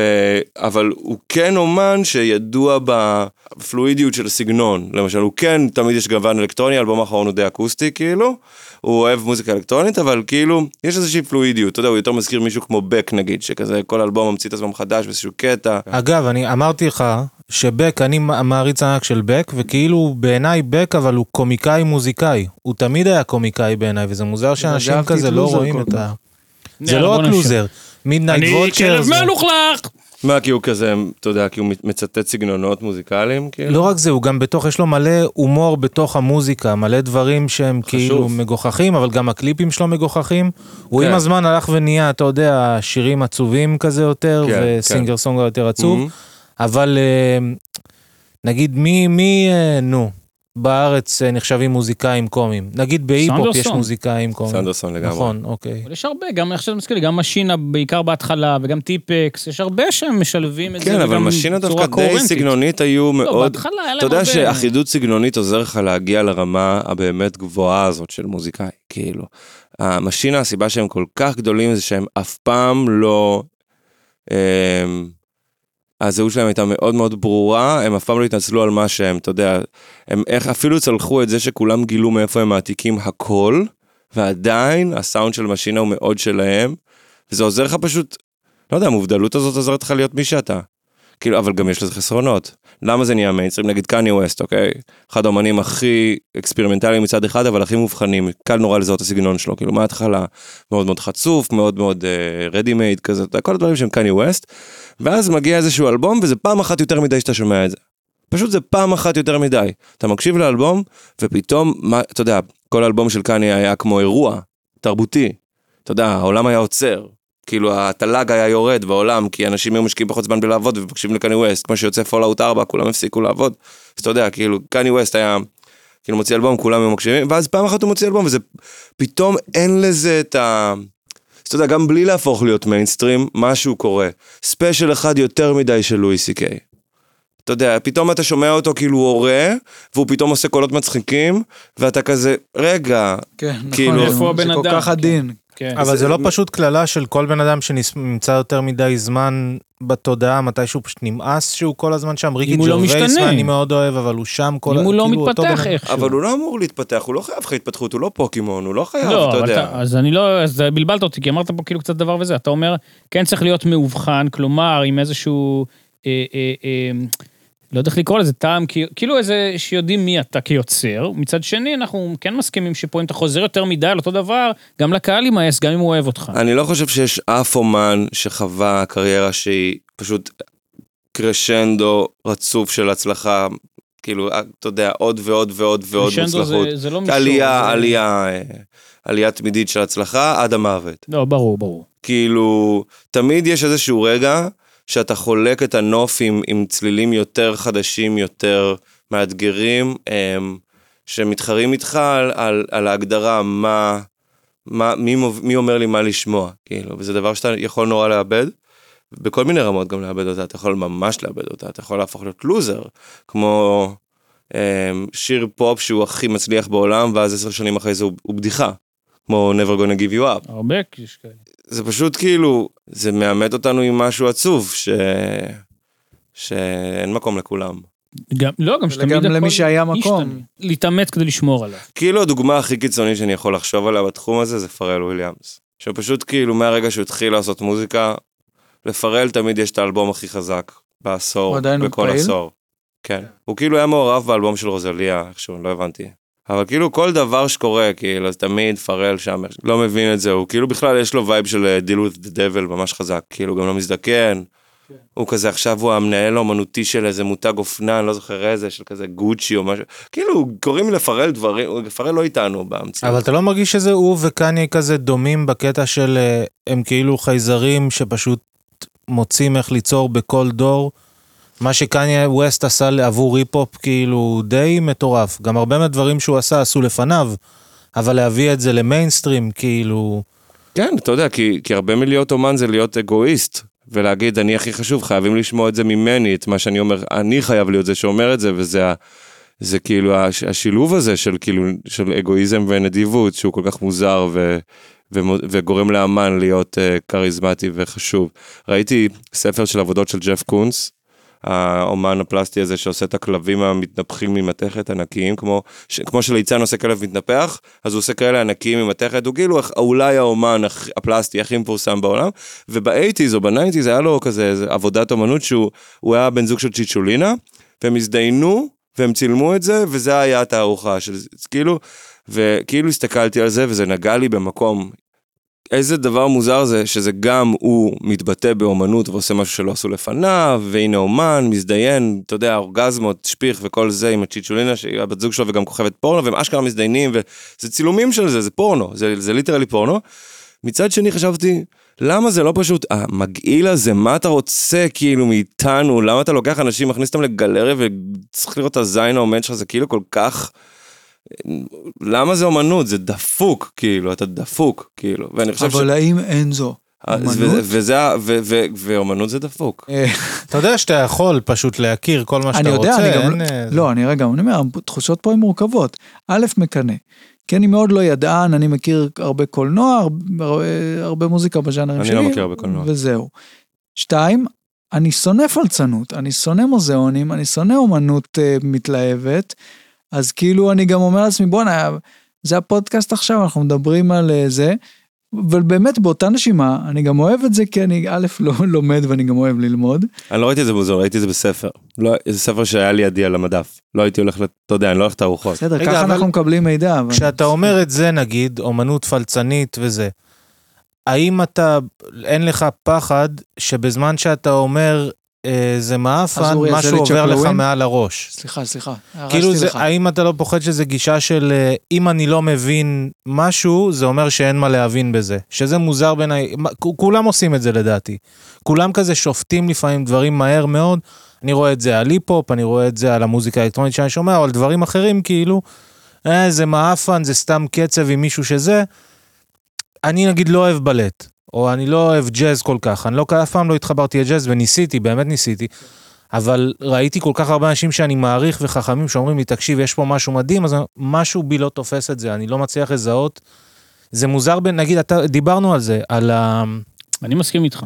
Speaker 2: אבל הוא כן אומן שידוע בפלואידיות של הסגנון. למשל, הוא כן, תמיד יש גוון אלקטרוני, האלבום האחרון הוא די אקוסטי, כאילו. הוא אוהב מוזיקה אלקטרונית, אבל כאילו, יש איזושהי פלואידיות, אתה יודע, הוא יותר מזכיר מישהו כמו בק נגיד, שכזה כל אלבום ממציא את עצמו מחדש באיזשהו קטע.
Speaker 4: אגב, אני אמרתי לך שבק, אני מ- מעריץ ענק של בק, וכאילו בעיניי בק, אבל הוא קומיקאי מוזיקאי. הוא תמיד היה קומיקאי בעיניי, וזה מוזר שאנשים
Speaker 1: אהבתי את
Speaker 4: כזה לא
Speaker 1: לוזר
Speaker 4: רואים
Speaker 1: כל
Speaker 4: את ה... זה
Speaker 3: יאללה,
Speaker 4: לא
Speaker 3: בוא
Speaker 4: רק
Speaker 3: נמשיך.
Speaker 4: לוזר. מידנייט
Speaker 3: אני כלב
Speaker 4: וולצ'רס.
Speaker 3: מלוכלך!
Speaker 2: מה, כי הוא כזה, אתה יודע, כי הוא מצטט סגנונות מוזיקליים, כאילו?
Speaker 4: לא רק זה, הוא גם בתוך, יש לו מלא הומור בתוך המוזיקה, מלא דברים שהם כאילו מגוחכים, אבל גם הקליפים שלו מגוחכים. הוא
Speaker 2: כן.
Speaker 4: עם הזמן הלך ונהיה, אתה יודע, שירים עצובים כזה יותר,
Speaker 2: כן,
Speaker 4: וסינגר סונגר יותר עצוב,
Speaker 2: Mhm.
Speaker 4: אבל אה, נגיד מי, מי, אה, נו, בארץ אה, נחשבים מוזיקאים קומיים. נגיד בהיפ-הופ יש
Speaker 3: סנדרסון.
Speaker 4: מוזיקאים קומיים.
Speaker 2: סנדרסון לגמרי.
Speaker 4: נכון, אוקיי.
Speaker 5: אבל יש הרבה, גם עכשיו אתה מזכיר לי, גם משינה בעיקר בהתחלה, וגם טיפקס, יש הרבה שהם משלבים את זה,
Speaker 2: כן, אבל
Speaker 5: וגם
Speaker 2: משינה דווקא
Speaker 5: בצורה
Speaker 2: די
Speaker 5: קוהרנטית.
Speaker 2: סגנונית היו
Speaker 5: לא,
Speaker 2: מאוד...
Speaker 5: בהתחלה היה להם
Speaker 2: אתה יודע
Speaker 5: הרבה-
Speaker 2: שאחידות סגנונית עוזר לך להגיע לרמה הבאמת גבוהה הזאת של מוזיקאי, כאילו. המשינה, הסיבה שהם כל כך גדולים זה שהם אף פעם לא... אמ, הזהות שלהם הייתה מאוד מאוד ברורה, הם אף פעם לא התנצלו על מה שהם, אתה יודע, הם איך, אפילו צלחו את זה שכולם גילו מאיפה הם מעתיקים הכל, ועדיין הסאונד של משינה הוא מאוד שלהם, וזה עוזר לך פשוט, לא יודע, המובדלות הזאת עוזרת לך להיות מי שאתה. כאילו, אבל גם יש לזה חסרונות. למה זה נהיה מיינסטרים? נגיד קניה ווסט, אוקיי? אחד האומנים הכי אקספרימנטליים מצד אחד, אבל הכי מובחנים. קל נורא לזהות את הסגנון שלו, כאילו, מההתחלה, מאוד מאוד חצוף, מאוד מאוד רדי uh, מייד כזה, אתה יודע, כל הדברים שהם קניה ווסט. ואז מגיע איזשהו אלבום, וזה פעם אחת יותר מדי שאתה שומע את זה. פשוט זה פעם אחת יותר מדי. אתה מקשיב לאלבום, ופתאום, מה, אתה יודע, כל אלבום של קניה היה כמו אירוע, תרבותי. אתה יודע, העולם היה עוצר. כאילו התל"ג היה יורד בעולם, כי אנשים היו משקיעים פחות זמן בלעבוד ומבקשים לקני ווסט, כמו שיוצא פולאאוט 4, כולם הפסיקו לעבוד. אז אתה יודע, כאילו, קני ווסט היה, כאילו מוציא אלבום, כולם היו מקשיבים, ואז פעם אחת הוא מוציא אלבום, וזה, פתאום אין לזה את ה... אז אתה יודע, גם בלי להפוך להיות מיינסטרים, משהו קורה. ספיישל אחד יותר מדי של לואי סי קיי. אתה יודע, פתאום אתה שומע אותו כאילו הוא הורה, והוא פתאום עושה קולות מצחיקים, ואתה כזה, רגע,
Speaker 1: כן, נכון,
Speaker 2: כאילו-
Speaker 1: זה-
Speaker 5: איפה הבן
Speaker 1: זה כל
Speaker 5: אדם?
Speaker 1: כך עדין.
Speaker 5: כן.
Speaker 4: אבל זה לא פשוט קללה של כל בן אדם שנמצא יותר מדי זמן בתודעה, מתישהו פשוט נמאס שהוא כל הזמן שם. ריקי
Speaker 3: הוא לא
Speaker 4: ג'רווייס,
Speaker 3: משתנה.
Speaker 4: מה אני מאוד אוהב, אבל הוא שם כל...
Speaker 3: אם הוא לא
Speaker 4: כאילו אותו בן
Speaker 3: מתפתח
Speaker 4: אדם.
Speaker 3: איכשהו.
Speaker 2: אבל הוא לא אמור להתפתח, הוא לא חייב לך התפתחות, הוא לא פוקימון, הוא לא חייב,
Speaker 3: לא,
Speaker 2: אתה
Speaker 3: אבל
Speaker 2: יודע.
Speaker 3: אתה, אז אני לא, אז בלבלת אותי, כי אמרת פה כאילו קצת דבר וזה. אתה אומר, כן צריך להיות מאובחן, כלומר, עם איזשהו, אה, אה, אה, לא יודע איך לקרוא לזה, טעם, כי- כאילו איזה, שיודעים מי אתה כיוצר. מצד שני, אנחנו כן מסכימים שפה אם אתה חוזר יותר מדי על אותו דבר, גם לקהל יימאס, גם אם הוא אוהב אותך.
Speaker 2: אני לא חושב שיש אף אומן שחווה קריירה שהיא פשוט קרשנדו רצוף של הצלחה, כאילו, אתה יודע, עוד ועוד ועוד ועוד
Speaker 3: קרשנדו זה-
Speaker 2: מוצלחות.
Speaker 3: זה לא מישור.
Speaker 2: עלייה,
Speaker 3: זה-
Speaker 2: עלייה, אה, עלייה תמידית של הצלחה עד המוות.
Speaker 3: לא, ברור, ברור.
Speaker 2: כאילו, תמיד יש איזשהו רגע שאתה חולק את הנוף עם, עם צלילים יותר חדשים, יותר מאתגרים, הם, שמתחרים איתך על, על, על ההגדרה מה, מה מי, מוב- מי אומר לי מה לשמוע, כאילו, וזה דבר שאתה יכול נורא לאבד. בכל מיני רמות גם לאבד אותה, אתה יכול ממש לאבד אותה, אתה יכול להפוך להיות לוזר, כמו אמ, שיר פופ שהוא הכי מצליח בעולם, ואז עשר שנים אחרי זה הוא, הוא בדיחה, כמו Never gonna give you up.
Speaker 3: הרבה יש כאלה.
Speaker 2: זה פשוט כאילו, זה מאמת אותנו עם משהו עצוב, ש... שאין מקום לכולם.
Speaker 3: גם, לא, גם שתמיד
Speaker 1: וגם למי שהיה
Speaker 3: ישתנה.
Speaker 1: מקום.
Speaker 3: להתאמץ כדי לשמור עליו.
Speaker 2: כאילו הדוגמה הכי קיצונית שאני יכול לחשוב עליה בתחום הזה זה פרל וויליאמס. שפשוט כאילו מהרגע שהוא התחיל לעשות מוזיקה, לפרל תמיד יש את האלבום הכי חזק בעשור,
Speaker 1: הוא עדיין הוא
Speaker 2: בכל
Speaker 1: פעיל?
Speaker 2: עשור. כן. הוא כאילו היה מעורב באלבום של רוזליה, איכשהו, לא הבנתי. אבל כאילו כל דבר שקורה, כאילו, אז תמיד פרל שם, לא מבין את זה, הוא כאילו בכלל יש לו וייב של אה, deal with the devil ממש חזק, כאילו גם לא מזדקן. הוא כזה עכשיו הוא המנהל האומנותי של איזה מותג אופנה, אני לא זוכר איזה, של כזה גוצ'י או משהו, כאילו קוראים לפרל דברים, פרל לא איתנו במציאות.
Speaker 4: אבל אתה לא מרגיש שזה הוא וקניה כזה דומים בקטע של אה, הם כאילו חייזרים שפשוט מוצאים איך ליצור בכל דור. מה שקניה ווסט עשה עבור היפ-הופ כאילו די מטורף. גם הרבה מהדברים שהוא עשה עשו לפניו, אבל להביא את זה למיינסטרים כאילו...
Speaker 2: כן, אתה יודע, כי, כי הרבה מלהיות אומן זה להיות אגואיסט, ולהגיד, אני הכי חשוב, חייבים לשמוע את זה ממני, את מה שאני אומר, אני חייב להיות זה שאומר את זה, וזה ה... זה כאילו הש, השילוב הזה של כאילו, של אגואיזם ונדיבות, שהוא כל כך מוזר ו, ומו- וגורם לאמן להיות אה, כריזמטי וחשוב. ראיתי ספר של עבודות של ג'ף קונס, האומן הפלסטי הזה שעושה את הכלבים המתנפחים ממתכת ענקיים, כמו, ש, כמו שליצן עושה כלב מתנפח, אז הוא עושה כאלה ענקיים ממתכת, הוא כאילו הכ- אולי האומן הכ- הפלסטי הכי מפורסם בעולם, ובאייטיז או בניינטיז היה לו כזה איזה עבודת אומנות שהוא הוא היה בן זוג של צ'יצ'ולינה, והם הזדיינו, והם צילמו את זה, וזה היה התערוכה של זה, אז כאילו, וכאילו הסתכלתי על זה, וזה נגע לי במקום. איזה דבר מוזר זה שזה גם הוא מתבטא באומנות ועושה משהו שלא עשו לפניו, והנה אומן, מזדיין, אתה יודע, אורגזמות, שפיך וכל זה עם הצ'יצ'ולינה שהיא הבת זוג שלו וגם כוכבת פורנו, והם אשכרה מזדיינים, וזה צילומים של זה, זה פורנו, זה, זה ליטרלי פורנו. מצד שני חשבתי, למה זה לא פשוט, המגעיל הזה, מה אתה רוצה כאילו מאיתנו, למה אתה לוקח אנשים, מכניס אותם לגלריה וצריך לראות את הזין העומד שלך, זה כאילו כל כך... למה זה אומנות? זה דפוק, כאילו, אתה דפוק, כאילו, ואני חושב
Speaker 1: אבל האם אין זו?
Speaker 2: אז
Speaker 1: אומנות?
Speaker 2: וזה- וזה, ה- ו- ו- ואומנות זה דפוק.
Speaker 1: אה,
Speaker 4: אתה יודע שאתה יכול פשוט להכיר כל מה
Speaker 1: אני
Speaker 4: שאתה
Speaker 1: יודע,
Speaker 4: רוצה.
Speaker 1: אני גם...
Speaker 4: אין, אה,
Speaker 1: לא, אני רגע, אני אומר, התחושות פה הן מורכבות. א', מקנא. כי אני מאוד לא ידען, אני מכיר הרבה קולנוע, הרבה- הרבה- הרבה מוזיקה בז'אנרים
Speaker 2: אני
Speaker 1: שלי.
Speaker 2: לא מכיר הרבה קולנוע.
Speaker 1: וזהו. שתיים, אני שונא פלצנות, אני שונא מוזיאונים, אני שונא אומנות אה, מתלהבת, אז כאילו אני גם אומר לעצמי, בואנה, זה הפודקאסט עכשיו, אנחנו מדברים על אה, זה. אבל באמת באותה נשימה, אני גם אוהב את זה כי אני א', לא לומד ואני גם אוהב ללמוד.
Speaker 2: אני לא ראיתי את זה במוזיאון, ראיתי את זה בספר. לא, זה ספר שהיה לידי על המדף. לא הייתי הולך, לת- אתה יודע, אני לא הולך לתערוכות.
Speaker 1: בסדר,
Speaker 4: רגע,
Speaker 1: ככה
Speaker 4: אבל-
Speaker 1: אנחנו מקבלים מידע. אבל-
Speaker 4: כשאתה אומר את זה, נגיד, אומנות פלצנית וזה, האם אתה, אין לך פחד שבזמן שאתה אומר אה, זה
Speaker 1: אז
Speaker 4: מעפן,
Speaker 1: אורי יעשה
Speaker 4: משהו
Speaker 1: לי
Speaker 4: עובר לך
Speaker 1: צ'קלאווין?
Speaker 4: מעל הראש?
Speaker 1: סליחה, סליחה,
Speaker 4: כאילו,
Speaker 1: הרסתי
Speaker 4: זה,
Speaker 1: לך. אה,
Speaker 4: האם אתה לא פוחד שזה גישה של אה, אם אני לא מבין משהו, זה אומר שאין מה להבין בזה. שזה מוזר בעיניי, מה- כ- כולם עושים את זה לדעתי. כולם כזה שופטים לפעמים דברים מהר מאוד. אני רואה את זה על היפ-הופ, אני רואה את זה על המוזיקה האלקטרונית שאני שומע, או על דברים אחרים, כאילו, אה, זה מעפן, זה סתם קצב עם מישהו שזה. אני נגיד לא אוהב בלט, או אני לא אוהב ג'אז כל כך, אני לא, אף פעם לא התחברתי לג'אז וניסיתי, באמת ניסיתי. אבל ראיתי כל כך הרבה אנשים שאני מעריך וחכמים שאומרים לי, תקשיב, יש פה משהו מדהים, אז אני- משהו בי לא תופס את זה, אני לא מצליח לזהות. זה מוזר, בין- נגיד, אתה, דיברנו על זה, על ה...
Speaker 5: אני מסכים איתך.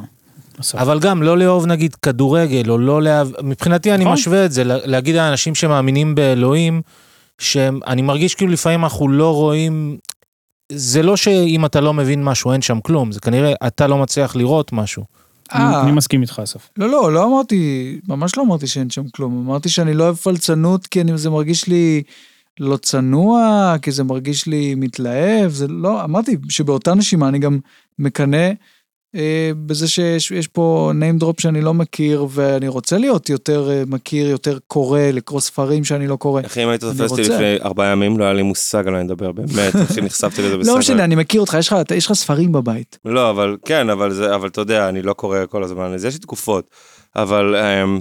Speaker 5: אסף.
Speaker 4: אבל גם לא לאהוב נגיד כדורגל, או לא לאהוב, מבחינתי אני
Speaker 5: נכון.
Speaker 4: משווה את זה, לה- להגיד על אנשים שמאמינים באלוהים, שאני מרגיש כאילו לפעמים אנחנו לא רואים, זה לא שאם אתה לא מבין משהו אין שם כלום, זה כנראה אתה לא מצליח לראות משהו.
Speaker 1: אה,
Speaker 5: אני- אני מסכים איתך, אסף.
Speaker 1: לא, לא, לא אמרתי, ממש לא אמרתי שאין שם כלום. אמרתי שאני לא אוהב פלצנות, כי אני, זה מרגיש לי לא צנוע, כי זה מרגיש לי מתלהב, זה לא, אמרתי שבאותה נשימה אני גם מקנא אה, בזה שיש יש פה name drop שאני לא מכיר, ואני רוצה להיות יותר אה, מכיר, יותר קורא, לקרוא ספרים שאני לא קורא.
Speaker 2: אחי, אם היית
Speaker 1: אני
Speaker 2: תופס אותי
Speaker 1: רוצה.
Speaker 2: לפני ארבעה ימים, לא היה לי מושג על מה אני מדבר, באמת, אחי, נחשפתי לזה בספר.
Speaker 1: לא משנה, אני מכיר אותך, יש לך- אתה- יש לך ספרים בבית.
Speaker 2: לא, אבל כן, אבל זה, אבל אתה יודע, אני לא קורא כל הזמן, אז יש לי תקופות. אבל אמ,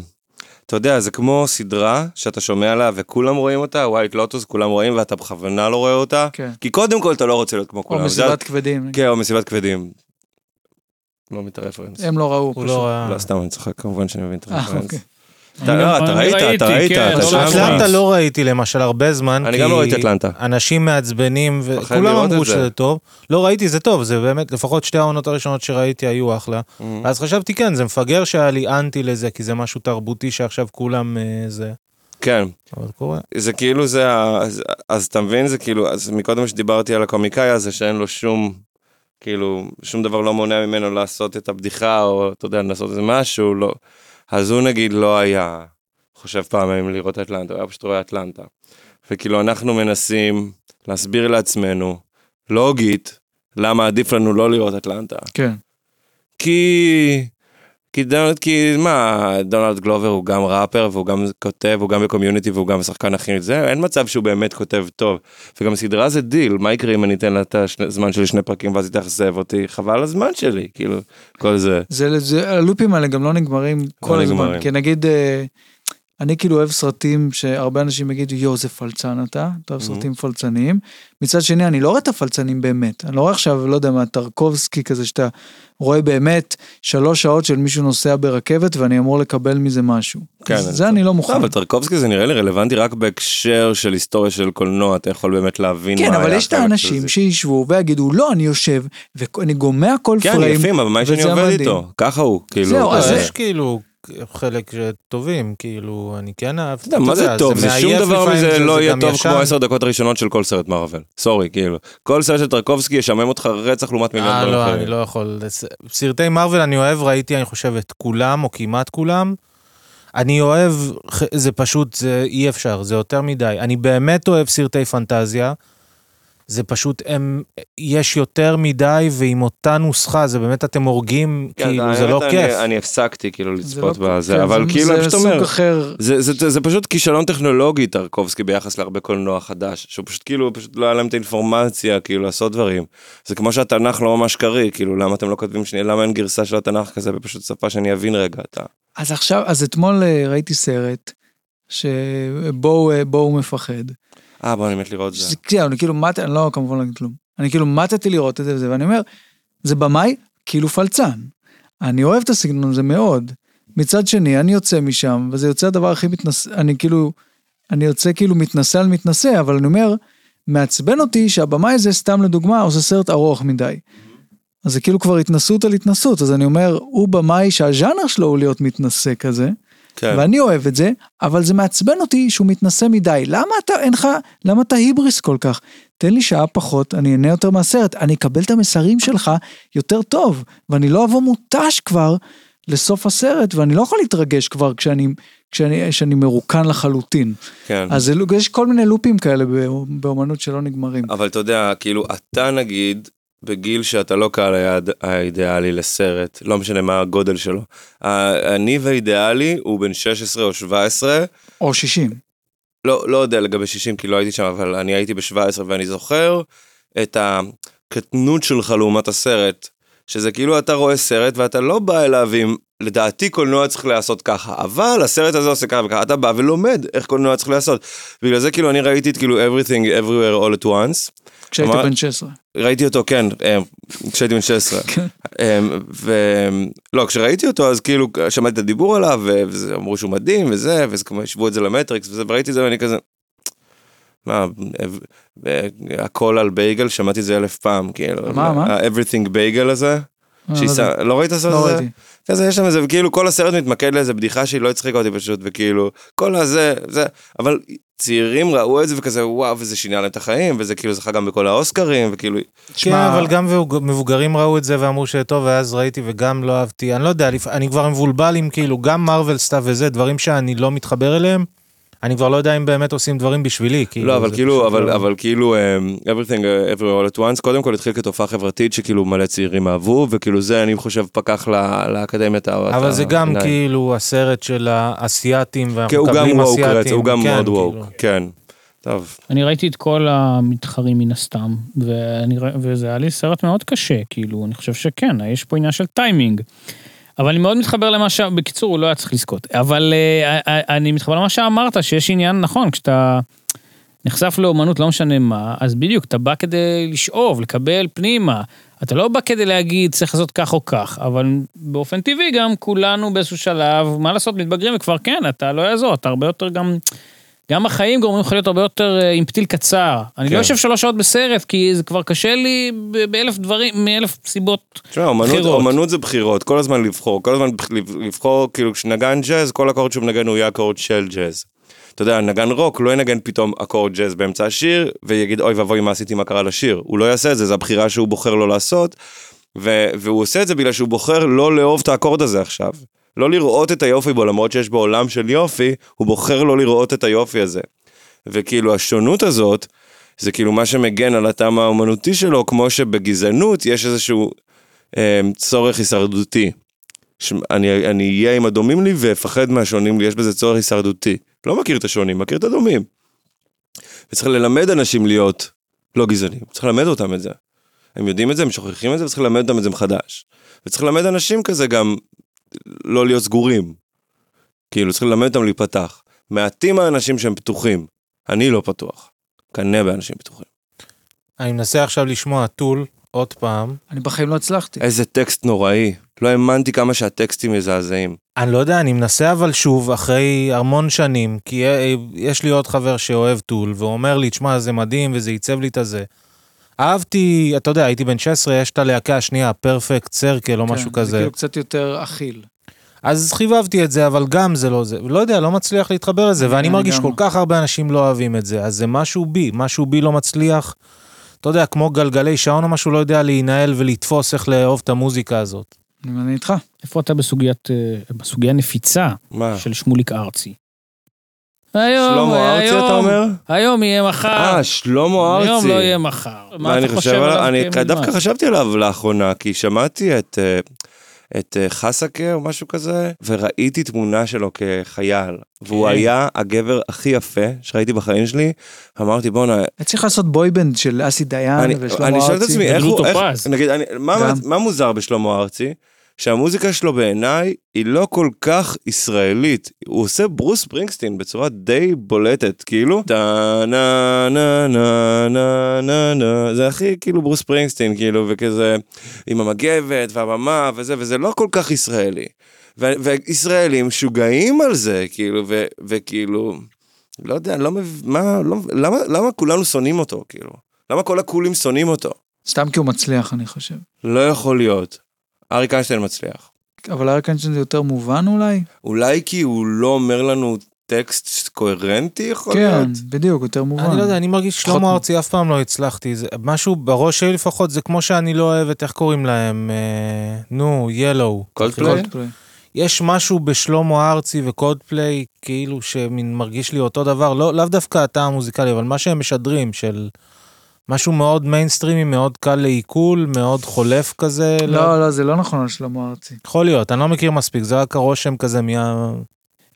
Speaker 2: אתה יודע, זה כמו סדרה שאתה שומע עליה וכולם רואים אותה, ווייט לוטוס, כולם רואים ואתה בכוונה לא רואה אותה.
Speaker 1: כן.
Speaker 2: כי קודם כל אתה לא רוצה להיות כמו
Speaker 1: או
Speaker 2: כולם. זה-
Speaker 1: מסיבת כבדים,
Speaker 2: כן, או מסיבת כבדים. לא מבין את הרפרנס.
Speaker 1: הם לא ראו.
Speaker 4: הוא
Speaker 1: פשוט.
Speaker 4: לא ראה.
Speaker 2: לא, סתם, אני צוחק, כמובן שאני מבין את
Speaker 1: אה,
Speaker 2: הרפרנס.
Speaker 1: אוקיי.
Speaker 2: אתה לא,
Speaker 5: אני
Speaker 2: אתה ראית, אתה
Speaker 5: ראיתי,
Speaker 2: ראית,
Speaker 5: כן,
Speaker 2: אתה
Speaker 5: אבל
Speaker 2: שם.
Speaker 4: אטלנטה לא ראיתי למשל הרבה זמן.
Speaker 2: אני
Speaker 4: כי
Speaker 2: גם לא ראיתי אטלנטה.
Speaker 4: אנשים מעצבנים,
Speaker 2: מפחד
Speaker 4: וכולם
Speaker 2: לראות
Speaker 4: אמרו
Speaker 2: את זה.
Speaker 4: שזה טוב. לא ראיתי, זה טוב, זה באמת, לפחות שתי העונות הראשונות שראיתי היו אחלה.
Speaker 2: Mm.
Speaker 4: אז חשבתי, כן, זה מפגר שהיה לי אנטי לזה, כי זה משהו תרבותי שעכשיו כולם אה, זה.
Speaker 2: כן.
Speaker 4: אבל קורה.
Speaker 2: זה כאילו זה, ה- אז- אז אתה מבין, זה כאילו, אז מקודם שדיברתי על הקומיקאי הזה, שאין לו שום, כאילו, שום דבר לא מונע ממנו לעשות את הבדיחה, או אתה יודע, לעשות איזה משהו, לא. אז הוא נגיד לא היה חושב פעמיים לראות אטלנטה, הוא היה פשוט רואה אטלנטה. וכאילו אנחנו מנסים להסביר לעצמנו, לוגית, למה עדיף לנו לא לראות אטלנטה.
Speaker 1: כן.
Speaker 2: כי... כי, דונלד, כי מה, דונלד גלובר הוא גם ראפר והוא גם כותב, הוא גם בקומיוניטי והוא גם שחקן הכי זה, אין מצב שהוא באמת כותב טוב. וגם סדרה זה דיל, מה יקרה אם אני אתן לה את הזמן שלי שני פרקים ואז היא תאכזב אותי? חבל הזמן שלי, כאילו, כל זה.
Speaker 1: זה, זה, הלופים האלה גם לא נגמרים כל הזמן.
Speaker 2: נגמרים.
Speaker 1: כי נגיד, אה, אני כאילו אוהב סרטים שהרבה אנשים יגידו, יואו, זה פלצן אתה, אתה
Speaker 2: Mhm.
Speaker 1: אוהב סרטים פלצניים. מצד שני, אני לא רואה את הפלצנים באמת. אני לא רואה עכשיו, לא יודע מה, טרקובסקי כזה, שאתה רואה באמת שלוש שעות של מישהו נוסע ברכבת ואני אמור לקבל מזה משהו.
Speaker 2: כן,
Speaker 1: אז
Speaker 2: אני
Speaker 1: זה אני לא מוכן.
Speaker 2: לא, אבל טרקובסקי זה נראה לי רלוונטי רק בהקשר של היסטוריה של קולנוע, אתה יכול באמת להבין מה
Speaker 1: כן,
Speaker 2: היה.
Speaker 1: אבל יש את
Speaker 2: אחרת
Speaker 1: האנשים
Speaker 2: זה-
Speaker 1: שישבו ויגידו, לא, אני יושב, ואני גומע כל
Speaker 2: כן,
Speaker 1: פריים.
Speaker 2: יפים, אבל מה יש שאני
Speaker 1: וזה
Speaker 2: עובד
Speaker 1: המדהים.
Speaker 2: איתו? ככה הוא, כאילו.
Speaker 1: זהו,
Speaker 2: אתה
Speaker 1: אז
Speaker 4: אז
Speaker 1: זה-
Speaker 2: יודע.
Speaker 4: יש כאילו חלק טובים, כאילו, אני כן אהב... אתה
Speaker 2: אתה יודע, מה זה טוב? זה שום
Speaker 4: מעייף
Speaker 2: דבר
Speaker 4: לפעמים,
Speaker 2: מזה
Speaker 4: זה-
Speaker 2: לא
Speaker 4: זה
Speaker 2: יהיה
Speaker 4: גם
Speaker 2: טוב
Speaker 4: ישן.
Speaker 2: כמו עשר דקות הראשונות של כל סרט מארוול. סורי, כאילו. כל סרט של טרקובסקי ישעמם אותך רצח לעומת מיליון
Speaker 4: אה,
Speaker 2: דברים
Speaker 4: לא, אני
Speaker 2: אחרים.
Speaker 4: לא יכול. ס- סרטי מארוול אני אוהב, ראיתי, אני חושב, את כולם, או כמעט כולם. אני אוהב, ח- זה פשוט, זה אי אפשר, זה יותר מדי. אני באמת אוהב סרטי פנטזיה. זה פשוט, הם, יש יותר מדי, ועם אותה נוסחה, זה באמת, אתם הורגים,
Speaker 2: כן,
Speaker 4: כאילו,
Speaker 2: האמת,
Speaker 4: זה לא
Speaker 2: אני-
Speaker 4: כיף.
Speaker 2: אני הפסקתי כאילו
Speaker 1: זה לא-
Speaker 2: לצפות
Speaker 1: כן,
Speaker 2: בזה, אבל
Speaker 1: זה-
Speaker 2: כאילו, אני פשוט
Speaker 1: זה סוג
Speaker 2: אומר,
Speaker 1: אחר.
Speaker 2: זה, זה, זה, זה פשוט כישלון טכנולוגי טרקובסקי ביחס להרבה קולנוע חדש, שהוא פשוט כאילו, פשוט לא היה להם את האינפורמציה, כאילו לעשות דברים. זה כמו שהתנ"ך לא ממש קריא, כאילו למה אתם לא כותבים שנייה, למה אין גרסה של התנ"ך כזה בפשוט שפה שאני אבין רגע, אתה.
Speaker 1: אז עכשיו, אז אתמול אה, ראיתי סרט, שבו אה, בו הוא מפחד.
Speaker 2: אה בוא אני מת לראות זה.
Speaker 1: שזה כאילו, אני כאילו מת, אני לא כמובן לא אגיד כלום. אני כאילו מתתי לראות את זה וזה, ואני אומר, זה במאי כאילו פלצן. אני אוהב את הסגנון הזה מאוד. מצד שני, אני יוצא משם, וזה יוצא הדבר הכי מתנשא, אני כאילו, אני יוצא כאילו מתנשא על מתנשא, אבל אני אומר, מעצבן אותי שהבמאי הזה, סתם לדוגמה, עושה סרט ארוך מדי. אז זה כאילו כבר התנסות על התנסות, אז אני אומר, הוא במאי שהז'אנר שלו הוא להיות מתנשא כזה.
Speaker 2: כן.
Speaker 1: ואני אוהב את זה, אבל זה מעצבן אותי שהוא מתנשא מדי. למה אתה, אין לך, למה אתה היבריס כל כך? תן לי שעה פחות, אני אהנה יותר מהסרט, אני אקבל את המסרים שלך יותר טוב, ואני לא אבוא מותש כבר לסוף הסרט, ואני לא יכול להתרגש כבר כשאני, כשאני, כשאני מרוקן לחלוטין.
Speaker 2: כן.
Speaker 1: אז זה, לוק- יש כל מיני לופים כאלה בא- באומנות שלא נגמרים.
Speaker 2: אבל אתה יודע, כאילו, אתה נגיד, בגיל שאתה לא קהל היעד האידיאלי לסרט, לא משנה מה הגודל שלו. ה- הניב האידיאלי הוא בן 16 או 17,
Speaker 1: או 60.
Speaker 2: לא, לא יודע לגבי 60 כי לא הייתי שם, אבל אני הייתי ב-17 ואני זוכר את הקטנות שלך לעומת הסרט. שזה כאילו אתה רואה סרט ואתה לא בא אליו עם, לדעתי קולנוע צריך להיעשות ככה, אבל הסרט הזה עושה ככה וככה, אתה בא ולומד איך קולנוע צריך להיעשות. בגלל זה כאילו אני ראיתי את כאילו everything everywhere all at once,
Speaker 1: כשהיית
Speaker 2: אמר-
Speaker 1: בן 16.
Speaker 2: ראיתי אותו, כן, אה, כשהייתי בן 16.
Speaker 1: כן.
Speaker 2: אה, ו... לא, כשראיתי אותו, אז כאילו שמעתי את הדיבור עליו, ו- וזה- אמרו שהוא מדהים, וזה, וזה כמו השוו את זה למטריקס, וזה, וראיתי את זה, ואני כזה... מה, אה, אה, הכל על בייגל, שמעתי את זה אלף פעם, כאילו.
Speaker 1: מה, מה?
Speaker 2: ה-Everything בייגל הזה.
Speaker 1: אה, לא
Speaker 2: שיסה,
Speaker 1: יודע.
Speaker 2: לא ראית את הסרט
Speaker 1: לא
Speaker 2: הזה?
Speaker 4: כן,
Speaker 1: ראיתי.
Speaker 2: כזה יש שם איזה, וכאילו כל הסרט מתמקד לאיזה בדיחה שהיא לא הצחיקה אותי פשוט, וכאילו, כל הזה, זה, אבל צעירים ראו את זה וכזה, וואו, וזה שינה להם את החיים, וזה כאילו זכה גם בכל האוסקרים, וכאילו,
Speaker 4: כן,
Speaker 1: תשמע,
Speaker 4: אבל גם מבוג- מבוגרים ראו את זה ואמרו שטוב, ואז ראיתי וגם לא אהבתי. אני לא יודע, לפ- אני כבר מבולבל עם כאילו גם מארוול סתיו וזה, דברים שאני לא מתחבר אליהם. אני כבר לא יודע אם באמת עושים דברים בשבילי. כאילו,
Speaker 2: לא, אבל
Speaker 4: זה
Speaker 2: כאילו,
Speaker 4: פשוט
Speaker 2: אבל,
Speaker 4: לא-
Speaker 2: אבל כאילו, אמ, everything uh, everywhere all at once, קודם כל התחיל כתופעה חברתית שכאילו מלא צעירים אהבו, וכאילו זה, אני חושב, פקח ל- לאקדמיה.
Speaker 4: אבל זה גם כאילו הסרט של האסייתים,
Speaker 2: כן,
Speaker 4: ואנחנו
Speaker 2: הוא גם
Speaker 4: מקבלים
Speaker 2: ווק,
Speaker 4: אסייתים.
Speaker 2: הוא גם
Speaker 4: כן,
Speaker 2: מאוד
Speaker 4: כאילו.
Speaker 2: ווק, כן. טוב,
Speaker 5: אני ראיתי את כל המתחרים מן הסתם, ואני, רא- וזה היה לי סרט מאוד קשה, כאילו, אני חושב שכן, יש פה עניין של טיימינג. אבל אני מאוד מתחבר למה ש... בקיצור, הוא לא היה צריך לזכות. אבל אה, אה, אני מתחבר למה שאמרת, שיש עניין נכון, כשאתה נחשף לאומנות, לא משנה מה, אז בדיוק, אתה בא כדי לשאוב, לקבל פנימה. אתה לא בא כדי להגיד, צריך לעשות כך או כך, אבל באופן טבעי גם כולנו באיזשהו שלב, מה לעשות, מתבגרים וכבר כן, אתה לא יעזור, אתה הרבה יותר גם... גם החיים גורמים לך להיות הרבה יותר אה, עם פתיל קצר. אני
Speaker 2: כן.
Speaker 5: לא יושב שלוש שעות בסרט, כי זה כבר קשה לי ב- באלף דברים, מאלף סיבות.
Speaker 2: תשמע, אומנות,
Speaker 5: בחירות.
Speaker 2: אומנות זה בחירות, כל הזמן לבחור, כל הזמן בח- לב- לבחור, כאילו כשנגן ג'אז, כל אקורד שהוא מנגן הוא יהיה אקורד של ג'אז. אתה יודע, נגן רוק לא ינגן פתאום אקורד ג'אז באמצע השיר, ויגיד אוי ואבוי מה עשיתי, מה קרה לשיר. הוא לא יעשה את זה, זו הבחירה שהוא בוחר לא לעשות, ו- והוא עושה את זה בגלל שהוא בוחר לא לאהוב את האקורד הזה עכשיו. לא לראות את היופי בו, למרות שיש בו עולם של יופי, הוא בוחר לא לראות את היופי הזה. וכאילו השונות הזאת, זה כאילו מה שמגן על הטעם האומנותי שלו, כמו שבגזענות יש איזשהו אה, צורך הישרדותי. שאני אני אהיה עם הדומים לי ואפחד מהשונים לי, יש בזה צורך הישרדותי. לא מכיר את השונים, מכיר את הדומים. וצריך ללמד אנשים להיות לא גזענים, צריך ללמד אותם את זה. הם יודעים את זה, הם שוכחים את זה, וצריך ללמד אותם את זה מחדש. וצריך ללמד אנשים כזה גם לא להיות סגורים. כאילו, צריך ללמד אותם להיפתח. מעטים האנשים שהם פתוחים. אני לא פתוח. קנה באנשים פתוחים.
Speaker 4: אני מנסה עכשיו לשמוע טול, עוד פעם.
Speaker 1: אני בחיים לא הצלחתי.
Speaker 2: איזה טקסט נוראי. לא האמנתי כמה שהטקסטים מזעזעים.
Speaker 4: אני לא יודע, אני מנסה אבל שוב, אחרי המון שנים, כי אה, יש לי עוד חבר שאוהב טול, והוא אומר לי, תשמע, זה מדהים, וזה עיצב לי את הזה. אהבתי, אתה יודע, הייתי בן 16, יש את הלהקה השנייה, פרפקט סרקל או
Speaker 1: כן,
Speaker 4: משהו
Speaker 1: זה
Speaker 4: כזה.
Speaker 1: כאילו קצת יותר אכיל.
Speaker 4: אז חיבבתי את זה, אבל גם זה לא זה. לא יודע, לא מצליח להתחבר לזה, ואני
Speaker 1: כן,
Speaker 4: מרגיש
Speaker 1: לגמרי.
Speaker 4: כל כך הרבה אנשים לא אוהבים את זה, אז זה משהו בי, משהו בי לא מצליח. אתה יודע, כמו גלגלי שעון או משהו, לא יודע להינעל ולתפוס איך לאהוב את המוזיקה הזאת.
Speaker 1: אני איתך.
Speaker 5: איפה אתה בסוגיית, אה, בסוגיה נפיצה
Speaker 2: מה?
Speaker 5: של שמוליק ארצי? היום,
Speaker 2: אה. שלמה ארצי אתה אומר?
Speaker 5: היום יהיה מחר,
Speaker 2: אה, שלמה ארצי.
Speaker 5: היום לא יהיה מחר.
Speaker 2: מה
Speaker 5: מה אתה
Speaker 2: אני חושב
Speaker 5: חושב עליו?
Speaker 2: עליו? אני
Speaker 5: כמדמן?
Speaker 2: דווקא חשבתי עליו לאחרונה, כי שמעתי את, אה, את אה, חסקה או משהו כזה, וראיתי תמונה שלו כחייל. והוא
Speaker 5: כן.
Speaker 2: היה הגבר הכי יפה שראיתי בחיים שלי. אמרתי, בואנה,
Speaker 5: אה,
Speaker 1: היה צריך לעשות בויבנד של אסי דיין
Speaker 2: אני
Speaker 1: ושלמה
Speaker 2: אני שואל את
Speaker 1: ארצי.
Speaker 2: עצמי, איך
Speaker 5: ודודו
Speaker 2: הוא, איך,
Speaker 5: טופז.
Speaker 2: נגיד, אני- מה-
Speaker 1: גם.
Speaker 2: מה מוזר בשלמה ארצי? שהמוזיקה שלו בעיניי היא לא כל כך ישראלית. הוא עושה ברוס ברינגסטין בצורה די בולטת, כאילו. טה נה נה נה נה נה נה, זה הכי כאילו ברוס ברינגסטין, כאילו, וכזה, עם המגבת והבמה וזה, וזה לא כל כך ישראלי. ו- וישראלים משוגעים על זה, כאילו, ו- וכאילו, לא יודע, לא מבין, מה, לא, למה, למה כולנו שונאים אותו, כאילו? למה כל הקולים שונאים אותו?
Speaker 1: סתם כי הוא מצליח, אני חושב.
Speaker 2: לא יכול להיות. אריק איינשטיין מצליח.
Speaker 1: אבל אריק איינשטיין זה יותר מובן אולי?
Speaker 2: אולי כי הוא לא אומר לנו טקסט קוהרנטי, יכול
Speaker 1: כן,
Speaker 2: להיות?
Speaker 1: בדיוק, יותר מובן.
Speaker 4: אני לא יודע, אני מרגיש
Speaker 1: פחות
Speaker 4: שלמה
Speaker 1: מ-
Speaker 4: ארצי אף פעם לא הצלחתי. זה משהו בראש שלי לפחות, זה כמו שאני לא אוהב את, איך קוראים להם? אה, נו, ילו.
Speaker 2: קולדפליי?
Speaker 1: Coldplay.
Speaker 4: יש משהו בשלמה ארצי וקודפליי, כאילו שמין מרגיש לי אותו דבר, לא, לאו דווקא הטעם המוזיקלי, אבל מה שהם משדרים של משהו מאוד מיינסטרימי, מאוד קל לעיכול, מאוד חולף כזה.
Speaker 1: לא, לא, זה לא נכון על שלמה ארצי.
Speaker 4: יכול להיות, אני לא מכיר מספיק, זה רק הרושם כזה מה...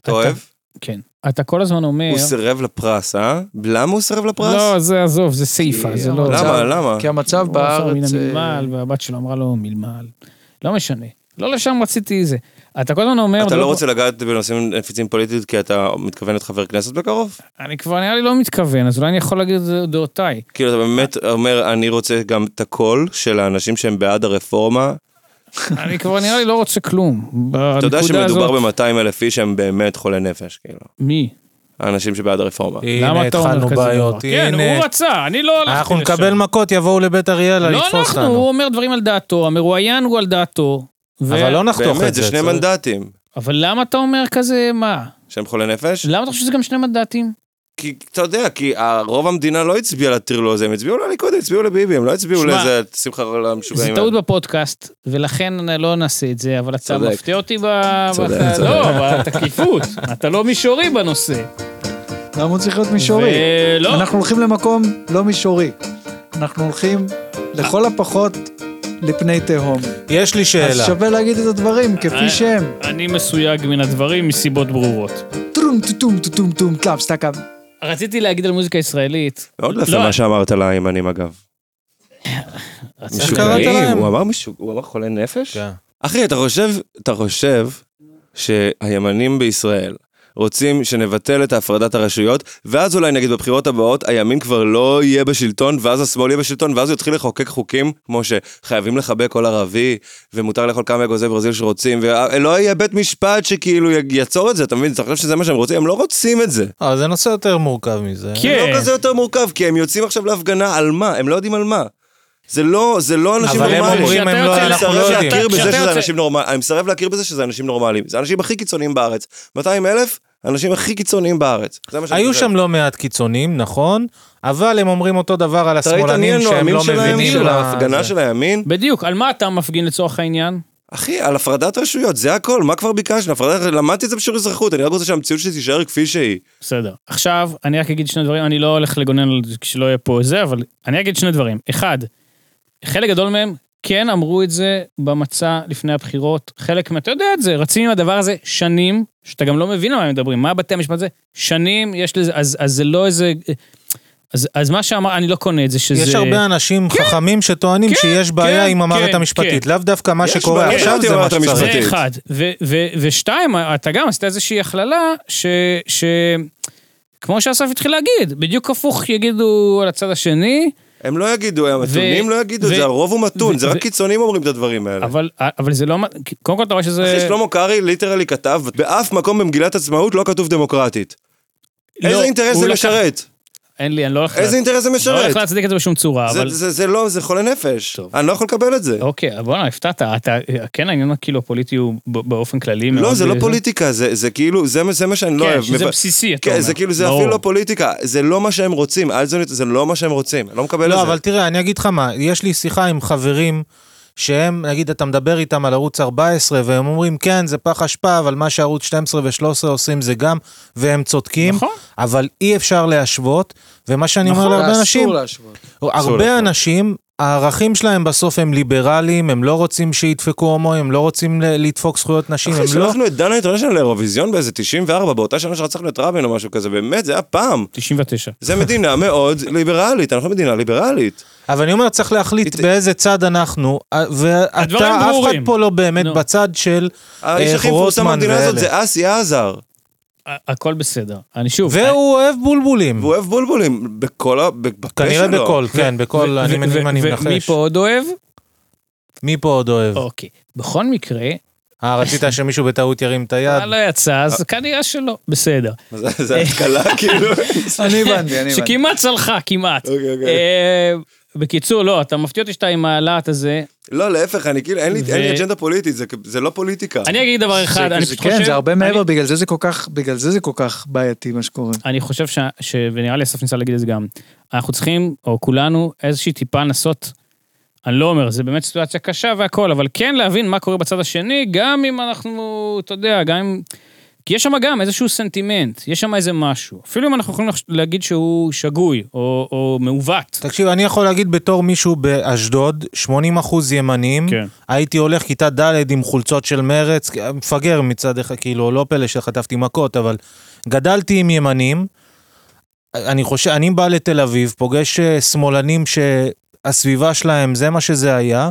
Speaker 2: אתה אוהב?
Speaker 5: כן. אתה כל הזמן אומר...
Speaker 2: הוא סירב לפרס, אה? למה הוא סירב לפרס?
Speaker 5: לא, זה עזוב, זה סעיפה, זה לא...
Speaker 1: המצב-
Speaker 2: למה, למה?
Speaker 1: כי המצב
Speaker 5: הוא עשה מן
Speaker 1: בארץ... אה,
Speaker 5: המלמל, והבת שלו אמרה לו מלמל. לא משנה. לא לשם רציתי זה. אתה כל הזמן אומר...
Speaker 2: אתה לא רוצה לגעת בנושאים נפיצים פוליטית כי אתה מתכוון להיות חבר כנסת בקרוב?
Speaker 5: אני כבר נראה לי לא מתכוון, אז אולי אני יכול להגיד את זה- דעותיי.
Speaker 2: כאילו אתה באמת אומר, אני רוצה גם את הקול של האנשים שהם בעד הרפורמה.
Speaker 5: אני כבר נראה לי לא רוצה כלום.
Speaker 2: אתה יודע שמדובר ב-200 אלף איש שהם באמת חולי נפש, כאילו.
Speaker 5: מי?
Speaker 2: האנשים שבעד הרפורמה.
Speaker 5: למה אתה אומר כזה דבר? כן, הוא
Speaker 4: הנה,
Speaker 5: רצה, אני לא הלכתי
Speaker 4: אנחנו
Speaker 5: לשם.
Speaker 4: נקבל מכות, יבואו לבית אריאלה
Speaker 5: לא
Speaker 4: לתפוס
Speaker 5: אנחנו,
Speaker 4: אותנו.
Speaker 5: הוא אומר דברים על דעתו, המרואיין הוא על דעתו. ו-
Speaker 4: אבל לא נחתוך
Speaker 2: באמת,
Speaker 4: את זה.
Speaker 2: זה שני
Speaker 4: צריך-
Speaker 2: מנדטים.
Speaker 5: אבל למה אתה אומר כזה, מה?
Speaker 2: שהם חולי נפש?
Speaker 5: למה אתה חושב שזה גם שני מנדטים?
Speaker 2: כי אתה יודע, כי רוב המדינה לא הצביעה לטרלו הזה, הם הצביעו לליכוד, הם הצביעו לביבי, הם לא הצביעו
Speaker 5: שמע,
Speaker 2: לאיזה שמחה רולה
Speaker 5: זה
Speaker 2: המשוגעים.
Speaker 5: טעות בפודקאסט, ולכן לא נעשה את זה, אבל אתה
Speaker 2: צודק.
Speaker 5: מפתיע אותי ב...
Speaker 2: צודק,
Speaker 5: ב-
Speaker 2: צודק.
Speaker 5: לא, בתקיפות. אתה לא מישורי בנושא.
Speaker 1: למה הוא צריך להיות מישורי?
Speaker 5: ולא.
Speaker 1: אנחנו הולכים למקום לא מישורי. אנחנו הולכים לכל הפחות לפני תהום.
Speaker 4: יש לי
Speaker 1: אז
Speaker 4: שאלה.
Speaker 1: שווה להגיד את הדברים כפי שהם.
Speaker 5: אני מסויג מן הדברים מסיבות ברורות.
Speaker 1: טרום טום טום טום טלאפ סטאקה.
Speaker 5: רציתי להגיד על מוזיקה ישראלית.
Speaker 2: מאוד יפה
Speaker 5: לא,
Speaker 2: מה שאמרת לימנים אגב.
Speaker 5: רציתי-
Speaker 4: קראת
Speaker 2: משוגעים,
Speaker 4: להם?
Speaker 2: הוא אמר משוג... הוא אמר חולי נפש?
Speaker 4: כן.
Speaker 2: אחי, אתה חושב, אתה חושב שהימנים בישראל רוצים שנבטל את הפרדת הרשויות, ואז אולי נגיד בבחירות הבאות הימין כבר לא יהיה בשלטון, ואז השמאל יהיה בשלטון, ואז הוא יתחיל לחוקק חוקים כמו שחייבים לחבק כל ערבי, ומותר לאכול כמה אגוזי ברזיל שרוצים, ולא יהיה בית משפט שכאילו י- יעצור את זה, אתה מבין? אתה חושב שזה מה שהם רוצים? הם לא רוצים את זה.
Speaker 4: אה, זה נושא יותר מורכב מזה.
Speaker 5: כן.
Speaker 2: זה לא כזה יותר מורכב, כי הם יוצאים עכשיו להפגנה על מה? הם לא יודעים על מה. זה לא, זה לא אנשים
Speaker 4: אבל הם
Speaker 2: נורמליים.
Speaker 4: אומרים, הם לא,
Speaker 5: כשאתה
Speaker 4: אנחנו
Speaker 2: אני
Speaker 4: לא
Speaker 2: מסרב
Speaker 4: יודעים.
Speaker 2: להכיר בזה
Speaker 5: כשאתה
Speaker 2: שזה
Speaker 5: יוצא-
Speaker 2: אנשים נורמליים, אני מסרב להכיר בזה שזה אנשים נורמליים. זה האנשים הכי קיצוניים בארץ. 200 אלף, האנשים הכי קיצוניים בארץ. זה מה שאני
Speaker 4: היו
Speaker 2: חושב.
Speaker 4: שם לא מעט קיצונים, נכון, אבל הם אומרים אותו דבר על
Speaker 2: אתה ראית מי
Speaker 4: השמאלנים שהם
Speaker 2: הנואמים
Speaker 4: לא
Speaker 2: שלהם,
Speaker 4: מבינים.
Speaker 2: של
Speaker 4: מה
Speaker 2: ההפגנה
Speaker 4: זה.
Speaker 2: של הימין?
Speaker 5: בדיוק, על מה אתה מפגין לצורך העניין?
Speaker 2: אחי, על הפרדת רשויות, זה הכל, מה כבר ביקשנו? הפרדת- למדתי את זה בשיעור אזרחות, אני רק רוצה שהמציאות שלי תישאר כפי שהיא.
Speaker 5: בסדר. עכשיו, אני רק אגיד שני דברים, אני לא הולך לגונן על זה כשלא יהיה פה זה, אבל אני אגיד שני דברים. אחד, חלק גדול מהם כן אמרו את זה במצע לפני הבחירות. חלק מה... אתה יודע את זה, רצים עם הדבר הזה שנים, שאתה גם לא מבין על מה הם מדברים. מה בתי המשפט זה? שנים, יש לזה... אז, אז זה לא איזה... אז, אז מה שאמר, אני לא קונה את זה, שזה...
Speaker 4: יש הרבה אנשים
Speaker 2: כן.
Speaker 4: חכמים שטוענים שיש בעיה עם המערכת
Speaker 5: כן,
Speaker 4: המשפטית.
Speaker 5: כן.
Speaker 4: לאו דווקא מה
Speaker 2: יש
Speaker 4: שקורה
Speaker 2: בעיה
Speaker 4: עכשיו
Speaker 2: עם
Speaker 4: זה מה
Speaker 2: המערכת
Speaker 4: שצריך.
Speaker 2: המשפטית.
Speaker 5: זה אחד. ו- ו- ושתיים, אתה גם עשית איזושהי הכללה ש... ש... כמו שאסף התחיל להגיד, בדיוק הפוך יגידו על הצד השני,
Speaker 2: הם לא יגידו, המתונים
Speaker 5: ו-
Speaker 2: לא יגידו,
Speaker 5: ו-
Speaker 2: זה הרוב הוא מתון,
Speaker 5: ו-
Speaker 2: זה רק
Speaker 5: ו-
Speaker 2: קיצונים אומרים את הדברים האלה.
Speaker 5: אבל, אה, אבל זה לא... מה- קודם כל אתה רואה שזה...
Speaker 2: אחי שלמה קרעי ליטרלי כתב, באף מקום במגילת עצמאות לא כתוב דמוקרטית.
Speaker 5: לא,
Speaker 2: איזה אינטרס
Speaker 5: הוא
Speaker 2: זה
Speaker 5: לקח-
Speaker 2: משרת?
Speaker 5: אין לי, אני לא הולך...
Speaker 2: איזה אינטרס זה
Speaker 5: לא
Speaker 2: משרת?
Speaker 5: הולך להצדיק את זה בשום צורה,
Speaker 2: זה-
Speaker 5: אבל...
Speaker 2: זה זה לא, זה חולה נפש.
Speaker 5: טוב.
Speaker 2: אני לא יכול לקבל את זה.
Speaker 5: אוקיי, בוא'נה, הפתעת, אתה... כן, העניין הכאילו הפוליטי הוא ב- באופן כללי מאוד...
Speaker 2: לא, זה לא פוליטיקה, זה זה כאילו, זה מה- זה מה שאני לא
Speaker 5: אוקיי. כן,
Speaker 2: אוהב.
Speaker 5: שזה
Speaker 2: מב-
Speaker 5: בסיסי, אתה
Speaker 2: כן,
Speaker 5: אומר.
Speaker 2: זה כאילו, זה
Speaker 5: ברור.
Speaker 2: אפילו לא פוליטיקה, זה לא מה שהם רוצים, אלזונית זה לא מה שהם רוצים, אני לא מקבל את זה.
Speaker 4: לא, אבל תראה, אני אגיד לך מה, יש לי שיחה עם חברים שהם, נגיד, אתה מדבר איתם על ערוץ 14, והם אומרים, כן, זה פח אשפה, אבל מה שערוץ 12 ו-13 עושים זה גם, והם צודקים,
Speaker 5: נכון.
Speaker 4: אבל אי אפשר להשוות, ומה שאני אומר להרבה אנשים,
Speaker 1: נכון, אסור להשוות.
Speaker 4: הרבה
Speaker 2: להשוות.
Speaker 4: אנשים, הערכים שלהם בסוף הם ליברליים, הם לא רוצים שידפקו הומואים, הם לא רוצים ל- לדפוק זכויות נשים,
Speaker 2: אחי,
Speaker 4: הם לא...
Speaker 2: שלחנו את דנה אינטרנשיונל לאירוויזיון באיזה 94, באותה שנה שרצחנו את רבין או משהו כזה, באמת, זה היה פעם.
Speaker 5: 99.
Speaker 2: זה מדינה מאוד ליברלית, אנחנו מדינה ליברלית.
Speaker 4: אבל אני אומר, צריך להחליט באיזה צד אנחנו, אה,
Speaker 5: הדברים
Speaker 4: ואתה, אף אחד
Speaker 5: ברורים.
Speaker 4: פה לא באמת
Speaker 5: נו.
Speaker 4: בצד של
Speaker 2: האיש
Speaker 4: אה,
Speaker 2: הכי מפורסם
Speaker 4: רוטמן
Speaker 2: במדינה הזאת
Speaker 4: ואלה.
Speaker 2: זה אסי עזר,
Speaker 5: ה- הכל בסדר. אני שוב...
Speaker 4: והוא אוהב בולבולים.
Speaker 2: והוא אוהב בולבולים בכל ה... ב- בפה
Speaker 4: כנראה
Speaker 2: שלו.
Speaker 4: בכל, כן, בכל, אני
Speaker 5: ו-
Speaker 4: מנ-
Speaker 5: ו-
Speaker 4: אם אני
Speaker 5: ו- ומי
Speaker 4: מנחש.
Speaker 5: פה עוד אוהב?
Speaker 4: מי פה עוד אוהב?
Speaker 5: אוקיי. בכל מקרה,
Speaker 4: אה, רצית שמישהו בטעות ירים את היד?
Speaker 5: לא יצא, אז כנראה שלא. בסדר.
Speaker 2: זה- זה התקלה, כאילו.
Speaker 1: אני הבנתי, אני הבנתי.
Speaker 5: שכמעט צלחה, כמעט.
Speaker 2: אוקיי, אוקיי.
Speaker 5: אה, בקיצור, לא, אתה מפתיע אותי שאתה עם הלהט הזה.
Speaker 2: לא, להפך, אני כאילו, אין לי אין לי אג'נדה פוליטית, זה- זה לא פוליטיקה.
Speaker 5: אני אגיד דבר אחד, אני פשוט חושב...
Speaker 1: כן, זה הרבה
Speaker 5: אני-
Speaker 1: מעבר, בגלל זה זה כל כך, בגלל זה זה כל כך בעייתי מה שקורה.
Speaker 4: אה,
Speaker 5: אני חושב ש... ש- ונראה לי אסף ניסה להגיד את זה גם. אנחנו צריכים, או כולנו, איזושהי טיפה לנסות, אני לא אומר, זה באמת סיטואציה קשה והכל, אבל כן להבין מה קורה בצד השני, גם אם אנחנו, אתה יודע, גם אם... כי יש שם גם איזשהו סנטימנט, יש שם איזה משהו. אפילו אם אנחנו יכולים לחש- להגיד שהוא שגוי, או, או מעוות.
Speaker 4: תקשיב, אני יכול להגיד בתור מישהו באשדוד, 80% ימנים,
Speaker 5: כן.
Speaker 4: הייתי הולך כיתה ד' עם חולצות של מרץ, מפגר מצד אחד, כאילו, לא פלא שחטפתי מכות, אבל גדלתי עם ימנים. אני חושב, אני בא לתל אביב, פוגש אה, שמאלנים שהסביבה שלהם, זה מה שזה היה.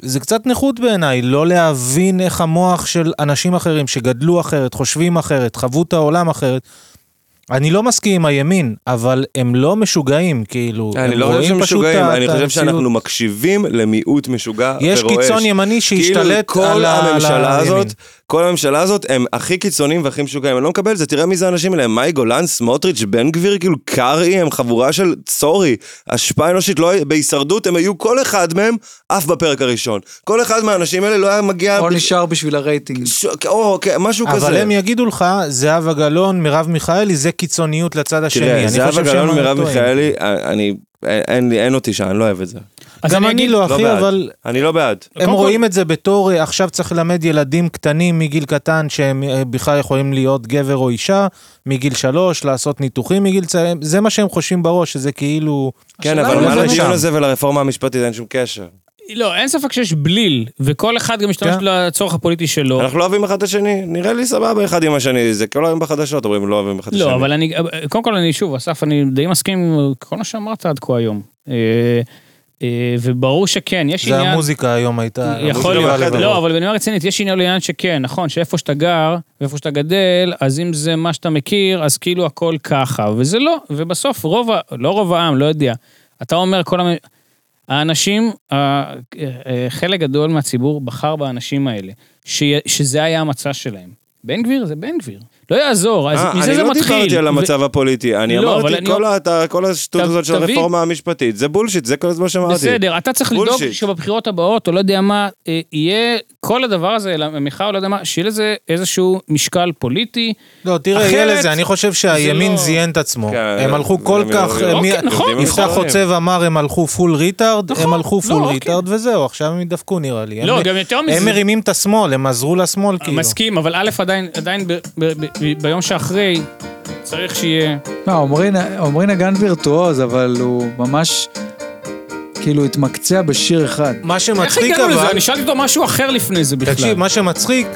Speaker 4: זה קצת נכות בעיניי, לא להבין איך המוח של אנשים אחרים שגדלו אחרת, חושבים אחרת, חוו את העולם אחרת. אני לא מסכים עם הימין, אבל הם לא משוגעים, כאילו.
Speaker 2: אני
Speaker 4: הם
Speaker 2: לא חושב
Speaker 4: רואים
Speaker 2: שהם
Speaker 4: פשוט
Speaker 2: משוגעים,
Speaker 4: את
Speaker 2: אני חושב
Speaker 4: המציאות.
Speaker 2: שאנחנו מקשיבים למיעוט משוגע
Speaker 4: יש
Speaker 2: ורועש.
Speaker 4: קיצון ימני שהשתלט
Speaker 2: כאילו
Speaker 4: על
Speaker 2: כל
Speaker 4: ה- על
Speaker 2: הממשלה
Speaker 4: הימין.
Speaker 2: הזאת, כל הממשלה הזאת הם הכי קיצוניים והכי משוגעים, אני לא מקבל את זה, תראה מי זה האנשים האלה, הם מאי גולן, סמוטריץ', בן גביר, כאילו קרעי, הם חבורה של סורי, השפעה אנושית, לא, בהישרדות הם היו כל אחד מהם עף בפרק הראשון. כל אחד מהאנשים האלה לא היה מגיע...
Speaker 1: או
Speaker 2: ב-
Speaker 1: נשאר בשביל הרייטינג.
Speaker 2: ש- או, כן, משהו כזה.
Speaker 4: אבל הם יגידו לך, זהבה גלאון, מרב מיכאלי, זה קיצוניות לצד השני.
Speaker 2: תראה,
Speaker 4: אני
Speaker 2: זהבה
Speaker 4: חושב שהם
Speaker 2: גלאון,
Speaker 4: לא
Speaker 2: מרב
Speaker 4: טועים.
Speaker 2: מיכאלי, אה, אני... אין- אין לי- אין אותי שם, אני לא אוהב את זה.
Speaker 5: אז
Speaker 4: גם אני
Speaker 5: אגיד-
Speaker 4: לא,
Speaker 2: לא
Speaker 4: אחי,
Speaker 2: בעד.
Speaker 4: אבל
Speaker 2: אני לא בעד.
Speaker 4: הם
Speaker 5: כל-
Speaker 4: רואים את זה בתור, אה, עכשיו צריך ללמד ילדים קטנים מגיל קטן, שהם אה, בכלל יכולים להיות גבר או אישה, מגיל שלוש, לעשות ניתוחים מגיל צעיר, זה מה שהם חושבים בראש, שזה כאילו...
Speaker 2: כן,
Speaker 1: השאלה
Speaker 2: אבל
Speaker 1: אם
Speaker 2: מה
Speaker 1: זה
Speaker 2: לדיון
Speaker 4: שם.
Speaker 2: הזה ולרפורמה המשפטית אין שום קשר.
Speaker 5: לא, אין ספק שיש בליל, וכל אחד גם משתמש
Speaker 4: כן.
Speaker 5: לצורך הפוליטי שלו.
Speaker 2: אנחנו לא אוהבים אחד את השני, נראה לי סבבה אחד עם השני, זה כל היום בחדשות, אומרים לא אוהבים אחד את השני.
Speaker 5: לא, אבל אני, קודם כל אני שוב, אסף, אני די מסכים עם כל מה שאמרת עד כה היום. אה, אה, וברור שכן, יש
Speaker 4: זה
Speaker 5: עניין...
Speaker 4: המוזיקה היום הייתה...
Speaker 5: יכול
Speaker 2: המוזיקה
Speaker 5: להיות,
Speaker 2: בחדר.
Speaker 5: לא, אבל בנימה רצינית, יש עניין לעניין שכן, נכון, שאיפה שאתה גר, ואיפה שאתה גדל, אז אם זה מה שאתה מכיר, אז כאילו הכל ככה, וזה לא, ובסוף רוב, ה- לא רוב העם, לא יודע. אתה אומר כל המ... האנשים, ה- אה, חלק גדול מהציבור בחר באנשים האלה, ש... שזה היה המצע שלהם. בן גביר זה בן גביר. לא יעזור, אז
Speaker 2: אה,
Speaker 5: מזה זה
Speaker 2: אני
Speaker 5: מתחיל.
Speaker 2: לא דיברתי על
Speaker 5: ו-
Speaker 2: המצב הפוליטי, אני
Speaker 5: לא, אבל
Speaker 2: אמרתי,
Speaker 5: אני-
Speaker 2: כל ה- כל השטות
Speaker 5: ת-
Speaker 2: הזאת של
Speaker 5: תביא-
Speaker 2: הרפורמה המשפטית, זה בולשיט, זה כל הזמן שאמרתי.
Speaker 5: בסדר, אתה צריך
Speaker 2: בולשיט.
Speaker 5: לדאוג שבבחירות הבאות, או לא יודע מה, אה, יהיה כל הדבר הזה, למיכה או לא יודע מה, שיהיה לזה איזשהו משקל פוליטי.
Speaker 4: לא, תראה,
Speaker 5: אחרת-
Speaker 4: יהיה לזה, אני חושב שהימין
Speaker 5: לא-
Speaker 4: זיין את עצמו.
Speaker 2: כן,
Speaker 4: הם
Speaker 2: זה-
Speaker 4: הלכו
Speaker 2: זה
Speaker 4: כל
Speaker 2: הם
Speaker 4: כך...
Speaker 2: יורדים.
Speaker 4: הם-
Speaker 5: אוקיי, נכון.
Speaker 2: יורדים
Speaker 4: יפתח
Speaker 2: אחרונים.
Speaker 4: חוצב אמר, הם הלכו פול ריטארד, הם הלכו
Speaker 5: לא,
Speaker 4: פול
Speaker 5: אוקיי.
Speaker 4: ריטארד וזהו, עכשיו הם ידפקו נראה לי.
Speaker 5: לא,
Speaker 4: הם-
Speaker 5: גם יותר
Speaker 4: הם
Speaker 5: מזה. אה,
Speaker 4: מרימים את השמאל, הם עזרו לשמאל, כאילו.
Speaker 5: מסכים, אבל א', עדיין, עדיין ב, ב, ב, ב, ביום שאחרי, צריך שיהיה...
Speaker 1: לא, עומרי נ- עומרי נגן וירטואוז, אבל הוא ממש, כאילו, התמקצע בשיר אחד.
Speaker 4: מה
Speaker 5: איך
Speaker 4: שמצחיק
Speaker 5: הגענו לזה?
Speaker 4: אבל...
Speaker 5: אני שאלתי אותו משהו אחר לפני זה בכלל.
Speaker 4: תקשיב, מה שמצחיק,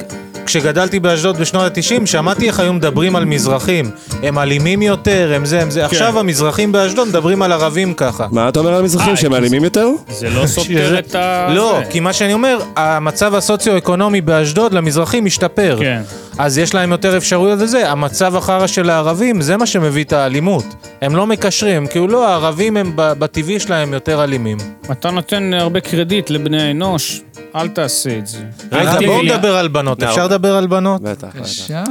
Speaker 4: כשגדלתי באשדוד בשנות ה-90, שמעתי איך היו מדברים על מזרחים. הם אלימים יותר, הם זה, הם זה. עכשיו המזרחים באשדוד מדברים על ערבים ככה.
Speaker 2: מה אתה אומר על המזרחים,
Speaker 3: אה,
Speaker 2: שהם
Speaker 3: כי
Speaker 2: אלימים יותר?
Speaker 3: זה לא סותר את ה...
Speaker 4: לא,
Speaker 3: זה.
Speaker 4: כי מה שאני אומר, המצב הסוציו-אקונומי באשדוד למזרחים השתפר.
Speaker 3: כן.
Speaker 4: אז יש להם יותר אפשרויות וזה. המצב החרא של הערבים, זה מה שמביא את האלימות. הם לא מקשרים, כאילו לא, הערבים הם ב- בטבעי שלהם יותר אלימים.
Speaker 5: אה,
Speaker 3: אתה נותן הרבה קרדיט לבני האנוש, אל תעשה את זה.
Speaker 5: אה,
Speaker 4: רגע,
Speaker 3: אל
Speaker 4: בואו
Speaker 3: תהיה-
Speaker 4: נדבר על בנות.
Speaker 2: נאור.
Speaker 4: אפשר לדבר על בנות?
Speaker 2: בטח, בטח.
Speaker 1: בבקשה.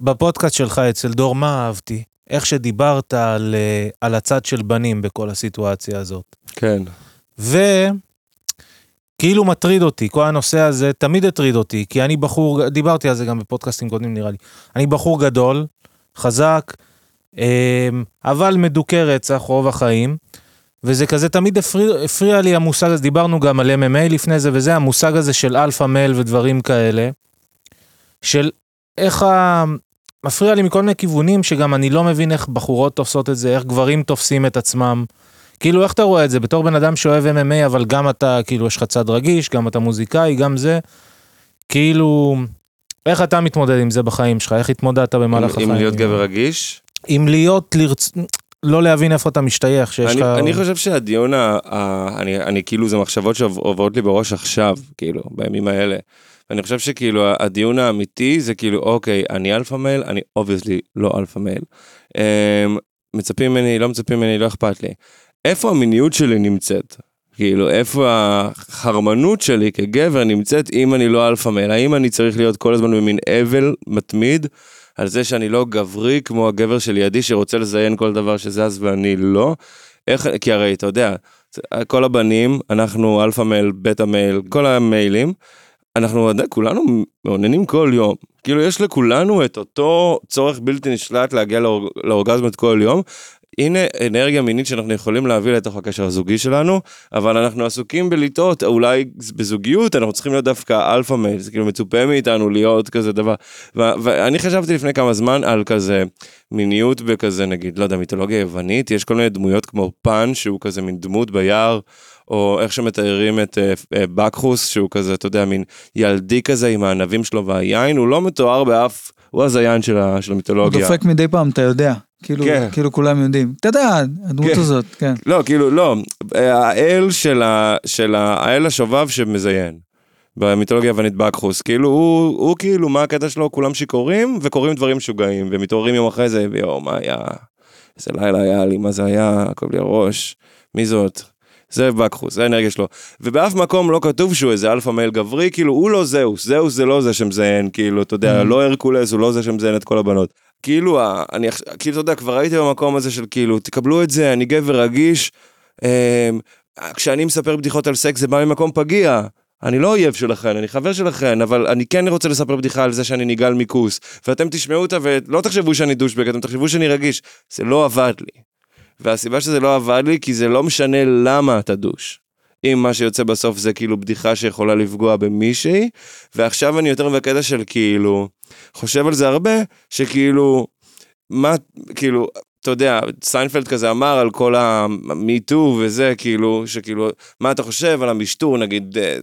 Speaker 4: בפודקאסט שלך אצל דור, מה אהבתי? איך שדיברת על, אה, על הצד של בנים בכל הסיטואציה הזאת.
Speaker 2: כן.
Speaker 4: וכאילו כאילו מטריד אותי, כל הנושא הזה תמיד הטריד אותי, כי אני בחור, דיברתי על זה גם בפודקאסטים קודמים נראה לי, אני בחור גדול, חזק, אמ, אבל מדוכא רצח רוב החיים, וזה כזה תמיד הפריע, הפריע לי המושג הזה, דיברנו גם על MMA לפני זה וזה, המושג הזה של אלפא מייל ודברים כאלה, של איך ה... מפריע לי מכל מיני כיוונים שגם אני לא מבין איך בחורות תופסות את זה, איך גברים תופסים את עצמם. כאילו, איך אתה רואה את זה? בתור בן אדם שאוהב MMA, אבל גם אתה, כאילו, יש לך צד רגיש, גם אתה מוזיקאי, גם זה. כאילו, איך אתה מתמודד עם זה בחיים שלך? איך התמודדת במהלך
Speaker 2: אם
Speaker 4: החיים?
Speaker 2: אם להיות גבר רגיש,
Speaker 4: אם להיות, לרצ... לא להבין איפה אתה משתייך, שיש
Speaker 2: אני,
Speaker 4: לך...
Speaker 2: אני חושב שהדיון, ה, ה, אני, אני כאילו, זה מחשבות שעוברות לי בראש עכשיו, כאילו, בימים האלה. אני חושב שכאילו הדיון האמיתי זה כאילו, אוקיי, אני אלפא מייל, אני אובייסלי לא אלפא מייל. אמ, מצפים ממני, לא מצפים ממני, לא אכפת לי. איפה המיניות שלי נמצאת? כאילו, איפה החרמנות שלי כגבר נמצאת אם אני לא אלפא מייל? האם אני צריך להיות כל הזמן במין אבל מתמיד על זה שאני לא גברי כמו הגבר שלידי שרוצה לזיין כל דבר שזז ואני לא? איך, כי הרי אתה יודע, כל הבנים, אנחנו אלפא מייל, בטא מייל, כל המיילים, אנחנו עדיין, כולנו מעוננים כל יום. כאילו, יש לכולנו את אותו צורך בלתי נשלט להגיע לאור, לאורגזמת כל יום. הנה אנרגיה מינית שאנחנו יכולים להביא לתוך הקשר הזוגי שלנו, אבל אנחנו עסוקים בלטעות, אולי בזוגיות אנחנו צריכים להיות דווקא אלפא מייל, זה כאילו מצופה מאיתנו להיות כזה דבר. ו- ואני חשבתי לפני כמה זמן על כזה מיניות בכזה, נגיד, לא יודע, מיתולוגיה יוונית, יש כל מיני דמויות כמו פן, שהוא כזה מין דמות ביער, או איך שמתארים את אה, אה, בקחוס, שהוא כזה, אתה יודע, מין ילדי כזה עם הענבים שלו והיין, הוא לא מתואר באף, הוא הזיין של, ה- של
Speaker 1: הוא
Speaker 2: המיתולוגיה.
Speaker 4: אה.
Speaker 1: דופק מדי פעם, אתה יודע. כאילו,
Speaker 2: כן.
Speaker 1: כאילו כולם יודעים. אתה יודע, הדמות
Speaker 2: כן.
Speaker 1: הזאת, כן.
Speaker 2: לא, כאילו, לא, אה, האל של, ה, של ה, האל השובב שמזיין. במיתולוגיה היוונית בקחוס, כאילו הוא, הוא כאילו מה הקטע שלו, כולם שיכורים וקוראים דברים משוגעים ומתעוררים יום אחרי זה, ויואו מה היה, איזה לילה היה לי, מה זה היה, כואב לי הראש, מי זאת, זה בקחוס, זה האנרגיה שלו. ובאף מקום לא כתוב שהוא איזה אלפא מייל גברי, כאילו הוא לא זהוס, זהוס זה לא זה שמזיין, כאילו, אתה יודע, לא הרקולס, הוא לא זה שמזיין את כל הבנות. כאילו, ה- אני, עכש- כאילו, אתה יודע, כבר הייתי במקום הזה של כאילו, תקבלו את זה, אני גבר רגיש. אמ, כשאני מספר בדיחות על סקס זה בא ממקום פגיע. אני לא אויב שלכן, אני חבר שלכן, אבל אני כן רוצה לספר בדיחה על זה שאני נגעל מכוס. ואתם תשמעו אותה ולא תחשבו שאני דושבג, אתם תחשבו שאני רגיש. זה לא עבד לי. והסיבה שזה לא עבד לי, כי זה לא משנה למה אתה דוש. אם מה שיוצא בסוף זה כאילו בדיחה שיכולה לפגוע במישהי, ועכשיו אני יותר בקטע של כאילו, חושב על זה הרבה, שכאילו, מה, כאילו, אתה יודע, סיינפלד כזה אמר על כל המיטו וזה, כאילו, שכאילו, מה אתה חושב על המשטור, נגיד, אה,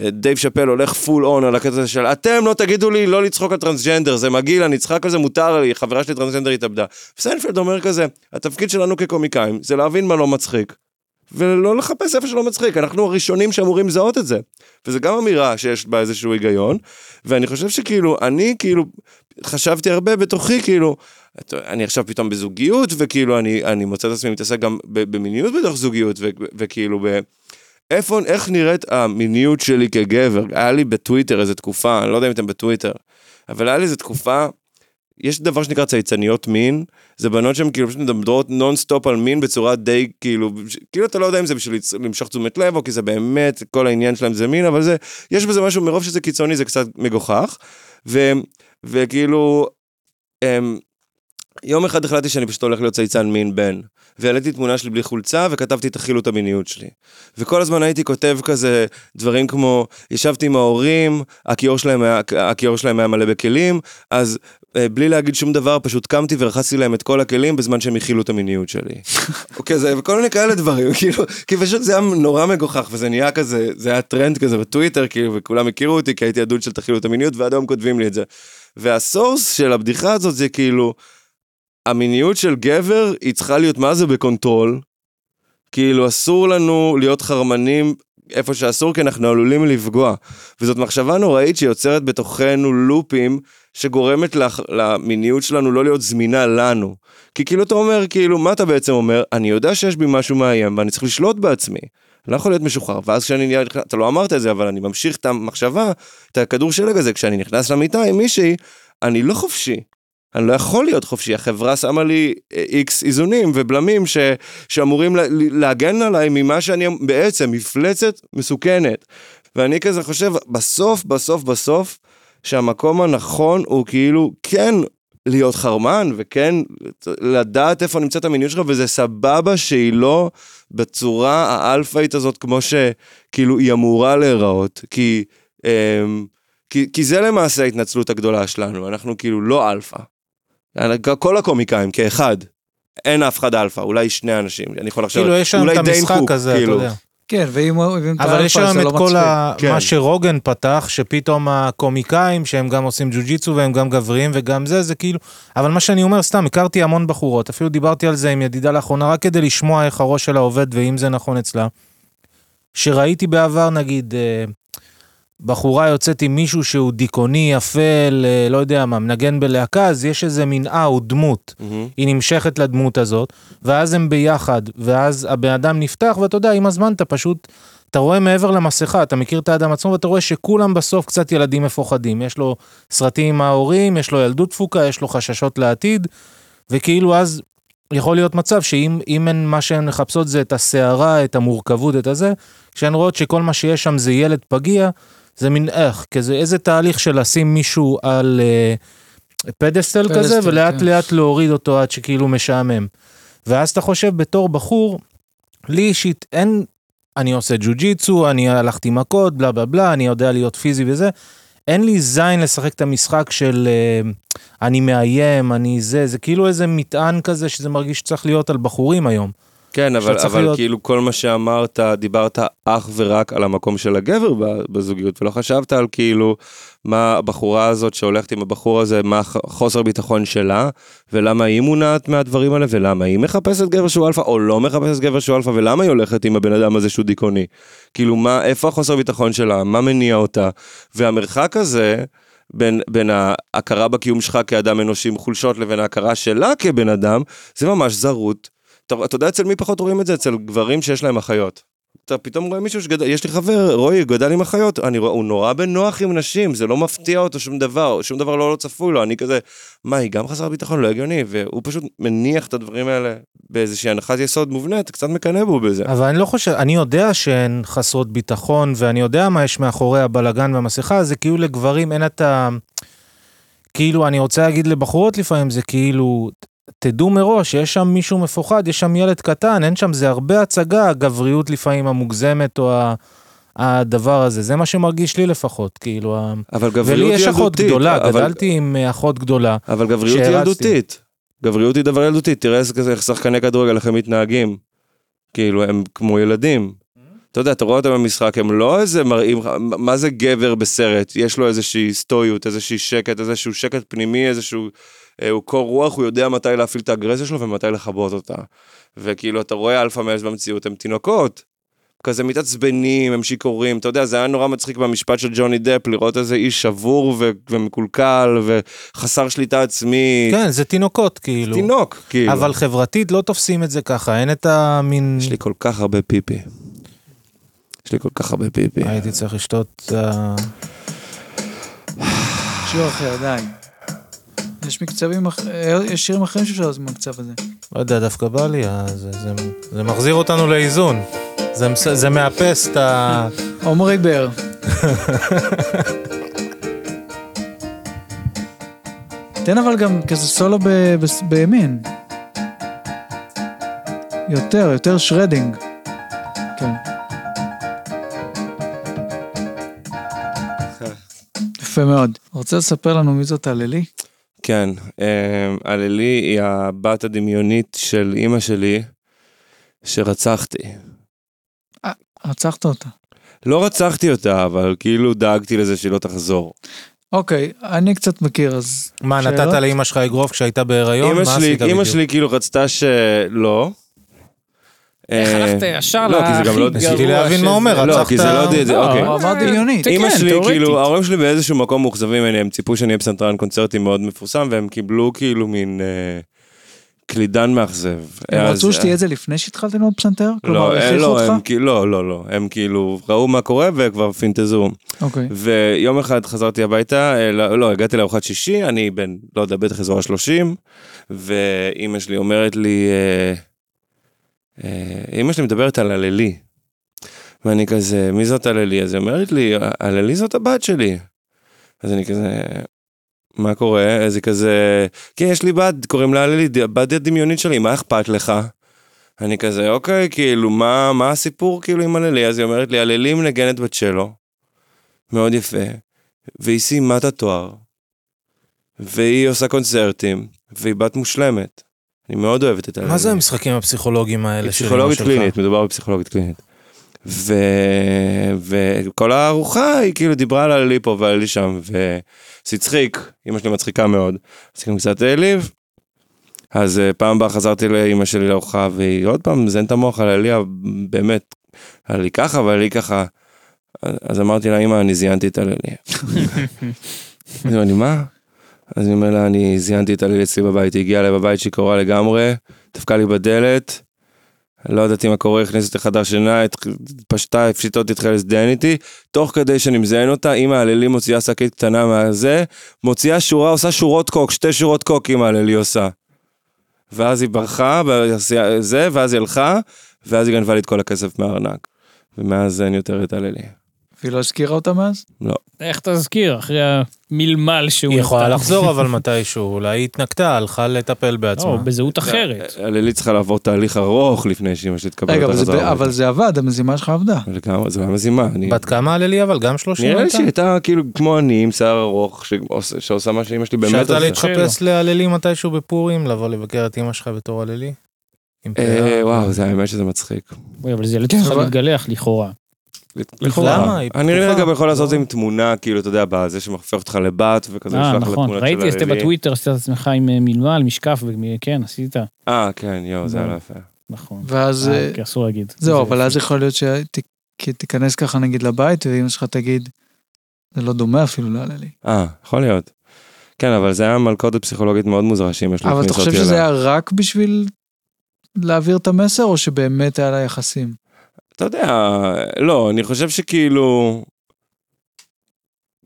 Speaker 2: אה, דייב שאפל הולך פול און על הקטע הזה של, אתם לא תגידו לי לא לצחוק על טרנסג'נדר, זה מגעיל, אני אצחק על זה, מותר לי, חברה שלי טרנסג'נדר התאבדה. וסיינפלד אומר כזה, התפקיד שלנו כקומיקאים זה להבין מה לא מצחיק. ולא לחפש איפה שלא מצחיק, אנחנו הראשונים שאמורים לזהות את זה. וזו גם אמירה שיש בה איזשהו היגיון, ואני חושב שכאילו, אני כאילו, חשבתי הרבה בתוכי, כאילו, אתה- אני עכשיו פתאום בזוגיות, וכאילו אני, אני מוצא את עצמי מתעסק גם ב- במיניות בתוך זוגיות, ו, וכאילו ב... איפה, איך נראית המיניות שלי כגבר? היה לי בטוויטר איזו תקופה, אני לא יודע אם אתם בטוויטר, אבל היה לי איזו תקופה, יש דבר שנקרא צייצניות מין, זה בנות שהן כאילו פשוט מדברות נונסטופ על מין בצורה די כאילו, כאילו אתה לא יודע אם זה בשביל לצ- למשוך תשומת לב, או כי זה באמת, כל העניין שלהם זה מין, אבל זה, יש בזה משהו, מרוב שזה קיצוני זה קצת מגוחך, ו, וכאילו, הם, אמ, יום אחד החלטתי שאני פשוט הולך להיות צייצן מין בן, והעליתי תמונה שלי בלי חולצה וכתבתי תכילו את המיניות שלי. וכל הזמן הייתי כותב כזה דברים כמו, ישבתי עם ההורים, הכיור שלהם היה, הכיור שלהם היה מלא בכלים, אז אה, בלי להגיד שום דבר פשוט קמתי ורחצתי להם את כל הכלים בזמן שהם הכילו את המיניות שלי. כזה, וכל מיני כאלה דברים, כאילו, כי פשוט זה היה נורא מגוחך וזה נהיה כזה, זה היה טרנד כזה בטוויטר, כאילו, וכולם הכירו אותי כי הייתי הדוד של תכילו את המיניות ועד היום כותבים לי את זה. והסורס של הבדיחה הזאת זה כאילו, המיניות של גבר היא צריכה להיות מה זה בקונטרול. כאילו אסור לנו להיות חרמנים איפה שאסור כי אנחנו עלולים לפגוע. וזאת מחשבה נוראית שיוצרת בתוכנו לופים שגורמת לח- למיניות שלנו לא להיות זמינה לנו. כי כאילו אתה אומר כאילו מה אתה בעצם אומר אני יודע שיש בי משהו מאיים ואני צריך לשלוט בעצמי. אני לא יכול להיות משוחרר ואז כשאני נהיה אתה לא אמרת את זה אבל אני ממשיך את המחשבה את הכדור שלג הזה כשאני נכנס למיטה עם מישהי אני לא חופשי. אני לא יכול להיות חופשי, החברה שמה לי איקס איזונים ובלמים ש, שאמורים לה, להגן עליי ממה שאני בעצם, מפלצת מסוכנת. ואני כזה חושב, בסוף, בסוף, בסוף, שהמקום הנכון הוא כאילו כן להיות חרמן, וכן לדעת איפה נמצאת המיניות שלך, וזה סבבה שהיא לא בצורה האלפאית הזאת כמו שכאילו היא אמורה להיראות, כי... אמ, כי, כי זה למעשה ההתנצלות הגדולה שלנו, אנחנו כאילו לא אלפא. כל הקומיקאים כאחד, אין אף אחד אלפא, אולי שני אנשים, אני יכול לחשוב,
Speaker 4: כאילו, יש שם
Speaker 2: אולי
Speaker 4: את
Speaker 2: דיין
Speaker 4: המשחק
Speaker 2: קוק,
Speaker 4: הזה, אתה
Speaker 2: כאילו.
Speaker 4: יודע.
Speaker 1: כן, ואם אוהבים את
Speaker 4: אבל יש
Speaker 1: האלפא,
Speaker 4: שם
Speaker 1: זה
Speaker 4: את
Speaker 1: לא
Speaker 4: כל
Speaker 1: מצחיק.
Speaker 4: ה-
Speaker 2: כן.
Speaker 4: מה שרוגן פתח, שפתאום הקומיקאים, שהם גם עושים ג'ו-ג'יצו והם גם גבריים וגם זה, זה כאילו... אבל מה שאני אומר, סתם, הכרתי המון בחורות, אפילו דיברתי על זה עם ידידה לאחרונה, רק כדי לשמוע איך הראש שלה עובד ואם זה נכון אצלה. שראיתי בעבר, נגיד, אה, בחורה יוצאת עם מישהו שהוא דיכאוני, אפל, אה, לא יודע מה, מנגן בלהקה, אז יש איזה מנעה או דמות.
Speaker 2: מהמם.
Speaker 4: היא נמשכת לדמות הזאת, ואז הם ביחד, ואז הבן אדם נפתח, ואתה יודע, עם הזמן אתה פשוט, אתה רואה מעבר למסכה, אתה מכיר את האדם עצמו, ואתה רואה שכולם בסוף קצת ילדים מפוחדים. יש לו סרטים עם ההורים, יש לו ילדות תפוקה, יש לו חששות לעתיד, וכאילו אז יכול להיות מצב שאם אם הן, מה שהן מחפשות זה את הסערה, את המורכבות, את הזה, כשהן רואות שכל מה שיש שם זה ילד פגיע, זה מין איך, כזה איזה תהליך של לשים מישהו על אה, פדסטל
Speaker 1: פדסטל,
Speaker 4: כזה, ולאט
Speaker 1: כן.
Speaker 4: לאט להוריד אותו עד שכאילו משעמם. ואז אתה חושב בתור בחור, לי אישית אין, אני עושה ג'ו-ג'יצו, אני הלכתי מכות, בלה בלה בלה, אני יודע להיות פיזי וזה, אין לי זין לשחק את המשחק של אה, אני מאיים, אני זה, זה כאילו איזה מטען כזה שזה מרגיש שצריך להיות על בחורים היום.
Speaker 2: כן, אבל,
Speaker 4: שצריך
Speaker 2: אבל
Speaker 4: להיות-
Speaker 2: להיות... כאילו כל מה שאמרת, דיברת אך ורק על המקום של הגבר ב- בזוגיות, ולא חשבת על כאילו מה הבחורה הזאת שהולכת עם הבחור הזה, מה ח- חוסר ביטחון שלה, ולמה היא מונעת מהדברים האלה, ולמה היא מחפשת גבר שהוא אלפא, או לא מחפשת גבר שהוא אלפא, ולמה היא הולכת עם הבן אדם הזה שהוא דיכאוני. כאילו, מה, איפה החוסר ביטחון שלה, מה מניע אותה, והמרחק הזה... בין, בין ההכרה בקיום שלך כאדם אנושי עם חולשות לבין ההכרה שלה כבן אדם, זה ממש זרות אתה, אתה יודע אצל מי פחות רואים את זה? אצל גברים שיש להם אחיות. אתה פתאום רואה מישהו שגדל, יש לי חבר, רועי, הוא גדל עם אחיות, אני רואה, הוא נורא בנוח עם נשים, זה לא מפתיע אותו שום דבר, שום דבר לא, לא צפוי לו, אני כזה, מה, היא גם חסרת ביטחון? לא הגיוני, והוא פשוט מניח את הדברים האלה באיזושהי הנחת יסוד מובנית, קצת מקנא בו בזה.
Speaker 4: אבל אני לא חושב, אני יודע שהן חסרות ביטחון, ואני יודע מה יש מאחורי הבלגן והמסכה, זה כאילו לגברים אין את ה... כאילו, אני רוצה להגיד לבחורות לפעמים, זה כאילו, תדעו מראש, יש שם מישהו מפוחד, יש שם ילד קטן, אין שם, זה הרבה הצגה, הגבריות לפעמים המוגזמת, או ה- הדבר הזה, זה מה שמרגיש לי לפחות, כאילו, ה-
Speaker 2: אבל גבריות
Speaker 4: ולי
Speaker 2: ילדותית.
Speaker 4: יש אחות גדולה,
Speaker 2: אבל,
Speaker 4: גדלתי עם אה, אחות גדולה.
Speaker 2: אבל גבריות
Speaker 4: שהרצתי.
Speaker 2: ילדותית. גבריות היא דבר ילדותי, תראה איזה- כזה- איך שחקני כדורגל, איך הם מתנהגים. כאילו, הם כמו ילדים. אתה יודע, אתה רואה אותם במשחק, הם לא איזה מראים, לך- מה זה גבר בסרט? יש לו איזושהי סטואיות, איזושהי שקט, איזשהו שקט פנימי, איזשהו... אה, הוא קור רוח, הוא יודע מתי להפעיל את האגרסיה שלו ומתי לכבות אותה. וכאילו, אתה רואה אלפא מאס במציאות, הם תינוקות. כזה מתעצבנים, הם שיכורים, אתה יודע, זה היה נורא מצחיק במשפט של ג'וני דפ, לראות איזה איש שבור ו- ומקולקל וחסר שליטה עצמית.
Speaker 4: כן, זה תינוקות, כאילו.
Speaker 2: תינוק, כאילו.
Speaker 4: אבל חברתית לא תופסים את זה ככה, אין את המין...
Speaker 2: יש לי כל כך הרבה פיפי. יש לי כל כך הרבה פיפי.
Speaker 4: הייתי צריך לשתות... אה,
Speaker 1: שיר אחר, די. יש מקצבים, אח- אה, יש שירים אחרים שאפשר לעשות מהקצב הזה.
Speaker 4: לא יודע, דווקא בא לי, אה, זה- זה- זה מחזיר אותנו לאיזון. זה מס- זה מאפס את ה...
Speaker 1: עומרי בר. תן אבל גם כזה סולו ב, ב, בימין. יותר, יותר שרדינג. כן. יפה מאוד. רוצה לספר לנו מי זאת הללי?
Speaker 2: כן, אה, הללי היא הבת הדמיונית של אימא שלי, שרצחתי.
Speaker 1: רצחת אותה.
Speaker 2: לא רצחתי אותה, אבל כאילו דאגתי לזה שהיא לא תחזור.
Speaker 1: אוקיי, אני קצת מכיר, אז...
Speaker 4: מה,
Speaker 1: שאלות?
Speaker 4: נתת לאימא שלך אגרוף כשהייתה בהיריון?
Speaker 2: אימא
Speaker 4: מה
Speaker 2: שלי,
Speaker 4: עשית
Speaker 2: אימא
Speaker 4: בדיוק?
Speaker 2: שלי כאילו רצתה שלא.
Speaker 5: איך
Speaker 2: אה,
Speaker 5: הלכת ישר
Speaker 2: לא, כי זה גם לא-
Speaker 5: להכי
Speaker 4: ניסיתי
Speaker 5: גרוע
Speaker 4: להבין מה
Speaker 5: שזה-
Speaker 4: אומר,
Speaker 1: אה,
Speaker 4: רצחת...
Speaker 2: לא, כי זה לא יודע את זה,
Speaker 5: לא,
Speaker 2: אוקיי.
Speaker 5: אבל-
Speaker 1: עבר דמיונית.
Speaker 5: תקן,
Speaker 2: אימא שלי,
Speaker 5: תיאורטית.
Speaker 2: כאילו, ההורים שלי באיזשהו מקום מאוכזבים ממני, הם ציפו שאני אהיה פסנתרן קונצרטי מאוד מפורסם, והם קיבלו כאילו מין אה, קלידן מאכזב.
Speaker 1: הם
Speaker 2: אה, אז-
Speaker 1: רצו שתהיה את זה לפני שהתחלת ללמוד פסנתר? כלומר,
Speaker 2: לא, אה,
Speaker 1: הכריחו
Speaker 2: לא,
Speaker 1: אותך?
Speaker 2: הם כאילו- לא, לא, לא, הם כאילו ראו מה קורה וכבר פינטזו.
Speaker 1: אוקיי.
Speaker 2: ויום אחד חזרתי הביתה, אה, לא, לא, הגעתי לארוחת שישי, אני בן, לא יודע, בטח אזור השלושים, ואימא שלי אומרת לי, אה, אה, אימא שלי מדברת על הללי. ואני כזה, מי זאת הללי? אז היא אומרת לי, הללי זאת הבת שלי. אז אני כזה, מה קורה? אז היא כזה, כן, יש לי בת, קוראים לה הללי, הבת הדמיונית שלי, מה אכפת לך? אני כזה, אוקיי, כאילו, מה, מה הסיפור כאילו עם הללי? אז היא אומרת לי, הללי מנגנת בצ'לו, מאוד יפה, והיא סיימה את התואר, והיא עושה קונצרטים, והיא בת מושלמת. אני מאוד אוהבת את הללי.
Speaker 4: מה זה המשחקים הפסיכולוגיים האלה
Speaker 2: היא
Speaker 4: של
Speaker 2: פסיכולוגית
Speaker 4: אמא שלך?
Speaker 2: קלינית, מדובר בפסיכולוגית קלינית. ו... וכל הארוחה היא כאילו דיברה על הלי פה ועל הלי שם, וזה הצחיק, אמא שלי מצחיקה מאוד, אז גם קצת העליב. אז אה, פעם הבאה חזרתי לאמא שלי לארוחה, והיא עוד פעם מזיינת את המוח על הלי, באמת, על הלי ככה ועל הלי ככה. אז אמרתי לה, אמא, אני זיינתי את הללי. אז היא אומרת לי, מה? אז אני אומר לה, אני זיינתי את הליל אצלי בבית, היא הגיעה אליי בבית שהיא קרואה לגמרי, דפקה לי בדלת, לא ידעתי מה קורה, הכניסה אותי לחדר שינה, התח- פשטה, הפשיטה אותי, התחילה לזדיין איתי, תוך כדי שאני מזיין אותה, אימא הללי מוציאה שקית קטנה מהזה, מוציאה שורה, עושה שורות קוק, שתי שורות קוק אימא הללי עושה. ואז היא ברחה, ועשה- זה, ואז היא הלכה, ואז היא גנבה לי את כל הכסף מהארנק. ומאז אין יותר את הללי.
Speaker 1: והיא לא הזכירה אותה מאז?
Speaker 5: איך תזכיר אחרי המלמל שהוא...
Speaker 4: היא יכולה
Speaker 5: נתן?
Speaker 4: לחזור אבל מתישהו, אולי היא התנקתה, הלכה לטפל
Speaker 5: לא,
Speaker 4: בעצמה.
Speaker 5: בזהות אחרת.
Speaker 2: הללי צריכה לעבור תהליך ארוך לפני שאימא שלי תקבל
Speaker 1: רגע,
Speaker 2: אותה
Speaker 1: אבל זה-
Speaker 2: חזרה.
Speaker 1: אבל זה עבד, המזימה שלך עבדה.
Speaker 2: לגמרי, זה לא מזימה. אני-
Speaker 4: בת כמה הללי אבל? גם שלושים
Speaker 2: נראה לי
Speaker 4: הייתה?
Speaker 2: שהיא הייתה כאילו כמו אני עם שיער ארוך שעושה- שעושה מה שאימא שלי באמת
Speaker 4: שאתה
Speaker 2: עושה.
Speaker 4: להתחפש להללי מתישהו בפורים, לבוא לבקר את אמא שלך בתור הללי? עם
Speaker 2: אה,
Speaker 4: פאה?
Speaker 2: וואו, זה האמת שזה מצחיק.
Speaker 5: אוי, אבל זה ילד שלך
Speaker 1: אבל-
Speaker 5: מתגלח לכאורה.
Speaker 4: לכאורה. למה? היא
Speaker 2: אני
Speaker 4: פתוחה.
Speaker 2: רגע יכול לעשות את זה
Speaker 4: לא.
Speaker 2: עם תמונה, כאילו, אתה יודע, בזה שמחפף אותך לבת וכזה,
Speaker 5: אה,
Speaker 2: לשלוח לה
Speaker 5: נכון.
Speaker 2: תמונות של
Speaker 5: ראיתי, עשית
Speaker 2: הלוי.
Speaker 5: בטוויטר, עשית את עצמך עם אה, מלמל, משקף, ומ- כן, עשית.
Speaker 2: אה, כן, יואו, זה היה לא יפה.
Speaker 5: נכון.
Speaker 1: ואז... אה,
Speaker 5: אה, כי אסור להגיד.
Speaker 1: זהו,
Speaker 5: זה
Speaker 1: אבל
Speaker 5: יפה.
Speaker 1: אז יכול להיות שתיכנס ככה נגיד לבית, ואמא שלך תגיד, זה לא דומה אפילו להללי.
Speaker 2: אה, יכול להיות. כן, אבל זה היה מלכודת פסיכולוגית מאוד מוזרה שאימא שלי
Speaker 1: אבל אתה
Speaker 2: לא הכניסה
Speaker 1: חושב
Speaker 2: אותי
Speaker 1: שזה
Speaker 2: אליה.
Speaker 1: היה רק בשביל להעביר את המסר, או שבאמת היה לה יחסים?
Speaker 2: אתה יודע, לא, אני חושב שכאילו...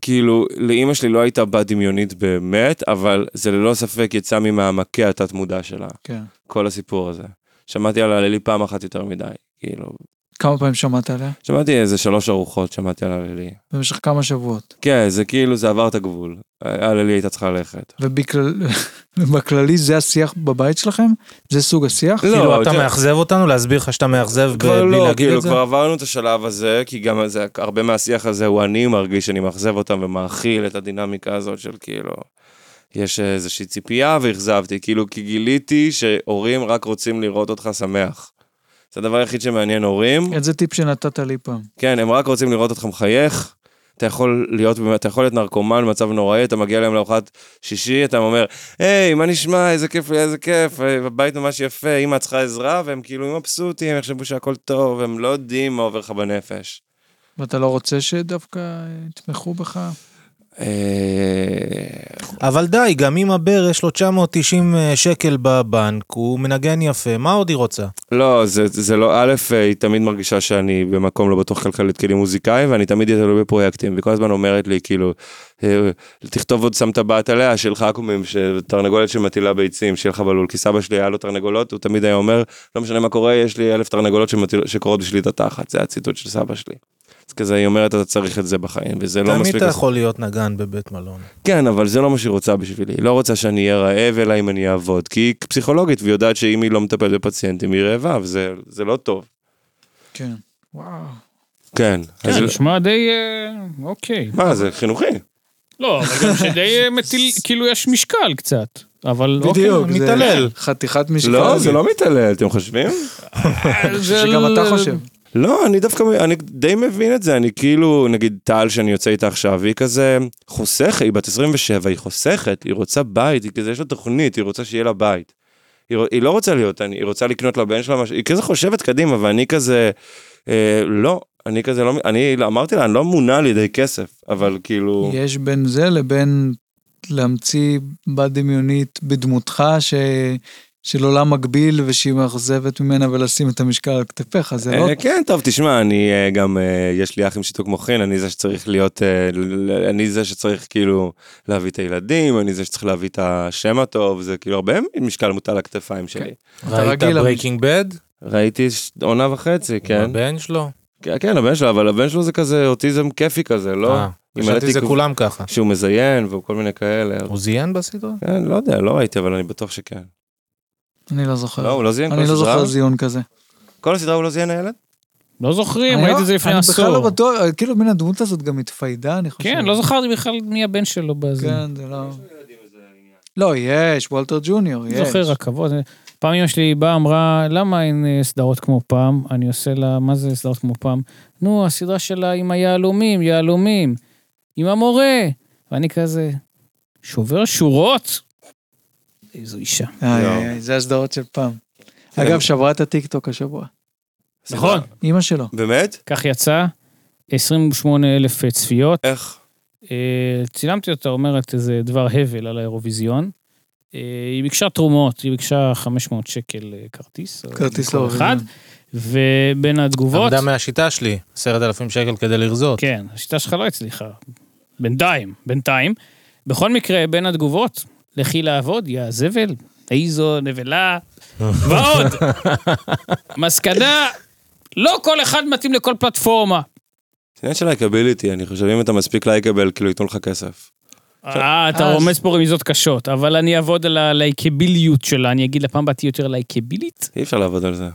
Speaker 2: כאילו, לאימא שלי לא הייתה בת דמיונית באמת, אבל זה ללא ספק יצא ממעמקי התת-מודע שלה.
Speaker 1: כן.
Speaker 2: כל הסיפור הזה. שמעתי על הלילי פעם אחת יותר מדי, כאילו.
Speaker 1: כמה פעמים שמעת עליה?
Speaker 2: שמעתי איזה שלוש ארוחות, שמעתי על הלילי.
Speaker 1: במשך כמה שבועות.
Speaker 2: כן, זה כאילו, זה עבר את הגבול. הלילי הייתה צריכה ללכת.
Speaker 1: ובכל- ובכללי זה השיח בבית שלכם? זה סוג השיח?
Speaker 2: לא,
Speaker 4: כאילו אתה
Speaker 2: יותר-
Speaker 4: מאכזב אותנו? להסביר לך שאתה מאכזב ב-
Speaker 2: כבר
Speaker 4: בלי
Speaker 2: לא,
Speaker 4: להגיד
Speaker 2: כאילו,
Speaker 4: את זה?
Speaker 2: כבר עברנו את השלב הזה, כי גם זה, הרבה מהשיח הזה הוא אני מרגיש שאני מאכזב אותם ומאכיל את הדינמיקה הזאת של כאילו, יש איזושהי ציפייה ואכזבתי, כאילו, כי גיליתי שהורים רק רוצים לראות אותך שמח. זה הדבר היחיד שמעניין הורים.
Speaker 1: איזה טיפ שנתת לי פעם.
Speaker 2: כן, הם רק רוצים לראות אותך מחייך. אתה יכול להיות, אתה יכול להיות נרקומן במצב נוראי, אתה מגיע אליהם לארוחת שישי, אתה אומר, היי, מה נשמע, איזה כיף לי, איזה כיף, אה, הבית ממש יפה, אמא את צריכה עזרה, והם כאילו מבסוטים, הם יחשבו שהכל טוב, הם לא יודעים מה עובר לך בנפש.
Speaker 1: ואתה לא רוצה שדווקא אה, יתמכו בך?
Speaker 2: אה,
Speaker 4: אבל די, גם אם הבר יש לו 990 שקל בבנק, הוא מנגן יפה, מה עוד היא רוצה?
Speaker 2: לא, זה, זה לא, א', אה, היא תמיד מרגישה שאני במקום לא בטוח כלכלית כלי מוזיקאי, ואני תמיד אהיה תלוי בפרויקטים, והיא כל הזמן אומרת לי, כאילו, אה, תכתוב עוד שם טבעת עליה, שלך עקומים, תרנגולת שמטילה ביצים, שיהיה לך בלול, כי סבא שלי היה לו תרנגולות, הוא תמיד היה אומר, לא משנה מה קורה, יש לי אלף תרנגולות שמטיל, שקורות בשליטה תחת, זה הציטוט של סבא שלי. אז כזה היא אומרת, אתה צריך את זה בחיים, וזה לא
Speaker 4: תמיד
Speaker 2: מספיק.
Speaker 4: אתה יכול להיות נגן בבית מלון.
Speaker 2: כן, אבל זה לא מה שהיא רוצה בשבילי. היא לא רוצה שאני אהיה רעב, אלא אם אני אעבוד. כי היא פסיכולוגית, והיא יודעת שאם היא לא מטפלת בפציינטים, היא רעבה, וזה זה לא טוב.
Speaker 1: כן. וואו.
Speaker 2: כן. אז
Speaker 5: כן,
Speaker 2: זה-
Speaker 5: נשמע די... אה, אוקיי.
Speaker 2: מה, זה חינוכי.
Speaker 5: לא, אבל גם שדי אה, מטיל, כאילו יש משקל קצת. אבל אוקיי.
Speaker 1: בדיוק. זה
Speaker 4: מתעלל.
Speaker 1: חתיכת משקל.
Speaker 2: לא, זה לא מתעלל, אתם חושבים?
Speaker 5: זה
Speaker 1: שגם
Speaker 5: ל-
Speaker 1: אתה חושב.
Speaker 2: לא, אני דווקא, אני די מבין את זה, אני כאילו, נגיד טל שאני יוצא איתה עכשיו, היא כזה חוסכת, היא בת 27, היא חוסכת, היא רוצה בית, היא כזה, יש לה תוכנית, היא רוצה שיהיה לה בית. היא, רוצ- היא לא רוצה להיות, אני, היא רוצה לקנות לבן שלה משהו, היא כזה חושבת קדימה, ואני כזה, אה, לא, אני כזה לא, מ- אני אמרתי לה, אני לא מונע על ידי כסף, אבל כאילו,
Speaker 1: יש בין זה לבין להמציא בת דמיונית בדמותך ש... של עולם מקביל ושהיא מאכזבת ממנה ולשים את המשקל על כתפיך, זה לא...
Speaker 2: אה, כן, טוב, תשמע, אני אה, גם, אה, יש לי אח עם שיתוק מוחין, אני זה שצריך להיות, אה, ל- ל- אני זה שצריך כאילו להביא את הילדים, אני זה שצריך להביא את השם הטוב, זה כאילו הרבה משקל מוטל על הכתפיים שלי.
Speaker 4: ראית
Speaker 1: רגיל, אבל-
Speaker 4: ברייקינג בד?
Speaker 2: ראיתי ש- עונה וחצי, כן.
Speaker 4: הבן שלו?
Speaker 2: כן, כן, הבן שלו, אבל הבן שלו זה כזה אוטיזם כיפי כזה, לא?
Speaker 4: אה,
Speaker 2: עם
Speaker 4: חשבתי זה
Speaker 2: התיק-
Speaker 4: כולם ככה.
Speaker 2: שהוא מזיין וכל מיני כאלה.
Speaker 4: הוא זיין בסדרה?
Speaker 2: כן, לא יודע, לא ראיתי, אבל אני בטוח שכן.
Speaker 1: אני לא זוכר.
Speaker 2: לא, הוא לא זיין כל
Speaker 1: אני לא
Speaker 2: הסדרה?
Speaker 1: זוכר זיון כזה.
Speaker 2: כל הסדרה הוא לא זיין הילד?
Speaker 5: לא זוכרים,
Speaker 1: אני
Speaker 5: ראיתי
Speaker 1: לא-
Speaker 5: את זה לפני
Speaker 1: אני בכלל לא
Speaker 5: עשור.
Speaker 1: בטוח, כאילו מן הדמות הזאת גם התפיידה, אני חושב.
Speaker 5: כן, לא זכרתי בכלל מי הבן שלו בזה.
Speaker 1: כן, זה לא... לא, יש, וולטר ג'וניור, יש.
Speaker 5: זוכר רכבות. פעם אמא שלי באה, אמרה, למה אין אה, סדרות כמו פעם? אני עושה לה, מה זה סדרות כמו פעם? נו, הסדרה שלה עם היהלומים, יהלומים, עם המורה. ואני כזה, שובר שורות? איזו אישה.
Speaker 1: איי,
Speaker 2: לא.
Speaker 1: איי, איי, זה הסדרות של פעם. אגב, שברה את הטיקטוק השבוע.
Speaker 5: נכון.
Speaker 1: אימא שלו.
Speaker 2: באמת?
Speaker 5: כך יצא, 28 אלף צפיות.
Speaker 2: איך?
Speaker 5: אה, צילמתי אותה אומרת איזה דבר הבל על האירוויזיון. אה, היא ביקשה תרומות, היא ביקשה 500 שקל אה, כרטיס. או
Speaker 1: כרטיס
Speaker 5: כל אחד,
Speaker 1: לאורחים.
Speaker 5: ובין התגובות...
Speaker 4: עמדה מהשיטה שלי, עשרת אלפים שקל כדי לרזות.
Speaker 5: כן, השיטה שלך לא הצליחה. בינתיים, בינתיים. בכל מקרה, בין התגובות, לכי לעבוד, יא זבל, איזו נבלה, ועוד. מסקנה, לא כל אחד מתאים לכל פלטפורמה.
Speaker 2: זה עניין של לייקביליטי, אני חושב, אם אתה מספיק לייקבל, כאילו ייתנו לך כסף.
Speaker 5: אה, אתה
Speaker 1: אז-
Speaker 5: רומז פה רמיזות קשות, אבל אני אעבוד על הלייקביליות שלה, אני אגיד לפעם הבאה תהיה יותר לייקבילית.
Speaker 2: אי אפשר לעבוד על זה.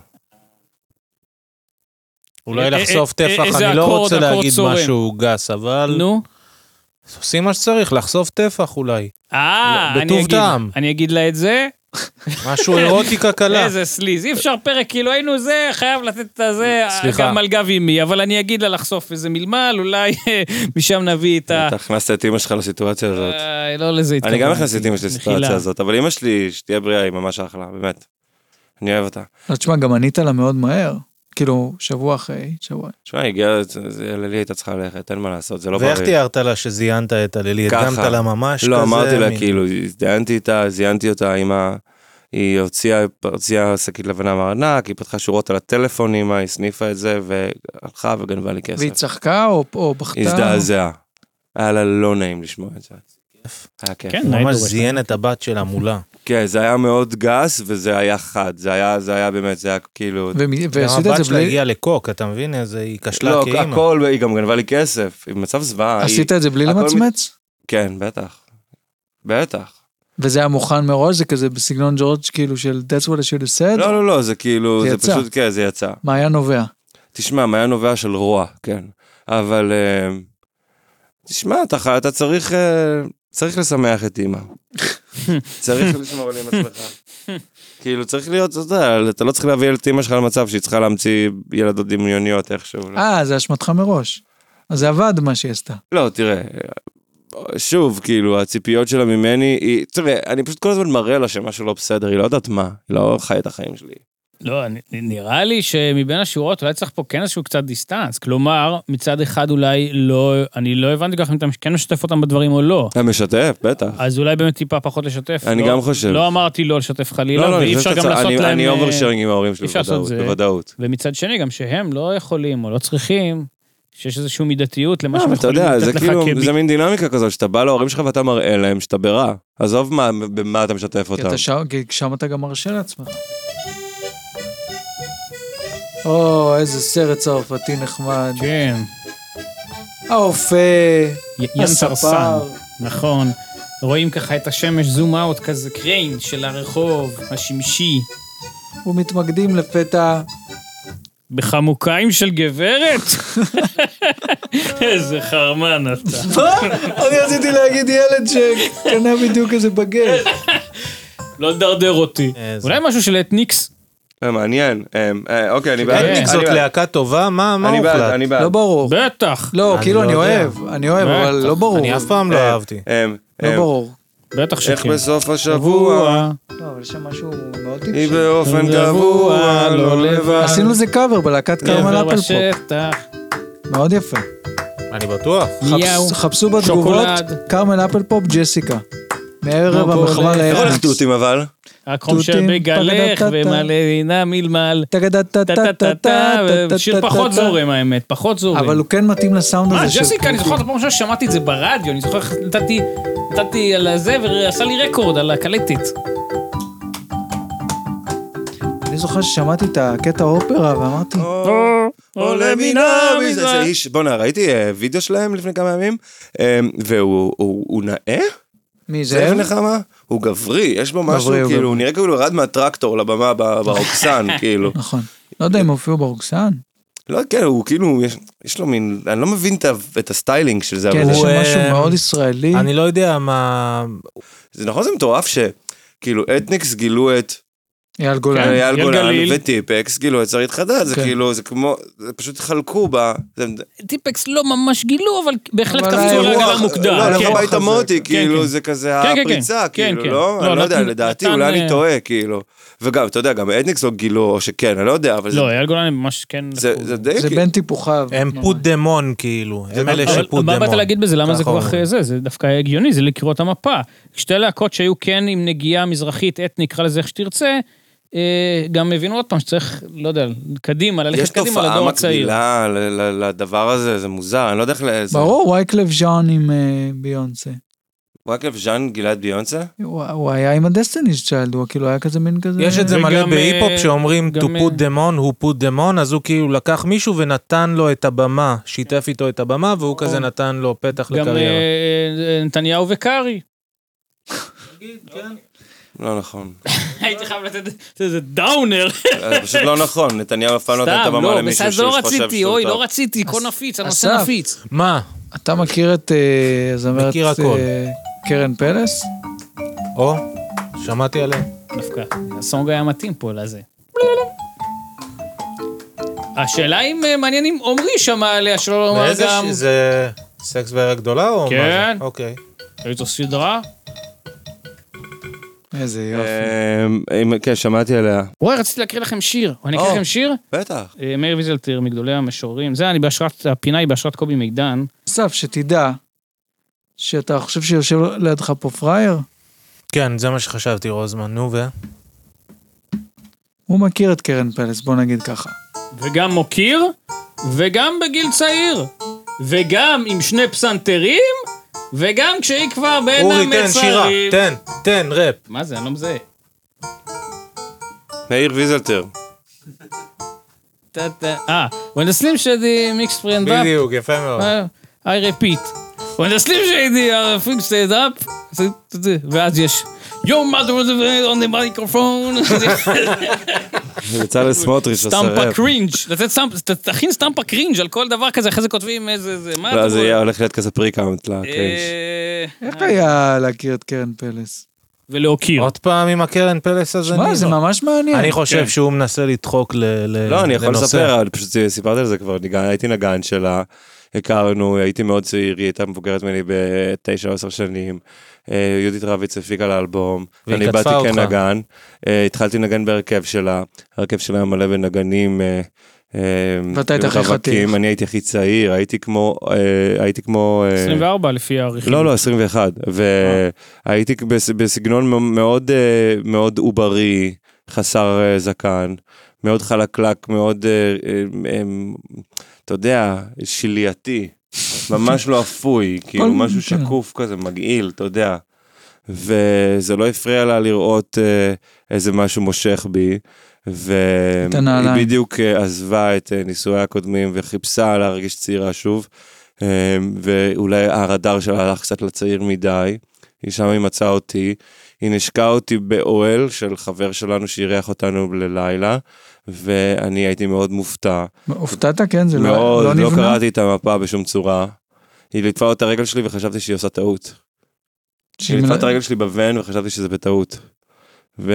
Speaker 4: אולי לא
Speaker 5: אה,
Speaker 4: לחשוף
Speaker 5: אה, אה,
Speaker 4: טפח,
Speaker 5: איזה
Speaker 4: אני לא
Speaker 5: אקורד,
Speaker 4: רוצה
Speaker 5: אקורד
Speaker 4: להגיד
Speaker 5: צורם.
Speaker 4: משהו גס, אבל
Speaker 5: אה, נו.
Speaker 4: עושים מה שצריך, לחשוף טפח אולי.
Speaker 5: אה,
Speaker 4: לא,
Speaker 5: אני
Speaker 4: בטוב
Speaker 5: אגיד-
Speaker 4: טעם.
Speaker 5: אני אגיד לה את זה.
Speaker 4: משהו אירוטיקה קלה.
Speaker 5: איזה סליז, אי אפשר פרק, כאילו היינו זה, חייב לתת את הזה,
Speaker 4: סליחה.
Speaker 5: גם על גב אימי, אבל אני אגיד לה לחשוף איזה מלמל, אולי משם נביא את ה...
Speaker 2: אתה הכנסת את אמא שלך לסיטואציה הזאת.
Speaker 5: אה, לא לזה
Speaker 2: אני
Speaker 5: התכוונתי.
Speaker 2: גם הכנסתי את אמא שלי לסיטואציה
Speaker 5: מחילה.
Speaker 2: הזאת, אבל אמא שלי, שתהיה בריאה, היא ממש אחלה, באמת. אני אוהב אותה.
Speaker 1: לא, תשמע, גם ענית לה מאוד מהר. כאילו, שבוע אחרי, שבוע.
Speaker 2: תשמע, היא הגיעה, זה- ללי הייתה צריכה ללכת, אין מה לעשות, זה לא בריא.
Speaker 4: ואיך תיארת לה שזיינת את הלילי?
Speaker 2: ככה.
Speaker 4: הדגמת לה ממש כזה?
Speaker 2: לא, אמרתי לה,
Speaker 4: מין-
Speaker 2: כאילו, הזדיינתי איתה, זיינתי אותה עם ה... היא הוציאה, הוציאה שקית לבנה מהארנק, היא פתחה שורות על הטלפון עם ה- היא הסניפה את זה, והלכה וגנבה לי כסף.
Speaker 1: והיא צחקה או- או בכתה?
Speaker 2: היא הזדעזעה. היה לה לא נעים לשמוע את זה. היה כיף.
Speaker 5: כן, נעים
Speaker 4: ממש
Speaker 5: דורש.
Speaker 4: זיין את הבת שלה מולה.
Speaker 2: כן, זה היה מאוד גס, וזה היה חד. זה היה, זה היה באמת, זה היה כאילו...
Speaker 1: ומי-
Speaker 4: גם
Speaker 1: ועשית את
Speaker 4: הבת
Speaker 1: זה
Speaker 4: שלה
Speaker 1: בלי...
Speaker 4: הגיעה לקוק, אתה מבין? איזה היא כשלה
Speaker 2: לא,
Speaker 4: כאימא.
Speaker 2: הכל, היא גם גנבה לי כסף, היא במצב זוועה. היא-
Speaker 1: כאילו. עשית את זה בלי
Speaker 2: הכל מת-
Speaker 1: למצמץ?
Speaker 2: כן, בטח. בטח.
Speaker 1: וזה היה מוכן מראש? זה כזה בסגנון ג'ורג' כאילו של That's what I should have said?
Speaker 2: לא, לא, לא, זה כאילו,
Speaker 1: זה
Speaker 2: זה
Speaker 1: יצא.
Speaker 2: פשוט, כן, זה יצא.
Speaker 1: מה היה נובע?
Speaker 2: תשמע, מה היה נובע של רוע, כן. אבל, אה, תשמע, אתה, חי- אתה צריך, אה, צריך לשמח את אימא. צריך לשמור על אימא שלך. כאילו, צריך להיות, אתה יודע, אתה לא צריך להביא את אימא שלך למצב שהיא צריכה להמציא ילדות דמיוניות איכשהו.
Speaker 1: אה, זה אשמתך מראש. אז זה עבד מה שהיא עשתה.
Speaker 2: לא, תראה, שוב, כאילו, הציפיות שלה ממני, היא, תראה, אני פשוט כל הזמן מראה לה שמשהו לא בסדר, היא לא יודעת מה, היא לא חיה את החיים שלי.
Speaker 5: לא, נ- נראה לי שמבין השורות אולי צריך פה כן איזשהו קצת דיסטנס. כלומר, מצד אחד אולי לא, אני לא הבנתי ככה אם אתה כן משתף אותם בדברים או לא.
Speaker 2: אתה משתף, בטח.
Speaker 5: אז אולי באמת טיפה פחות לשתף.
Speaker 2: אני
Speaker 5: לא-
Speaker 2: גם חושב.
Speaker 5: לא אמרתי לא לשתף חלילה,
Speaker 2: אני
Speaker 5: ואי
Speaker 2: חושב
Speaker 5: אפשר גם
Speaker 2: שאתה צ-
Speaker 5: לעשות
Speaker 2: אני-
Speaker 5: להם...
Speaker 2: אני
Speaker 5: אה,
Speaker 2: אוברשרינג עם ההורים שלי,
Speaker 5: אפשר לעשות
Speaker 2: בוודאות,
Speaker 5: את זה.
Speaker 2: בוודאות.
Speaker 5: ומצד שני, גם שהם לא יכולים או לא צריכים, שיש איזושהי מידתיות למה
Speaker 2: לא,
Speaker 5: שהם
Speaker 2: אבל אתה
Speaker 5: יכולים
Speaker 2: יודע, זה
Speaker 5: לתת לך
Speaker 2: כאילו,
Speaker 5: כביט.
Speaker 2: זה מין דינמיקה כזאת, שאתה בא להורים שלך ואתה מראה להם שאתה ברע. עזוב מה- במה אתה משתף
Speaker 1: כי
Speaker 2: אותם.
Speaker 1: אתה שם, כי שם אתה גם מרשה לעצמך. או, איזה סרט צרפתי נחמד.
Speaker 5: כן.
Speaker 1: האופה,
Speaker 5: י- ים סרסן.
Speaker 1: הספר.
Speaker 5: נכון. רואים ככה את השמש זום אאוט כזה קריין של הרחוב השמשי.
Speaker 1: ומתמקדים לפתע
Speaker 5: בחמוקיים של גברת? איזה חרמן אתה.
Speaker 1: מה? אני רציתי להגיד ילד שקנה בדיוק איזה בגט.
Speaker 5: לא לדרדר אותי.
Speaker 4: איזה-
Speaker 5: אולי משהו של אתניקס?
Speaker 2: אה, מעניין. אה, אה, אוקיי, אני בעד.
Speaker 4: אתניק
Speaker 2: אני
Speaker 4: זאת
Speaker 2: בעד.
Speaker 4: להקה טובה? מה מה
Speaker 2: אני
Speaker 4: הוחלט?
Speaker 2: בעד, אני בעד.
Speaker 1: לא ברור.
Speaker 5: בטח,
Speaker 1: לא,
Speaker 4: אני
Speaker 1: כאילו
Speaker 4: לא
Speaker 1: אני
Speaker 4: יודע.
Speaker 1: אוהב, אני אוהב,
Speaker 5: בטח.
Speaker 1: אבל לא ברור.
Speaker 4: אני אף פעם לא
Speaker 2: אה,
Speaker 4: אהבתי.
Speaker 2: אה, אה,
Speaker 1: לא ברור.
Speaker 5: בטח
Speaker 2: איך
Speaker 5: שכן.
Speaker 2: בסוף השבוע,
Speaker 1: לא, אבל יש שם משהו מאוד
Speaker 2: היא
Speaker 1: טיפשי.
Speaker 2: באופן קבוע, לא לבד.
Speaker 1: עשינו לזה קאבר בלהקת כרמל
Speaker 5: גבר
Speaker 1: אפלפופ.
Speaker 5: בשטח,
Speaker 1: מאוד יפה.
Speaker 4: אני בטוח.
Speaker 5: מיהו.
Speaker 1: חפש- חפשו בתגובות
Speaker 5: שוקולד.
Speaker 1: כרמל אפלפופ ג'סיקה. מערב
Speaker 5: כמו כל
Speaker 1: המחווה
Speaker 5: ערב.
Speaker 2: איך
Speaker 1: לערב.
Speaker 2: הולך תותים אבל?
Speaker 5: הקרום
Speaker 1: תותים,
Speaker 5: שבגלך
Speaker 1: פגדתתה.
Speaker 5: ומלאינה מלמל.
Speaker 1: טה-טה-טה-טה-טה-טה-טה-טה-טה-טה.
Speaker 5: שיר פחות זורם האמת, פחות זורם.
Speaker 1: אבל הוא כן מתאים לסאונד
Speaker 5: מה,
Speaker 1: הזה של
Speaker 5: ג'סיקה, אני
Speaker 1: פרקים.
Speaker 5: זוכר את הפעם הראשונה ששמעתי את זה ברדיו, אני זוכר איך נתתי, נתתי על הזה ועשה לי רקורד על הקלטת.
Speaker 1: אני זוכר ששמעתי את הקטע אופרה ואמרתי,
Speaker 2: עולה מן האביב. איזה איש, בואנה, ראיתי אה, וידאו שלהם לפני כמה ימים, אה, והוא הוא- הוא נאה?
Speaker 1: מי זה?
Speaker 2: זאב נחמה? הוא גברי, יש בו משהו,
Speaker 1: גברי, הוא
Speaker 2: כאילו, הוא נראה כאילו הוא ירד מהטרקטור לבמה ב- ברוקסן, כאילו.
Speaker 1: נכון. לא יודע אם הופיעו ברוקסן.
Speaker 2: לא, כן, הוא כאילו, יש- יש לו מין, אני לא מבין את ה- את הסטיילינג של זה,
Speaker 1: כן,
Speaker 2: אבל
Speaker 1: יש שם
Speaker 4: אה,
Speaker 1: משהו מאוד ישראלי.
Speaker 4: אני לא יודע מה...
Speaker 2: זה נכון, זה מטורף שכאילו אתניקס גילו את
Speaker 1: אייל
Speaker 5: כן,
Speaker 1: גולן. אה,
Speaker 2: אייל
Speaker 5: אייל
Speaker 2: גולן
Speaker 5: גליל.
Speaker 2: וטיפקס גילו את שרית חדד, זה
Speaker 1: כן.
Speaker 2: כאילו, זה כמו, זה פשוט חלקו ב... זה-
Speaker 5: טיפקס לא ממש גילו, אבל בהחלט
Speaker 1: אבל
Speaker 5: קפצו
Speaker 1: האירוע-
Speaker 5: רגע
Speaker 2: לא,
Speaker 5: מוקדם.
Speaker 2: הלך
Speaker 1: כן.
Speaker 2: הביתה
Speaker 1: חזק.
Speaker 2: מוטי,
Speaker 1: כן,
Speaker 2: כאילו,
Speaker 5: כן.
Speaker 2: זה כזה
Speaker 5: כן, כן,
Speaker 2: הפריצה,
Speaker 5: כן,
Speaker 2: כאילו,
Speaker 5: כן.
Speaker 2: לא?
Speaker 5: לא,
Speaker 2: אני לא יודע,
Speaker 5: נתן-
Speaker 2: לדעתי,
Speaker 5: נתן,
Speaker 2: אולי אני
Speaker 5: אה,
Speaker 2: טועה, כאילו. וגם, אתה יודע, גם אתניקס לא גילו, או שכן, אני לא יודע, אבל זה-
Speaker 5: לא, אייל גולן ממש כן...
Speaker 2: זה
Speaker 5: לקחו.
Speaker 2: זה די...
Speaker 1: זה
Speaker 2: כאילו-
Speaker 1: בין טיפוחיו.
Speaker 4: הם
Speaker 1: ממש.
Speaker 4: פוט דמון כאילו, הם אלה
Speaker 5: אבל
Speaker 4: שפוט
Speaker 5: מה
Speaker 4: דמון.
Speaker 5: באת להגיד בזה? למה זה
Speaker 4: ככה
Speaker 5: כל כך
Speaker 4: אומרים.
Speaker 5: זה? זה דווקא הגיוני, זה לקרוא את המפה. שתי להקות שהיו כן עם נגיעה מזרחית, אתני, קרא לזה איך שתרצה, אה, גם הבינו עוד פעם שצריך, לא יודע, קדימה,
Speaker 2: יש
Speaker 5: ללכת קדימה
Speaker 2: תופעה
Speaker 5: לדור הצעיר.
Speaker 2: מקבילה ל- ל- לדבר הזה, זה מוזר, אני לא יודע איך ל... זה-
Speaker 1: ברור, וייקלב ז'אן עם אה, ביונסה.
Speaker 2: וואקף ז'אן גלעד ביונסה?
Speaker 1: הוא הוא היה עם הדסטיניס צ'יילד, הוא כאילו היה כזה מין כזה...
Speaker 4: יש את זה
Speaker 5: וגם,
Speaker 4: מלא
Speaker 5: אה,
Speaker 4: בהיפ-הופ שאומרים to
Speaker 5: גם, אה,
Speaker 4: put demon, who put demon, אז הוא כאילו לקח מישהו ונתן לו את הבמה, שיתף איתו את הבמה, והוא כזה נתן לו פתח
Speaker 5: גם
Speaker 4: לקריירה.
Speaker 5: אה, נתניהו וקארי.
Speaker 2: לא נכון.
Speaker 5: הייתי חייב לתת איזה דאונר.
Speaker 2: זה פשוט לא נכון, נתניהו אף פעם לא נותן את
Speaker 5: סתם,
Speaker 2: הבמה
Speaker 5: לא,
Speaker 2: למישהו
Speaker 5: בסדר,
Speaker 2: שחושב
Speaker 5: לא
Speaker 2: שהוא
Speaker 5: רציתי, אוי,
Speaker 2: טוב.
Speaker 5: לא רציתי, כה נפיץ, הנושא
Speaker 1: אסף.
Speaker 5: נפיץ.
Speaker 4: מה?
Speaker 1: אתה מכיר את אה, הזמרת
Speaker 4: מכיר הכל.
Speaker 1: אה, קרן פלס?
Speaker 4: או, שמעתי עליהם.
Speaker 5: דווקא, הסונג היה מתאים פה לזה. השאלה אם אה, מעניין אם עמרי שמע עליה, שלא לומר
Speaker 4: מאיזה
Speaker 5: גם...
Speaker 4: ש... זה סקס וערך גדולה או מה זה?
Speaker 5: כן.
Speaker 4: אוקיי.
Speaker 5: איזו סדרה?
Speaker 1: איזה יופי.
Speaker 2: אמ, אם- כן, שמעתי עליה.
Speaker 5: וואי, רציתי להקריא לכם שיר. אני אקריא
Speaker 2: או.
Speaker 5: לכם שיר?
Speaker 2: בטח.
Speaker 5: אה, מאיר ויזלטיר, מגדולי המשוררים. זה, אני בהשראת, הפינה היא בהשראת קובי מידן.
Speaker 1: אסף, שתדע שאתה חושב שיושב לידך פה פראייר?
Speaker 4: כן, זה מה שחשבתי, רוזמן, נו ו...
Speaker 1: הוא מכיר את קרן פלס, בוא נגיד ככה.
Speaker 5: וגם מוקיר, וגם בגיל צעיר. וגם עם שני פסנתרים, וגם כשהיא כבר בין
Speaker 4: אורי, תן שירה,
Speaker 5: המצרים.
Speaker 4: תן, תן, ראפ.
Speaker 5: מה זה, אני לא מזהה.
Speaker 2: מאיר ויזלטר.
Speaker 5: טה, טה, אה, when the slim shady mixed friend up,
Speaker 4: בדיוק, יפה מאוד.
Speaker 5: uh, I repeat. When the slim shady are fixed it up, זה- זה- זה, ואז יש, your mother was on the microphone,
Speaker 2: בצלאל סמוטריץ' עושה
Speaker 5: סטמפה
Speaker 2: ראפ.
Speaker 5: קרינג', לתת סטמפ, ת- תכין סטמפה קרינג' על כל דבר כזה, אחרי זה כותבים איזה, זה, מה
Speaker 2: לא,
Speaker 5: אתה
Speaker 2: זה
Speaker 5: אומר?
Speaker 2: יהיה אוקיי. הולך להיות כזה פריקאונט לקרינג'.
Speaker 5: אה, אה,
Speaker 1: איך היה להכיר את קרן פלס?
Speaker 5: ולהוקיר.
Speaker 4: עוד פעם עם הקרן פלס הזה.
Speaker 1: מה,
Speaker 4: ניב.
Speaker 1: זה ממש מעניין.
Speaker 4: לא- אני חושב
Speaker 5: כן.
Speaker 4: שהוא מנסה לדחוק ל- ל-
Speaker 2: לא, אני יכול
Speaker 4: לנושא.
Speaker 2: לספר, אבל פשוט סיפרתי על זה כבר, אני גם- הייתי נגן שלה, הכרנו, הייתי מאוד צעיר, היא הייתה מבוגרת ממני בתשע או עשר שנים. אה, יהודית רביץ הפיקה לאלבום,
Speaker 4: והיא
Speaker 2: אני
Speaker 4: כתבה
Speaker 2: באתי
Speaker 4: אותך.
Speaker 2: כנגן, אה, התחלתי לנגן בהרכב שלה, ההרכב שלה היה מלא בנגנים. אה, אה,
Speaker 1: ואתה היית הכי
Speaker 2: רווקים.
Speaker 1: חתיך.
Speaker 2: אני הייתי הכי צעיר, הייתי כמו, אה, הייתי כמו... אה,
Speaker 5: 24 לפי העריכים.
Speaker 2: לא, לא, 21. והייתי בס- בסגנון מ- מאוד אה, מאוד עוברי, חסר אה, זקן, מאוד חלקלק, מאוד, אה, אה, אה, אתה יודע, שלייתי, ממש לא אפוי, כאילו משהו
Speaker 1: כן.
Speaker 2: שקוף כזה, מגעיל, אתה יודע. וזה לא הפריע לה לראות אה, איזה משהו מושך בי.
Speaker 1: את
Speaker 2: והיא
Speaker 1: הנעליים.
Speaker 2: בדיוק אה, עזבה את אה, נישואיה הקודמים וחיפשה להרגיש צעירה שוב. אה, ואולי הרדאר שלה הלך קצת לצעיר מדי, היא שם היא מצאה אותי, היא נשקה אותי באוהל של חבר שלנו שאירח אותנו ללילה, ואני הייתי מאוד מופתע.
Speaker 1: הופתעת, כן? זה לא-
Speaker 2: מאוד,
Speaker 1: לא
Speaker 2: לא,
Speaker 1: נבנה?
Speaker 2: קראתי את המפה בשום צורה. היא ליטפה את הרגל שלי וחשבתי שהיא עושה טעות.
Speaker 1: שהיא
Speaker 2: היא ליטפה
Speaker 1: מנ-
Speaker 2: את הרגל שלי בוון וחשבתי שזה בטעות. ו...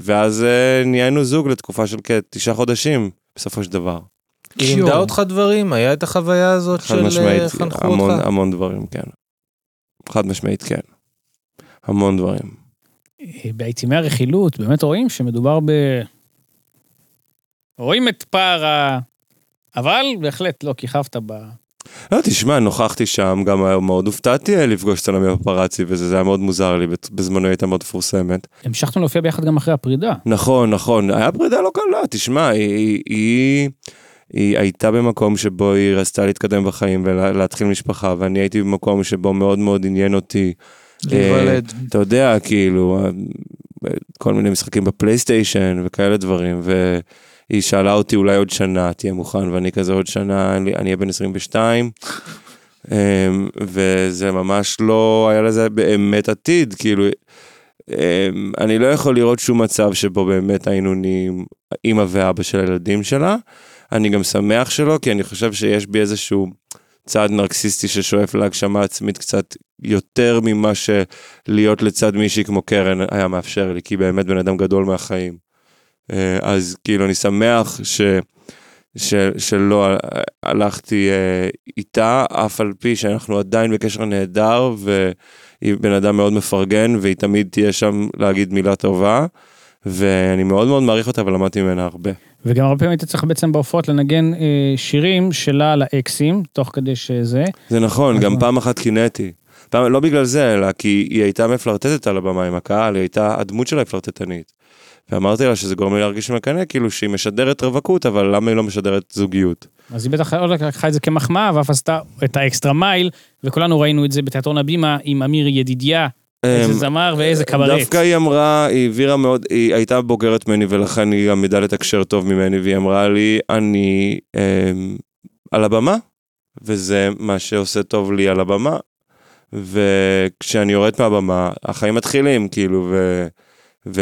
Speaker 2: ואז אה, נהיינו זוג לתקופה של כתשעה חודשים, בסופו של דבר.
Speaker 4: היא
Speaker 1: שיו.
Speaker 4: לימדה אותך דברים? היה את החוויה הזאת
Speaker 2: חד
Speaker 4: של
Speaker 2: משמעית,
Speaker 4: אה, חנכו
Speaker 2: המון,
Speaker 4: אותך?
Speaker 2: המון דברים, כן. חד משמעית, כן. המון דברים. לא.
Speaker 5: אה, בעיצומי הרכילות, באמת רואים שמדובר ב... רואים את פער ה... אבל בהחלט לא כיכבת ב...
Speaker 2: לא, תשמע, נוכחתי שם, גם היה מאוד הופתעתי אה, לפגוש את עולמי הפפראצי וזה, זה היה מאוד מוזר לי, בת- בזמנו היא הייתה מאוד מפורסמת.
Speaker 5: המשכתם להופיע ביחד גם אחרי הפרידה.
Speaker 2: נכון, נכון, היה פרידה לא קלה, תשמע, היא, היא, היא, היא הייתה במקום שבו היא רצתה להתקדם בחיים ולהתחיל משפחה, ואני הייתי במקום שבו מאוד מאוד עניין אותי, אה,
Speaker 1: להיוולד.
Speaker 2: אתה יודע, כאילו, כל מיני משחקים בפלייסטיישן וכאלה דברים, והיא שאלה אותי אולי עוד שנה תהיה מוכן, ואני כזה עוד שנה, אני אני אהיה בן 22. אמ, וזה ממש לא היה לזה באמת עתיד, כאילו, אמ, אני לא יכול לראות שום מצב שבו באמת היינו נהיים אימא ואבא של הילדים שלה. אני גם שמח שלא, כי אני חושב שיש בי איזשהו צעד נרקסיסטי ששואף להגשמה עצמית קצת יותר ממה שלהיות לצד מישהי כמו קרן היה מאפשר לי, כי היא באמת בן אדם גדול מהחיים. אה, אז כאילו, אני שמח ש... ש, שלא אה, הלכתי אה, איתה, אף על פי שאנחנו עדיין בקשר נהדר, והיא בן אדם מאוד מפרגן, והיא תמיד תהיה שם להגיד מילה טובה, ואני מאוד מאוד מעריך אותה ולמדתי ממנה הרבה.
Speaker 5: וגם הרבה פעמים היית צריך בעצם בהופעות לנגן אה, שירים שלה לאקסים, תוך כדי שזה.
Speaker 2: זה נכון, גם
Speaker 5: נכון.
Speaker 2: פעם אחת קינאתי. פעם, לא בגלל זה, אלא כי היא הייתה מפלרטטת על הבמה עם הקהל, היא הייתה, הדמות שלה היא פלרטטנית. ואמרתי לה שזה גורם לי להרגיש מקנא, כאילו שהיא משדרת רווקות, אבל למה היא לא משדרת זוגיות?
Speaker 5: אז היא בטח לא לקחה את זה כמחמאה, ואף עשתה את האקסטרה מייל, וכולנו ראינו את זה בתיאטרון הבימה עם אמיר ידידיה, איזה
Speaker 2: אמ,
Speaker 5: זמר ואיזה קברט.
Speaker 2: דווקא היא אמרה, היא הבהירה מאוד, היא הייתה בוגרת ממני ולכן היא גם ידעה לתקשר טוב ממני, והיא אמרה לי, אני אמ, על הבמה, וזה מה שעושה טוב לי על הבמה, וכשאני יורד מהבמה, החיים מתחילים, כאילו, ו... ו...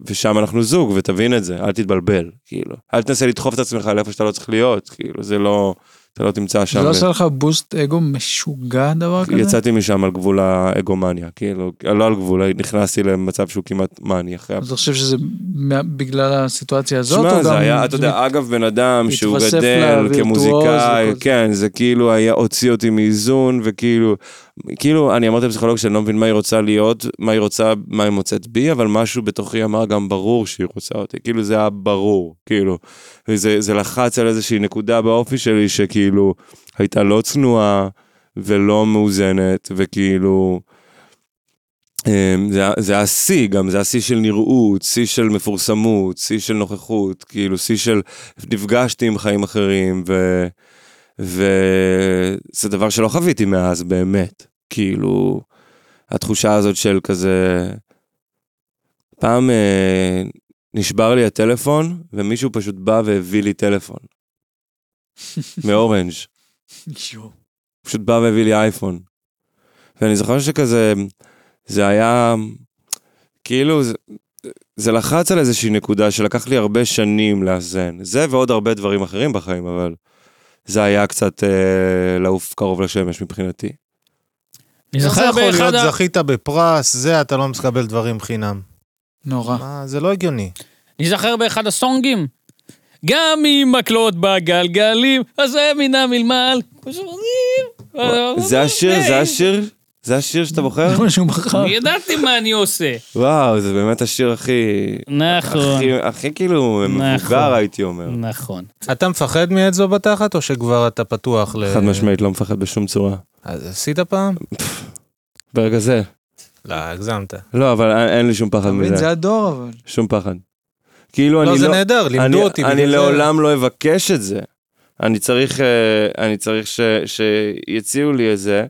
Speaker 2: ושם אנחנו זוג, ותבין את זה, אל תתבלבל, כאילו. אל תנסה לדחוף את עצמך לאיפה שאתה לא צריך להיות, כאילו, זה לא, אתה לא תמצא שם.
Speaker 1: זה לא
Speaker 2: את-
Speaker 1: עושה לך בוסט אגו משוגע דבר כזה?
Speaker 2: יצאתי משם על גבול האגומניה, כאילו, לא על גבול, נכנסתי למצב שהוא כמעט מאני אחרי...
Speaker 1: אז אתה חושב שזה מה- בגלל הסיטואציה הזאת?
Speaker 2: שמע,
Speaker 1: או
Speaker 2: זה
Speaker 1: גם-
Speaker 2: היה, אתה יודע, אגב, בן אדם שהוא
Speaker 1: התווסף
Speaker 2: גדל
Speaker 1: לווירטואוז
Speaker 2: כמוזיקאי,
Speaker 1: וכל זה.
Speaker 2: כן, זה כאילו היה, הוציא אותי מאיזון, וכאילו, כאילו, אני אמרתי לפסיכולוג שאני לא מבין מה היא רוצה להיות, מה היא רוצה, מה היא מוצאת בי, אבל משהו בתוכי אמר גם ברור שהיא רוצה אותי, כאילו זה היה ברור, כאילו, זה, זה לחץ על איזושהי נקודה באופי שלי, שכאילו, הייתה לא צנועה ולא מאוזנת, וכאילו... אמ, זה היה- זה היה שיא גם, זה היה שיא של נראות, שיא של מפורסמות, שיא של נוכחות, כאילו שיא של נפגשתי עם חיים אחרים, ו... וזה דבר שלא חוויתי מאז באמת, כאילו, התחושה הזאת של כזה... פעם אה, נשבר לי הטלפון, ומישהו פשוט בא והביא לי טלפון, מאורנג'.
Speaker 1: יואו.
Speaker 2: פשוט בא והביא לי אייפון. ואני זוכר שכזה, זה היה, כאילו, זה, זה לחץ על איזושהי נקודה שלקח לי הרבה שנים לאזן. זה ועוד הרבה דברים אחרים בחיים, אבל זה היה קצת אה, לעוף קרוב לשמש מבחינתי.
Speaker 5: אני
Speaker 4: איך זה
Speaker 5: זוכר
Speaker 4: יכול
Speaker 5: באחד
Speaker 4: להיות
Speaker 5: ה...
Speaker 4: זכית בפרס, זה אתה לא מקבל דברים חינם.
Speaker 1: נורא.
Speaker 4: מה, זה לא הגיוני.
Speaker 5: נזכר באחד הסונגים. גם עם מקלות בגלגלים, אז זה מן המלמל. אה, לא
Speaker 2: זה השיר, זה השיר, זה השיר שאתה בוחר?
Speaker 1: זה מה שהוא בחר.
Speaker 5: אני ידעתי מה אני עושה.
Speaker 2: וואו, זה באמת השיר הכי...
Speaker 5: נכון,
Speaker 2: הכי- הכי כאילו
Speaker 5: נכון.
Speaker 2: מבוגר הייתי אומר.
Speaker 5: נכון.
Speaker 4: אתה מפחד מאצבע בתחת, או שכבר אתה פתוח ל...
Speaker 2: חד משמעית, לא מפחד בשום צורה.
Speaker 4: אז עשית פעם?
Speaker 2: ברגע זה.
Speaker 4: לא, הגזמת.
Speaker 2: לא, אבל אין- אין לי שום פחד
Speaker 1: אתה מבין? זה
Speaker 2: מזה.
Speaker 1: הדור אבל.
Speaker 2: שום פחד. כאילו
Speaker 4: לא,
Speaker 2: אני
Speaker 4: זה
Speaker 2: לא...
Speaker 4: נהדר, לימדו
Speaker 2: אני-
Speaker 4: אותי. בגלל
Speaker 2: אני
Speaker 4: זה.
Speaker 2: לעולם לא אבקש את זה. אני צריך, אה, אני צריך ש, שיציעו לי את זה,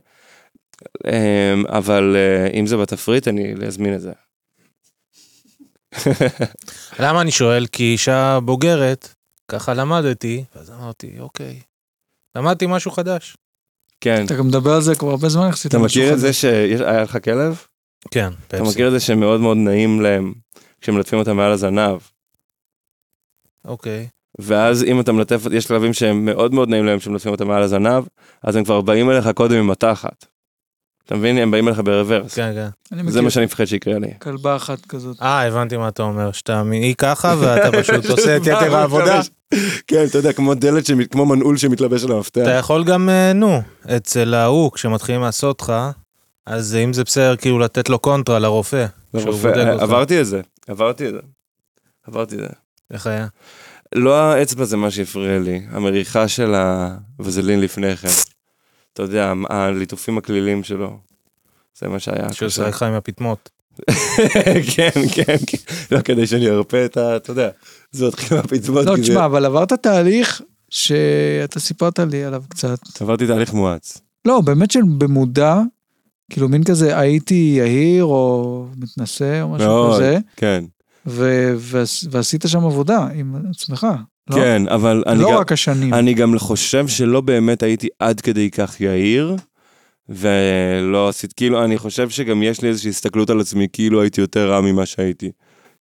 Speaker 2: אה, אבל אה, אם זה בתפריט, אני אזמין את זה.
Speaker 4: למה אני שואל? כי אישה בוגרת, ככה למדתי, ואז אמרתי, אוקיי. למדתי משהו חדש.
Speaker 2: כן.
Speaker 1: אתה גם מדבר על זה כבר הרבה זמן יחסית.
Speaker 2: אתה
Speaker 1: על משהו
Speaker 2: מכיר את
Speaker 1: חדש.
Speaker 2: זה שהיה לך כלב?
Speaker 4: כן,
Speaker 2: אתה
Speaker 4: פפסי.
Speaker 2: מכיר את זה שמאוד מאוד נעים להם כשמלטפים אותם מעל הזנב.
Speaker 4: אוקיי.
Speaker 2: ואז אם אתה מלטף, יש כלבים שהם מאוד מאוד נעים להם שמלטפים אותם מעל הזנב, אז הם כבר באים אליך קודם עם התחת. אתה מבין? הם באים אליך ברוורס.
Speaker 4: כן, כן.
Speaker 1: אני
Speaker 2: זה מה
Speaker 1: מכיר
Speaker 2: שאני מפחד שיקרה לי.
Speaker 1: כלבה אחת כזאת.
Speaker 4: אה, הבנתי מה אתה אומר, שאתה מ- היא ככה ואתה פשוט עושה את יתר העבודה.
Speaker 2: כן, אתה יודע, כמו דלת, שמ- כמו מנעול שמתלבש על
Speaker 4: אתה
Speaker 2: המפתח.
Speaker 4: יכול גם, אה, נו, אצל ההוא, כשמתחילים לעשות לך, אז אם זה בסדר, כאילו לתת לו קונטרה לרופא.
Speaker 2: זה
Speaker 4: שהוא
Speaker 2: רופא.
Speaker 4: בודק אותך.
Speaker 2: עברתי את זה, עברתי את זה. עברתי את זה.
Speaker 4: איך היה?
Speaker 2: לא האצבע זה מה שהפריע לי, המריחה של הווזלין לפני כן. אתה יודע, הליטופים הקלילים שלו. זה מה שהיה.
Speaker 4: שהוא שיחק לך עם הפטמות.
Speaker 2: כן, כן, כן. לא כדי שאני ארפה את ה... אתה יודע, זה מתחיל מהפצמות.
Speaker 1: לא,
Speaker 2: כי זה-
Speaker 1: תשמע, אבל עברת תהליך שאתה סיפרת לי עליו קצת.
Speaker 2: עברתי תהליך מואץ.
Speaker 1: לא, באמת שבמודע, כאילו מין כזה, הייתי יהיר או מתנשא או משהו
Speaker 2: מאוד,
Speaker 1: כזה,
Speaker 2: כן.
Speaker 1: ו- ועש- ועשית שם עבודה עם עצמך. לא?
Speaker 2: כן, אבל אני
Speaker 1: לא
Speaker 2: גם-
Speaker 1: רק השנים.
Speaker 2: אני גם חושב שלא באמת הייתי עד כדי כך יהיר. ולא עשית, כאילו, אני חושב שגם יש לי איזושהי הסתכלות על עצמי, כאילו הייתי יותר רע ממה שהייתי.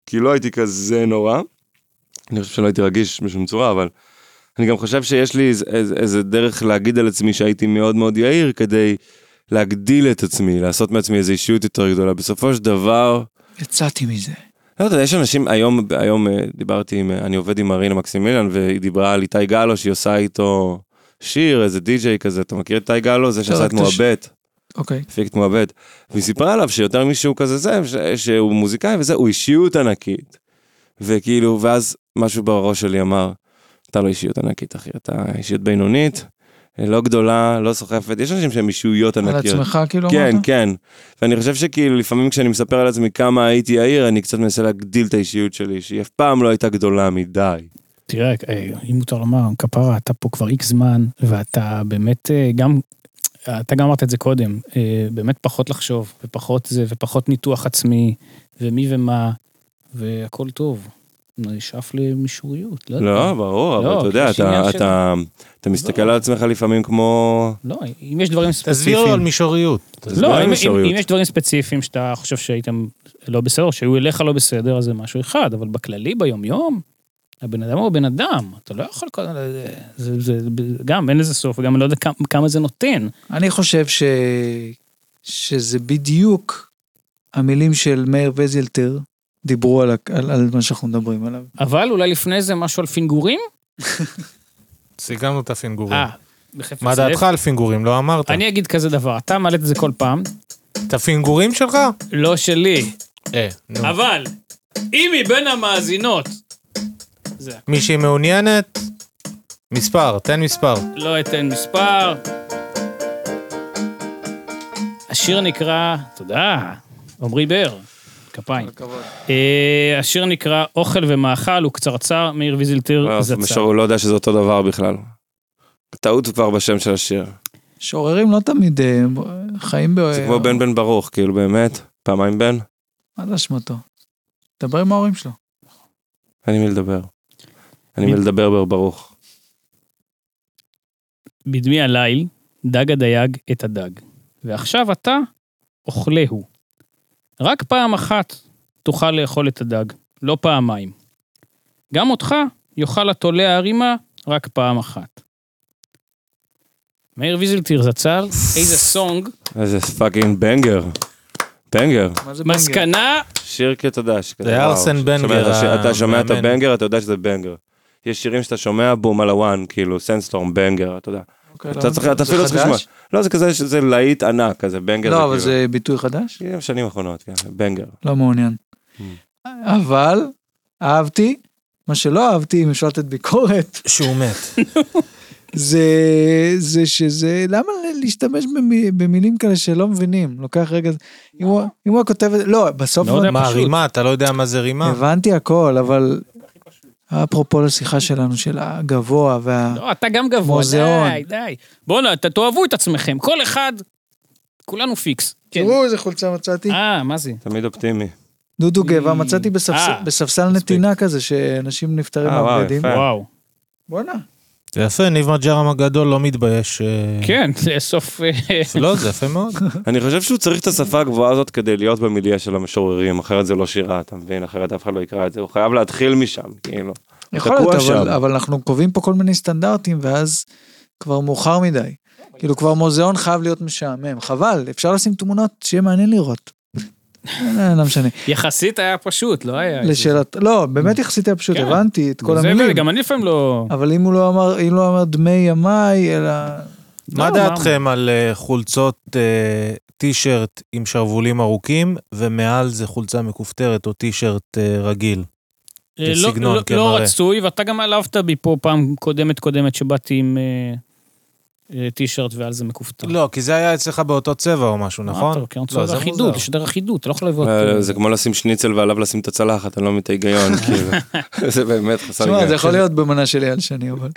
Speaker 2: כי לא הייתי כזה נורא. אני חושב שלא הייתי רגיש בשום צורה, אבל אני גם חושב שיש לי איז, איז, איזה דרך להגיד על עצמי שהייתי מאוד מאוד יהיר כדי להגדיל את עצמי, לעשות מעצמי איזו אישיות יותר גדולה. בסופו של דבר,
Speaker 1: יצאתי מזה.
Speaker 2: לא יודע, יש אנשים, היום, היום אה, דיברתי עם, אה, אני עובד עם מרינה מקסימילן, והיא דיברה על איתי גלו, שהיא עושה איתו שיר, איזה די-ג'יי כזה, אתה מכיר את איתי גלו? זה שעשה את
Speaker 1: רק את הש-
Speaker 2: מועבט,
Speaker 1: אוקיי.
Speaker 2: הפיק את מועבט. והיא סיפרה עליו שיותר מישהו כזה זה, ש- שהוא מוזיקאי וזה, הוא אישיות ענקית. וכאילו, ואז משהו בראש שלי אמר, אתה לא אישיות ענקית, אחי, אתה אישיות בינונית, אה, לא גדולה, לא סוחפת, יש אנשים שהם אישיויות
Speaker 1: על
Speaker 2: ענקיות.
Speaker 1: עצמך
Speaker 5: לא
Speaker 1: כאילו
Speaker 2: כן,
Speaker 1: אמרת?
Speaker 2: כן. ואני חושב שכאילו לפעמים כשאני מספר על עצמי כמה הייתי יאיר, אני קצת מנסה להגדיל את האישיות שלי, שהיא אף פעם לא הייתה גדולה מדי.
Speaker 5: תראה, אה, אם מותר לומר, כפרה, אתה פה כבר איקס זמן, ואתה באמת אה, גם, אתה גם אמרת את זה קודם, אה, באמת פחות לחשוב, ופחות זה, ופחות ניתוח עצמי, ומי ומה, והכל טוב. נשאף למישוריות, לא יודע.
Speaker 2: לא, ברור, אבל
Speaker 5: לא,
Speaker 2: אתה
Speaker 5: כי
Speaker 2: יודע,
Speaker 5: יש
Speaker 2: אתה-
Speaker 5: עניין
Speaker 2: אתה- אתה מסתכל על עצמך לפעמים כמו...
Speaker 5: לא, אם יש דברים
Speaker 4: תסביר לו על
Speaker 5: ספציפיים...
Speaker 4: מישוריות.
Speaker 2: תסביר על
Speaker 5: לא, אם- אם
Speaker 2: מישוריות.
Speaker 5: אם יש דברים ספציפיים שאתה חושב שהייתם לא בסדר, שהיו אליך לא בסדר, אז זה משהו אחד, אבל בכללי, ביום-יום, הבן אדם הוא בן אדם, אתה לא יכול... כל- זה- זה- זה- גם, אין לזה סוף, וגם אני לא יודע כמה- כמה זה נותן.
Speaker 2: כן.
Speaker 1: אני חושב ש... שזה בדיוק המילים של מאיר וזילטר דיברו על, ה- על, על מה שאנחנו מדברים עליו.
Speaker 5: אבל אולי לפני זה משהו על פינגורים?
Speaker 4: סיגרנו את הפינגורים.
Speaker 5: אה, בחפץ
Speaker 4: אוקיי. מה דעתך על פינגורים? לא אמרת.
Speaker 5: אני אגיד כזה דבר, אתה מעלה את זה כל פעם,
Speaker 4: את הפינגורים שלך?
Speaker 5: לא שלי,
Speaker 4: אה, נו.
Speaker 5: אבל אם היא בין המאזינות, זה,
Speaker 4: מי שמעוניינת, מספר, תן מספר.
Speaker 5: לא אתן מספר. השיר נקרא, תודה, עמרי בר, כפיים. אה, השיר נקרא אוכל ומאכל, הוא קצרצר, מאיר ויזילטיר
Speaker 2: וואו,
Speaker 5: זצר.
Speaker 2: משור, הוא לא יודע שזה אותו דבר בכלל. טעות כבר בשם של השיר.
Speaker 1: משוררים לא תמיד אה, חיים ב...
Speaker 2: זה כמו בן בן ברוך, כאילו באמת, פעמיים בן,
Speaker 1: מה זה אשמתו? דבר עם ההורים שלו.
Speaker 2: אין לי מי לדבר. אין לי
Speaker 5: מי-
Speaker 2: מי לדבר בר ברוך.
Speaker 5: בדמי הליל, דג הדייג את הדג, ועכשיו אתה אוכלהו. רק פעם אחת תוכל לאכול את הדג, לא פעמיים. גם אותך יאכל התולע הרימה רק פעם אחת. מאיר ויזלטיר זצ"ל, איזה סונג,
Speaker 2: איזה פאקינג בנגר. בנגר.
Speaker 1: מה זה בנגר?
Speaker 5: מסקנה,
Speaker 2: שיר כתודה. שכזה,
Speaker 4: זה
Speaker 2: וואו,
Speaker 4: ארסן
Speaker 2: שומע את
Speaker 4: בנגר,
Speaker 2: השיר- אתה שומע את
Speaker 4: המאמן.
Speaker 2: הבנגר, אתה יודע שזה בנגר. יש שירים שאתה שומע בום על הוואן, כאילו סנסטורם בנגר, אתה יודע.
Speaker 1: אוקיי,
Speaker 2: אתה
Speaker 1: לא,
Speaker 2: צריך, אתה
Speaker 1: זה
Speaker 2: אפילו לא צריך לשמוע.
Speaker 1: חדש?
Speaker 2: לא, זה כזה, שזה להיט ענק, כזה בנגר.
Speaker 1: לא, אבל
Speaker 2: כאילו-
Speaker 1: זה ביטוי חדש?
Speaker 2: כאילו, שנים האחרונות, כן, בנגר.
Speaker 1: לא מעוניין.
Speaker 2: Mm.
Speaker 1: אבל אהבתי, מה שלא אהבתי, אם אפשר לתת ביקורת,
Speaker 4: שהוא מת.
Speaker 1: זה, זה שזה, למה להשתמש במי, במילים כאלה שלא מבינים? לוקח רגע, אם הוא, אם הוא היה כותב את זה, לא, בסוף,
Speaker 5: לא יודע,
Speaker 4: מה,
Speaker 5: פשוט.
Speaker 4: רימה? אתה לא יודע מה זה רימה?
Speaker 1: הבנתי הכל, אבל אפרופו לשיחה שלנו של הגבוה וה...
Speaker 5: לא, אתה גם גבוה,
Speaker 1: מוזיאון.
Speaker 5: די, די. בואנה, אתה- תאהבו את עצמכם, כל אחד, כולנו פיקס. כן.
Speaker 1: תראו איזה חולצה מצאתי.
Speaker 5: אה, מה זה?
Speaker 2: תמיד אופטימי.
Speaker 1: דודו גבע,
Speaker 5: Mm.
Speaker 1: מצאתי בספס-
Speaker 5: אה,
Speaker 1: בספסל נטינה כזה, שאנשים נפטרים
Speaker 2: אה, וואו,
Speaker 1: מהבגדים.
Speaker 2: יפה.
Speaker 5: וואו.
Speaker 1: בואנה,
Speaker 4: זה יפה, ניב מג'רם הגדול לא מתבייש. אה,
Speaker 5: כן, לאסוף... אה,
Speaker 4: לא, זה יפה מאוד.
Speaker 2: אני חושב שהוא צריך את השפה הגבוהה הזאת כדי להיות במיליה של המשוררים, אחרת זה לא שירה, אתה מבין? אחרת אף אחד לא יקרא את זה, הוא חייב להתחיל משם, כאילו.
Speaker 1: יכול
Speaker 2: תקוע
Speaker 1: להיות,
Speaker 2: שם.
Speaker 1: אבל, אבל אנחנו קובעים פה כל מיני סטנדרטים, ואז כבר מאוחר מדי. כאילו, כבר מוזיאון חייב להיות משעמם. חבל, אפשר לשים תמונות שיהיה מעניין לראות. לא, לא משנה.
Speaker 4: כן,
Speaker 5: יחסית היה פשוט, לא היה...
Speaker 1: לשאלת, לא, באמת יחסית היה פשוט,
Speaker 5: כן.
Speaker 1: הבנתי את כל
Speaker 5: זה,
Speaker 1: המילים.
Speaker 5: גם אני לפעמים לא...
Speaker 1: אבל אם הוא לא אמר, אם לא אמר דמי ימיי, אלא...
Speaker 4: מה
Speaker 5: לא,
Speaker 4: דעתכם על אה, חולצות אה, טישרט עם שרוולים ארוכים, ומעל זה חולצה מכופתרת או טישרט אה, רגיל?
Speaker 5: אה, לא-
Speaker 4: כסגנון,
Speaker 5: לא-
Speaker 4: כמראה.
Speaker 5: לא רצוי, ואתה גם העלבת בי פה פעם קודמת קודמת שבאתי עם אה, אה, טישרט ועל זה מכופתר.
Speaker 4: לא, כי זה היה אצלך באותו צבע או משהו,
Speaker 5: מה
Speaker 4: נכון?
Speaker 5: אתה לוקח? אני
Speaker 4: לא,
Speaker 5: רוצה
Speaker 4: זה
Speaker 5: אחידות,
Speaker 4: מוזר.
Speaker 5: לשדר אחידות, אתה לא יכול לבוא...
Speaker 1: אוקיי.
Speaker 2: אה, זה כמו לשים שניצל ועליו לשים את הצלחת, אני לא מבין את ההיגיון, כאילו. זה באמת
Speaker 1: תשמע,
Speaker 2: חסר היגיון.
Speaker 1: זה יכול
Speaker 4: כן.
Speaker 1: להיות במנה של אייל שני, אבל...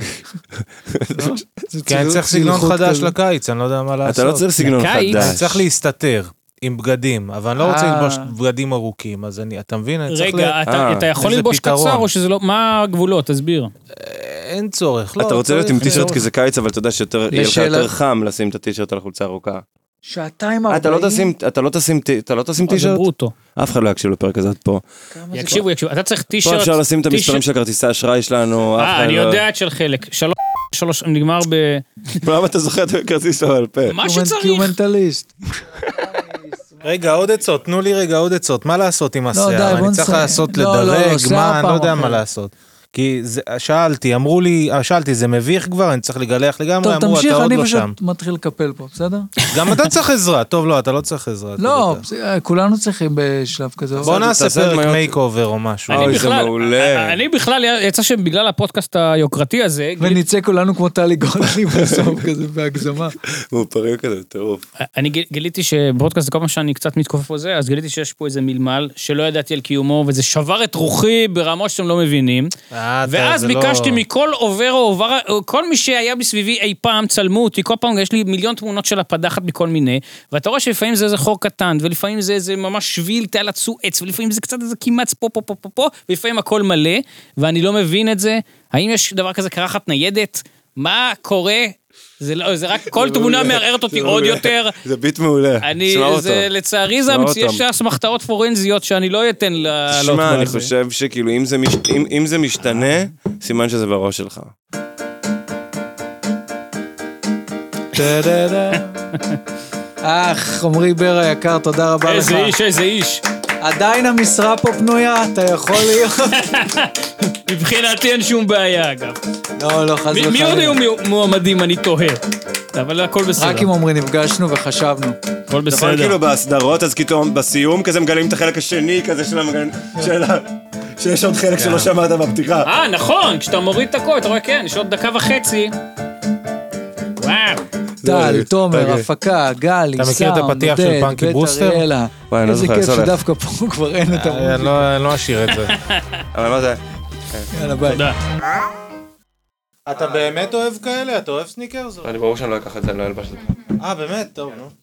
Speaker 1: לא? זה
Speaker 4: כי
Speaker 1: צילחות
Speaker 4: אני כן, צריך סגנון חדש
Speaker 1: כזה.
Speaker 4: לקיץ, אני לא יודע מה לעשות.
Speaker 2: כאילו אתה לא צריך סגנון
Speaker 5: לקיץ.
Speaker 4: אני
Speaker 2: חדש.
Speaker 4: צריך להסתתר עם בגדים, אבל אני לא רוצה
Speaker 1: אה.
Speaker 4: ללבוש בגדים ארוכים, אז אני, אתה מבין? אני צריך ל...
Speaker 5: רגע, אתה-
Speaker 2: אה,
Speaker 5: אתה יכול
Speaker 4: איזה
Speaker 5: ללבוש
Speaker 4: פתרון.
Speaker 5: קצר או שזה לא... מה הגבולות? תסביר.
Speaker 4: אין צורך, לא.
Speaker 2: אתה רוצה להיות
Speaker 4: צריך-
Speaker 2: עם טישרט כי זה קיץ, אבל אתה יודע שיותר יהיה לך
Speaker 1: לשאלה-
Speaker 2: יותר חם לשים את הטישרט על חולצה ארוכה.
Speaker 1: שעתיים
Speaker 2: אה,
Speaker 1: ארבעים?
Speaker 2: אתה לא תשים- אתה לא תשים טי- אתה לא תשים
Speaker 5: אה, זה
Speaker 2: טישרט?
Speaker 5: ברוטו.
Speaker 2: אף אחד לא יקשיב לפרק הזה עד פה.
Speaker 1: כמה זה
Speaker 5: יקשיבו, יקשיבו. אתה צריך
Speaker 2: פה
Speaker 5: טישרט...
Speaker 2: אפשר לשים את
Speaker 5: טישרט-
Speaker 2: המספרים של כרטיסי האשראי שלנו. אף
Speaker 5: אה,
Speaker 2: אחד
Speaker 5: אני
Speaker 2: לא-
Speaker 5: יודע את של חלק. שלוש, שלוש, נגמר ב...
Speaker 2: למה אתה זוכר את הכרטיס בעל פה?
Speaker 5: מה
Speaker 1: כבר? כי
Speaker 5: שצריך.
Speaker 1: הוא מנטליסט.
Speaker 4: רגע, עוד עצות, תנו לי רגע עוד עצות, מה לעשות עם
Speaker 1: לא, די,
Speaker 4: השיער?
Speaker 1: בוא
Speaker 4: אני צריך
Speaker 1: נסיים.
Speaker 4: לעשות
Speaker 1: לא, לא, לא,
Speaker 4: לדרג,
Speaker 1: שיער
Speaker 4: מה, אני לא
Speaker 1: פעם
Speaker 4: יודע
Speaker 1: אחרת.
Speaker 4: מה לעשות. כי זה- שאלתי, אמרו לי, אה, שאלתי, זה מביך כבר, אני צריך לגלח לגמרי,
Speaker 1: טוב,
Speaker 4: אמרו,
Speaker 1: תמשיך,
Speaker 4: אתה עוד
Speaker 1: אני
Speaker 4: לא
Speaker 1: פשוט
Speaker 4: שם.
Speaker 1: מתחיל לקפל פה, בסדר?
Speaker 4: גם אתה צריך עזרה, טוב, לא, אתה לא צריך עזרה. אתה
Speaker 1: לא,
Speaker 4: יודע.
Speaker 1: בסדר, כולנו צריכים בשלב כזה.
Speaker 4: בוא
Speaker 1: אבל-
Speaker 4: נעשה
Speaker 2: תעשה
Speaker 4: פרק
Speaker 2: הדמיות.
Speaker 4: מייק אובר או משהו.
Speaker 2: אוי,
Speaker 5: אני
Speaker 2: זה
Speaker 5: בכלל,
Speaker 2: מעולה.
Speaker 5: אני בכלל, יצא שבגלל הפודקאסט היוקרתי הזה,
Speaker 1: ונצא כולנו כמו טלי גולני בסוף כזה בהגזמה.
Speaker 2: הוא פרק כזה טירוף.
Speaker 5: אני גיל- גיליתי שבפודקאסט, כל פעם שאני קצת מתכופף וזה, אז גיליתי שיש פה איזה מלמל שלא ידעתי על קיומו, וזה שבר את רוחי ברמות שאתם לא מבינים.
Speaker 4: אה, אתה-
Speaker 5: ואז
Speaker 4: זה לא-
Speaker 5: ביקשתי מכל עובר או עובר, כל מי שהיה בסביבי אי פעם, צלמו אותי, כל פעם יש לי מיליון תמונות של הפדחת מכל מיני, ואתה רואה שלפעמים זה איזה חור קטן, ולפעמים זה איזה ממש שביל תעלצו עץ, ולפעמים זה קצת איזה קימץ פה פה פה פה פה, ולפעמים הכל מלא, ואני לא מבין את זה. האם יש דבר כזה קרחת ניידת? מה קורה? זה לא, זה רק כל תמונה מערערת אותי עוד יותר.
Speaker 2: זה ביט מעולה.
Speaker 5: אני,
Speaker 2: שמע אותו.
Speaker 5: זה לצערי זה,
Speaker 2: שמע
Speaker 5: המציאות-
Speaker 2: אותו.
Speaker 5: יש אסמכתאות פורנזיות שאני לא אתן לעלות.
Speaker 2: שמע,
Speaker 5: בה
Speaker 2: אני
Speaker 5: על זה.
Speaker 2: חושב שכאילו אם זה מש- אם- אם זה משתנה, סימן שזה בראש שלך.
Speaker 1: אך, עמרי בר היקר, תודה רבה לך.
Speaker 5: איזה איש, איזה איש.
Speaker 1: עדיין המשרה פה פנויה, אתה יכול להיות...
Speaker 5: מבחינתי אין שום בעיה, אגב.
Speaker 1: לא, לא,
Speaker 5: מי-
Speaker 1: חס
Speaker 5: מי עוד
Speaker 1: וחלילה.
Speaker 5: היו מיו- מועמדים? אני תוהה. אבל הכל בסדר.
Speaker 1: רק עם עמרי נפגשנו וחשבנו.
Speaker 4: לא,
Speaker 5: הכל
Speaker 2: נכון,
Speaker 5: בסדר.
Speaker 2: כאילו בהסדרות, אז פתאום בסיום כזה מגלים את החלק השני כזה של המגן... של ה- שיש עוד חלק שלא שמעת בפתיחה.
Speaker 5: אה, נכון, כשאתה מוריד את הכל, אתה רואה, כן, יש עוד דקה וחצי. וואו.
Speaker 1: טל, תומר,
Speaker 2: אוקיי.
Speaker 1: הפקה, גל,
Speaker 4: אתה
Speaker 1: עיסאם,
Speaker 4: מכיר את הפתיח של
Speaker 1: עודד,
Speaker 4: פאנקי
Speaker 1: בית
Speaker 4: בוסטר?
Speaker 1: אריאלה.
Speaker 2: וואי, אני לא
Speaker 1: איזה
Speaker 2: זוכר,
Speaker 1: כיף
Speaker 2: סולח.
Speaker 1: שדווקא פה כבר אין את
Speaker 4: אה, אני
Speaker 1: המוזיקה.
Speaker 4: לא- אני לא אשאיר את זה.
Speaker 2: אבל מה זה?
Speaker 1: יאללה, ביי.
Speaker 5: תודה.
Speaker 4: אתה באמת אוהב כאלה? אתה אוהב סניקרס?
Speaker 5: כן.
Speaker 2: אני ברור שאני לא אקח את זה, אני לא אלבש את זה.
Speaker 4: אה, באמת? טוב, נו.